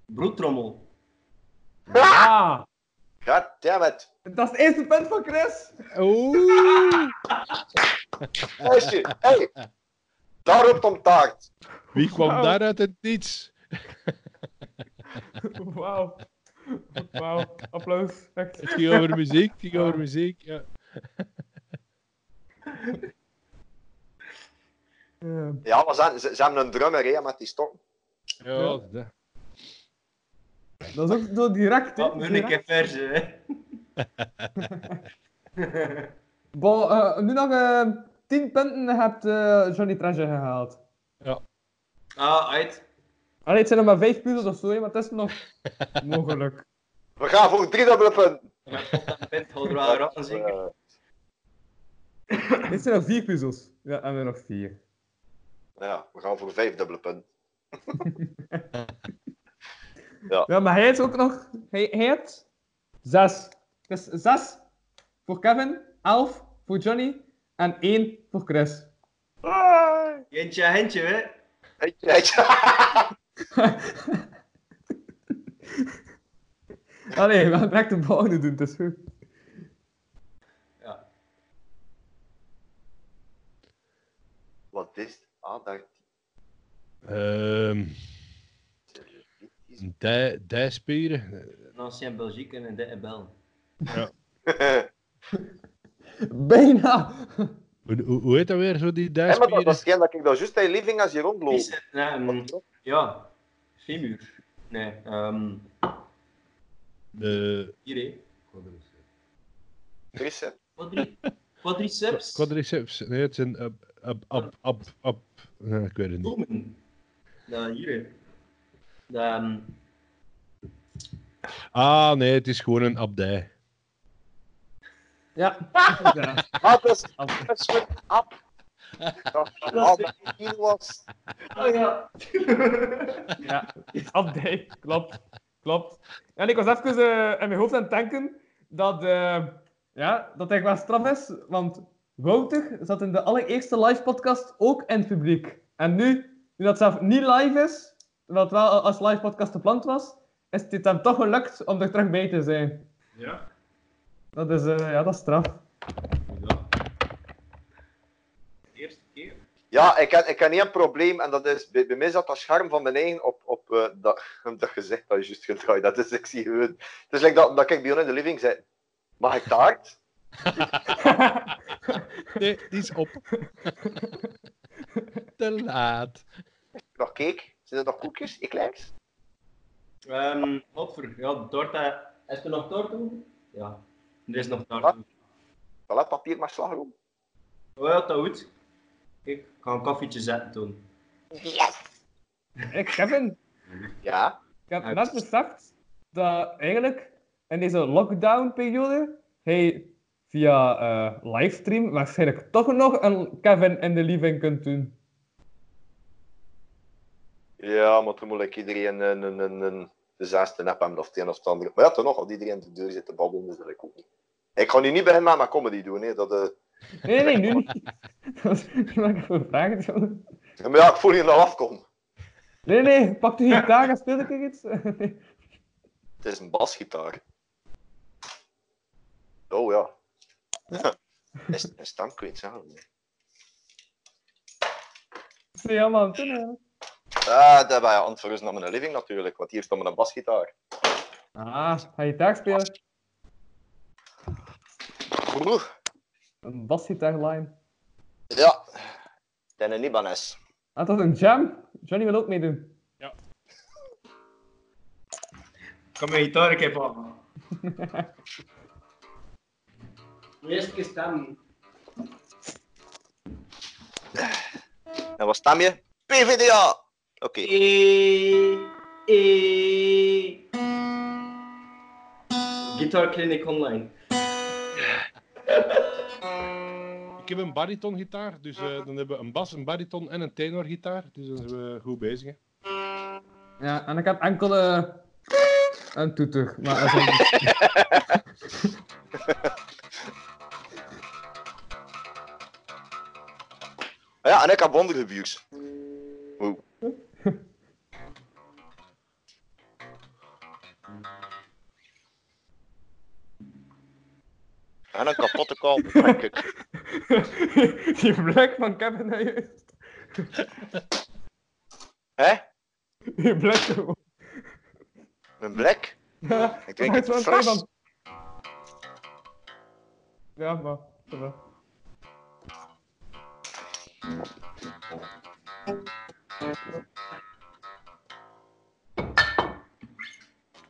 Broodtrommel. Ah! God damn it. Dat is het eerste punt van Chris! Oh! Meisje, hey. Daar roept om taart. Wie kwam Wauw. daar uit het niets? Wauw. Wauw. Applaus. Echt. Het ging over muziek, het ging over muziek. Ja. Eh, Ja, maar ze, ze, ze hebben een drummer hè, met die stok. Ja, dat- dat is ook zo direct, hè. Ah, Wat moet ik Direct. in verse, hè. Bo, eh, nu nog eh 10 punten en je hebt eh, Johnny Treasure gehaald. Ah, uit. Allee, het zijn nog maar 5 puzzels of zo, hè, maar het is nog mogelijk. We gaan voor drie dubbele punten. Met pot en pint gaat er wel ratten, zeker. Eh, Dit zijn nog 4 puzzels. Ja, en we nog 4. ja, we gaan voor vijf dubbele punten. Ja, maar hij heeft ook nog. Hij, hij heeft 6. Dus 6 voor Kevin, 11 voor Johnny en 1 voor Chris. Jentje, hentje, hè. Hey, hey. Allee, we gaan direct de volgende doen, het is goed. Ja. Wat is het? Ah, daar. Ehm, dij- Dijspieren. Nancy en Belgique en dit en Bel. Bijna! Hoe, hoe, hoe heet dat weer, zo die Hey, maar dat, dijspieren? dat is geen dat ik dat juist in living als je rondloop. Is- nee, ehm, Ja, femur. Nee, ehm, De hier, hè. Er is, hè. Quadri- Quadriceps. quadriceps. Nee, het zijn ab, ab, ab, ab, ab. Nee, ik weet het niet. Bomen. Ja, hier, hè. Dat, ehm, Ah, nee, het is gewoon een abdij. Ja. ja. Ah, dat is dat is goed. Ah. Dat ah, dat het hier was. Ah, ja. Ja, abdij, klopt. Klopt. En ik was even eh, in mijn hoofd aan het denken dat, eh, ja, dat het eigenlijk wel straf is, want Wouter zat in de allereerste live podcast ook in het publiek. En nu, nu dat zelf niet live is, wat wel als live podcast gepland was, is het hem toch gelukt om er terug bij te zijn. Ja. Dat is, eh, ja, dat is straf. ja. Eerste keer. Ja, ik heb, ik heb één probleem en dat is, bij, bij mij zat dat scherm van mijn eigen op, op eh, dat, dat gezicht dat je juist gedraaid hebt. Dus ik zie gewoon... Het is like dat, dat ik bij jou in de living zit. Mag ik taart? Nee, die is op. Te laat. Nog cake? Zijn er nog koekjes? Ik lijks? Ehm Hopper, ja, torta. Is er nog torta over? Ja, er is nog torta. Wat? Voilà, papier maar slagroom. Oh ja, dat goed. Kijk, Ik ga een koffietje zetten doen. Ik, Kevin, Ja. Ik heb Ja, net het is- beseft dat eigenlijk in deze lockdown-periode hij via eh, livestream waarschijnlijk toch nog een Kevin in de living kunt doen. Ja, maar toen moet ik iedereen een, een, een, een de zesde nep hebben of het een of het andere. Maar ja, toch nog, als iedereen de deur zit te babbelen, is dat ik ook niet. Ik ga nu niet beginnen met mijn comedy doen. Hè. Dat, eh, Nee, nee, nu niet. Dat was wat ik voor vragen stelde. Maar ja, ik voel hier nou al afkomen. Nee, nee, pak de gitaar en speel ik iets. Het is een basgitaar. Oh ja. Is het een stem kwijt, zeg maar. Zie je allemaal aan het doen, hè? Ah, dat ben je antwoord naar mijn living natuurlijk, want hier stond mijn basgitaar. Ah, ga je gitaar spelen? Oeh, Een basgitaarlijn. Ja, het is een Ibanez. Ah, dat is een jam. Johnny wil ook meedoen. Kom mijn gitaar een keer pakken. Eerst keer stemmen. En wat stem je? PVDA! Oké. E, e. Guitar Clinic Online. Ik heb een baritongitaar, dus eh, dan hebben we een bas, een bariton en een tenorgitaar. Dus dan zijn we goed bezig. Hè. Ja, en ik heb enkele... Een toeter. Maar dat is een- Ah Ja, en ik heb wondergebuurs. Wow. En een kapotte kalm, denk ik. Die blik van Kevin naar juist. Hé? Die blik gewoon. Mijn blik? Ja, Ik dat denk maakt het zo'n fris. tijd dan. Ja, maar. dat wel.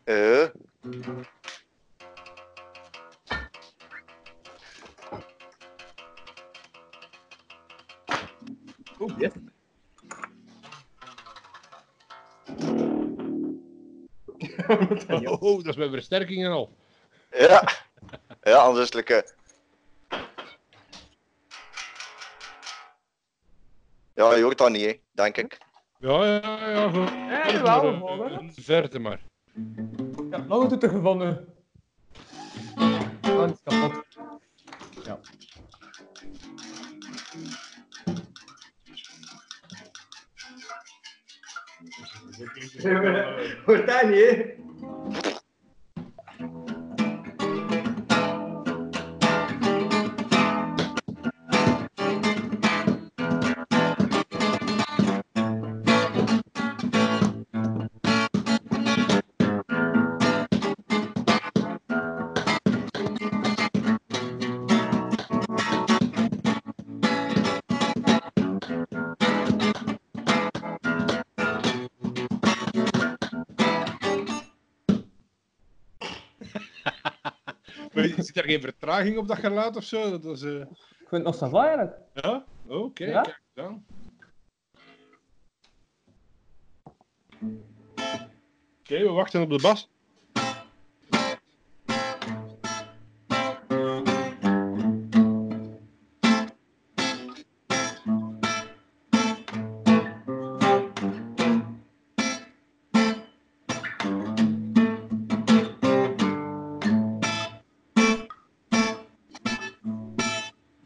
Eh. Oh, yes. Oh, oh, dat is mijn versterking en al. Ja. Ja, anders is het lekker. Ja, je hoort dat niet, hè, denk ik. Ja, ja, ja. Goed. Ja, Eh, jawel, we horen het. Verte maar. Ja, nog een toeter gevonden. Oh, het is kapot. Ja. Hoort dat niet, hè? Maar Zit er geen vertraging op dat geluid of zo? Dat was, eh, Ik vind het nog sava eigenlijk. Ja? Oké, Ja? kijk dan. Oké, we wachten op de bas.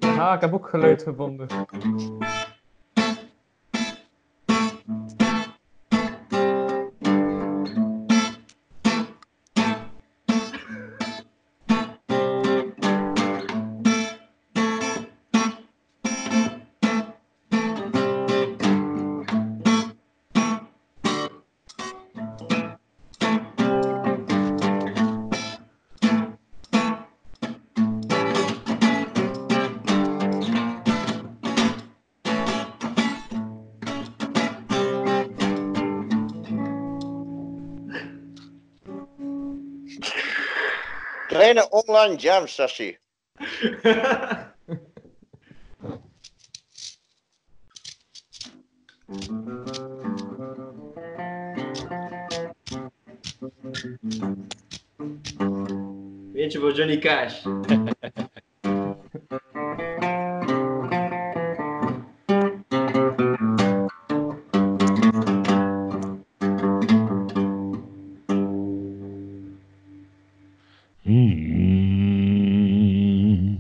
Ah, ik heb ook geluid gevonden. Kleine online jam sessie. Eentje voor Johnny Cash. Hmm.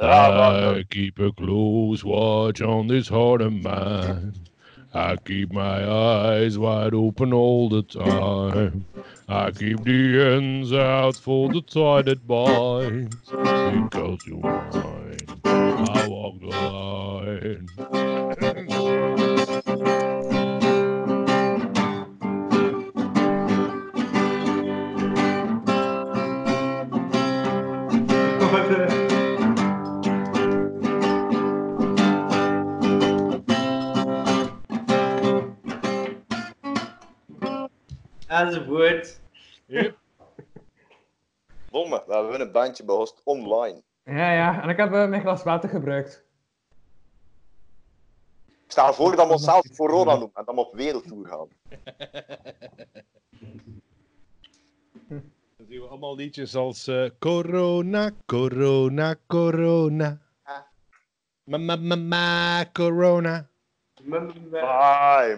Ja, I keep a close watch on this heart of mine. I keep my eyes wide open all the time. I keep the ends out for the tie that binds. Because you're mine, I walk the line. Enzovoort. Domme, we hebben een bandje behost online. Ja, ja. En ik heb eh, mijn glas water gebruikt. Ik stel voor dat we onszelf corona noemen en dan op wereldtour gaan. Dan zien we allemaal liedjes als eh, Corona, Corona, Corona. Ma, ma, ma, ma, Corona. My, my,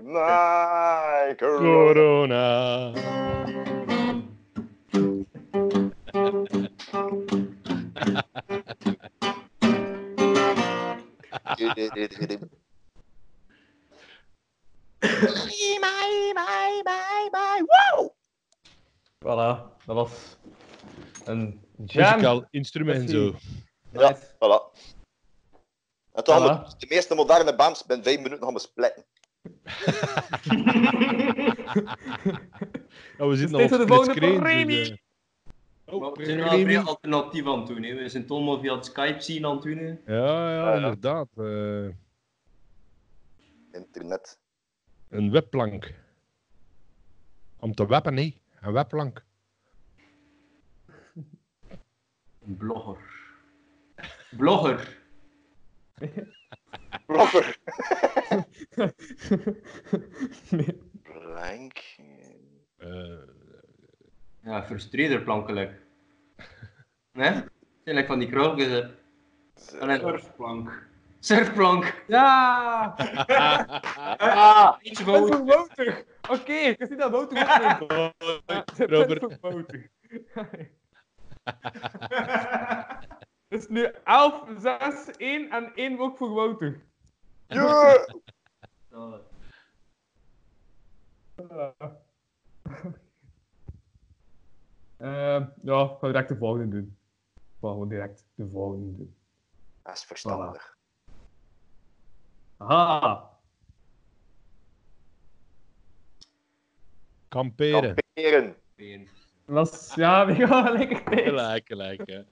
my, corona. Corona. Voilà. Dat was een jam. Muzikaal instrument zo. Ja. Voilà. En toch Voilà. hadden de meeste moderne bands binnen vijf minuten gaan besplitten. Ja, Nou, we zitten al Steeds op split de volgende screen. premie. dus, eh. Maar Oh, we zijn wel premie. vrij alternatief aan het doen. Hè. We zijn het allemaal via het Skype zien aan het doen. hè. Ja, ja, ja. inderdaad. eh, Internet. een webplank. Om te weppen, nee. Een webplank. Een blogger. Blogger. Proper. nee. Blank. Eh, Ja, frustreerder plankelijk. Nee? Het zijn like van die krulletjes. hè. En een surfplank. Surfplank. Ja! Ah, iets Ik ben voor zo wouter. Oké, ik zie dat wouter ook neemt. Hoi, Ik ben Robert. zo wouter. Het is nu 11, 6, 1 en 1 ook voor wouter. Yeah. Eh, ja, ik ga direct de volgende doen. Ik ga gewoon direct de volgende doen. Dat is verstandig. Aha! Kamperen. Kamperen. Been. Dat was, ja, we gaan wel lekker tegen. Gelijk, gelijk. hè.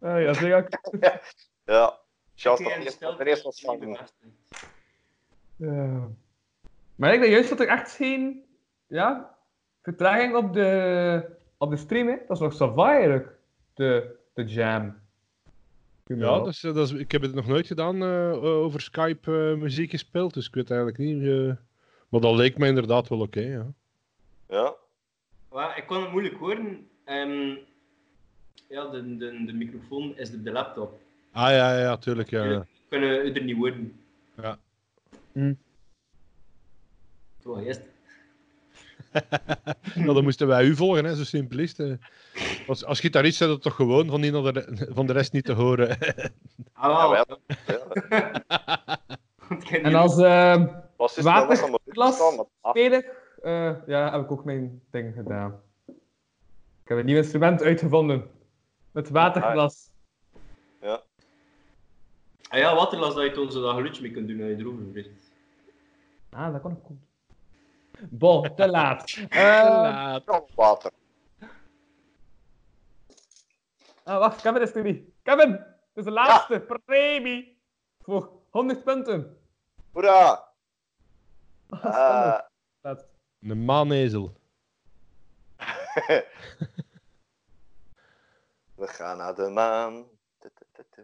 Ah, ja, zeg ik. Ja. Charles, Oké, dat en eerst stel- dat eerst was niet de van. beste. Ja. Eh, Maar ik denk juist dat er echt geen ja, vertraging op de, op de stream is. Dat is nog sava eigenlijk, de, de jam. Ja, dus, eh, dat is, ik heb het nog nooit gedaan eh, o- over Skype eh, muziek gespeeld, dus ik weet eigenlijk niet. eh, maar dat leek mij inderdaad wel oké. ja. Ja. Ja, ik kon het moeilijk horen. Ehm, ja, de, de, de microfoon is op de laptop. Ah ja, ja, tuurlijk. Ja. ja. Tuurlijk Kunnen we het er niet horen. Ja. Hm. Toch, eerst. Nou, dan moesten wij u volgen, hè, zo simpel is het. eh. Als, als gitarist zijn dat toch gewoon van, die naar de re- van de rest niet te horen. Ah, wel. Jawel. Ja. Want ik ken En die- als eh Was is Water- nog een klas speler eh, ja, heb ik ook mijn ding gedaan. Ik heb een nieuw instrument uitgevonden. Het waterglas. Ah ja, waterlas dat je toen zo dat geluidje mee kunt doen als je erover vliegt. Ah, dat kon ik goed. Bon, te laat. Eh, Water. ah, wacht, Kevin is er niet. Kevin, het is de laatste premie voor 100 punten. Hoera! Ah, Eh, spannend. Laatst. Een maanezel. we gaan naar de maan. Tu, tu, tu, tu.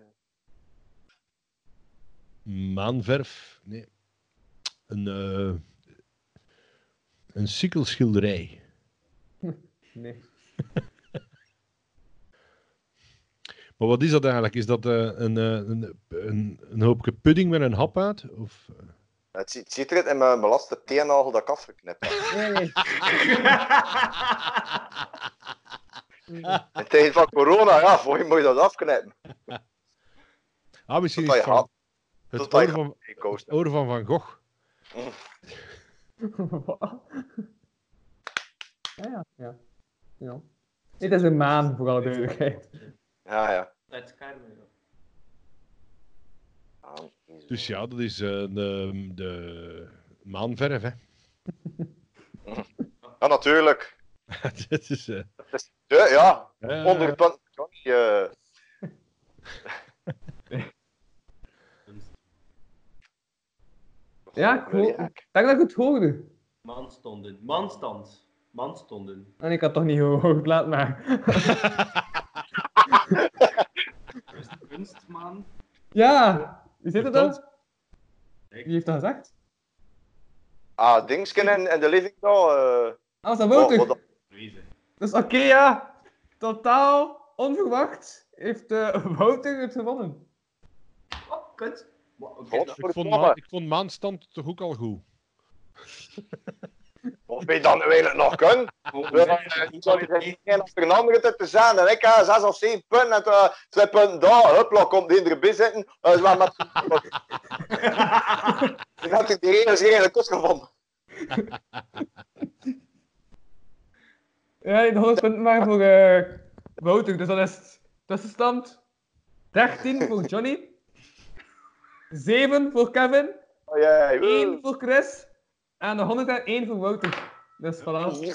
Maanverf. Nee. Een, eh een sikkelschilderij. Nee. Maar wat is dat eigenlijk? Is dat eh, een, eh, een, een, een hoopje pudding met een hap uit? Of, eh? Het zi- het ziet eruit in mijn, mijn laatste teennagel dat ik afgeknipt heb. Nee, nee. In tijden van corona, ja, voor je moet je dat afknippen. Ah, misschien Tot is het dat je van, tot het dat oor je van, Ik het koos oor van Van Gogh. Wat? ja, ja, ja. ja. Dit is een maan, voor alle duidelijkheid. Ja, ja. Uit Carmen. ja. Maan is- Dus ja, dat is eh, de, de maanverf, hè. Ja, natuurlijk. dat is, eh, Ja, ja. eh, Onder kan kan eh, je... Ja, ik hoor- ik denk dat ik het hoorde. Maanstonden. Maanstand. Maanstonden. En ik had toch niet gehoord, laat maar. Kunstmaan. Ja, wie zit er dan? Verstand. Wie heeft dat gezegd? Ah, Dingsken en, en de Living Doll. eh. Ah, dat Oh, Wouter. wat dat- Wezen. Dus oké, ja. Totaal onverwacht heeft eh, Wouter het gewonnen. Oh, kut. Wat, oké, God, dat- ik, vond Verdomme. maan, ik vond maanstand toch ook al goed. Of je dan eigenlijk nog kan. Gewoon Ja, zeggen, ja, ik Sorry, heb er geen- is geen achter een andere te- te zijn. En ik heb zes of zeven punten en eh, twee punten daar. Hupla, komt die erbij zitten. Uh, zwaar met... Ik had die regels eigenlijk kost gevonden. Ja, de 100 punten maar voor eh, Wouter. Dus dat is het tussenstand 13 voor Johnny, 7 voor Kevin, Oh, jee. 1 voor Chris en 101 voor Wouter. Dus Oh, voilà.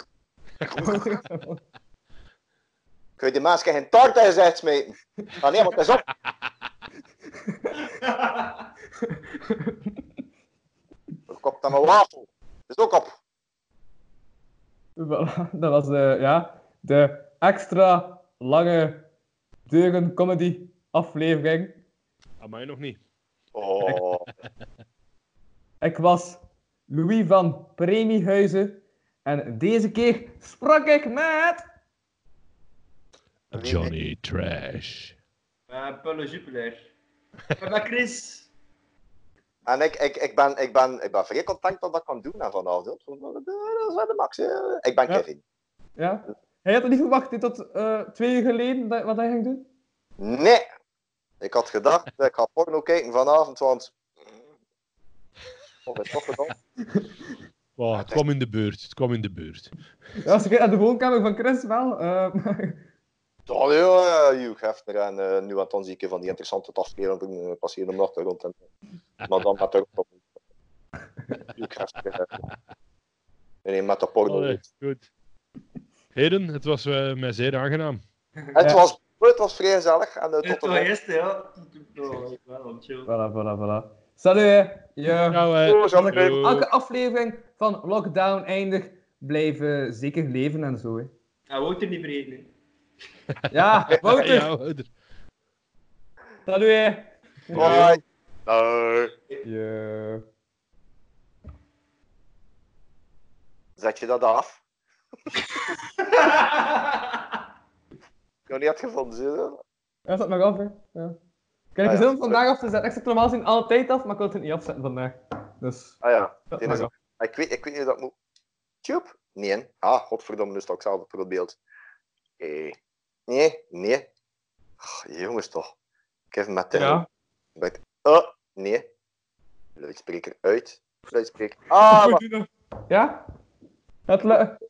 Kun je die maas geen taart in zijn smeten? Ah nee, want het is op. Ik kop dan mijn wafel. Het is ook op. Voilà, dat was eh, ja, de extra lange deuren comedy aflevering. Amai, nog niet. Oh. Ik was Louis van Premiehuizen en deze keer sprak ik met Johnny Trash. Eh, Pulle Jupiler. Ik ben Chris. En ik, ik, ik, ben, ik, ben, ik ben vrij content dat ik dat kan doen en vanavond. Dat is wel de max. hè. Ik ben Ja. Kevin. Ja? Hij had het niet verwacht hè, tot eh, twee uur geleden dat, wat hij ging doen? Nee. Ik had gedacht, eh, ik ga porno kijken vanavond, want... Of is toch gedaan? Wow, het kwam in de buurt. Het kwam in de buurt. Ja, als ik kijk naar de woonkamer van Chris wel. eh, Dan ja, Hugh Hefner en eh, nu aan zie ik van die interessante afleveringen eh, passeren om nog te rond. En, maar dan met de rond. Hugh Hefner. eh. Nee, met de porno. Allee, goed. Heden, het was eh, mij zeer aangenaam. Het, Ja. was, het was vrij gezellig. En, eh, Het tot de was volgende. eerst, ja. Dat doe ik wel, wel, chill. voilà, voilà, voilà. Salut hè. Ja. Nou, eh, Zo, zo, doei. Elke aflevering van Lockdown eindig blijven zeker leven en zo. Hè. Hij wou er niet vergeten. Ja, Wouter, Ja, Wouter. salut hè. Bye. Doei. Ja. Zet je dat af? hè. Ik heb niet het gevonden, zie je dat? Ja, zet maar af hè. Ja. Ik heb Ah, er ja. zin om vandaag af te zetten. Ik zet normaal gezien altijd af, maar ik wil het er niet afzetten vandaag. Dus, Ah ja. zet Dit maar is- af. Ik weet, ik weet niet hoe dat moet. dus Tjoep? Nee. hè? Ah, godverdomme, nu sta ik zelf op het beeld. Oké. Nee, nee. Ach, jongens toch. Kevin Mattel. Ja. Met- Oh, nee. Luidspreker uit. Luidspreker. Ah, Ja? Het lu-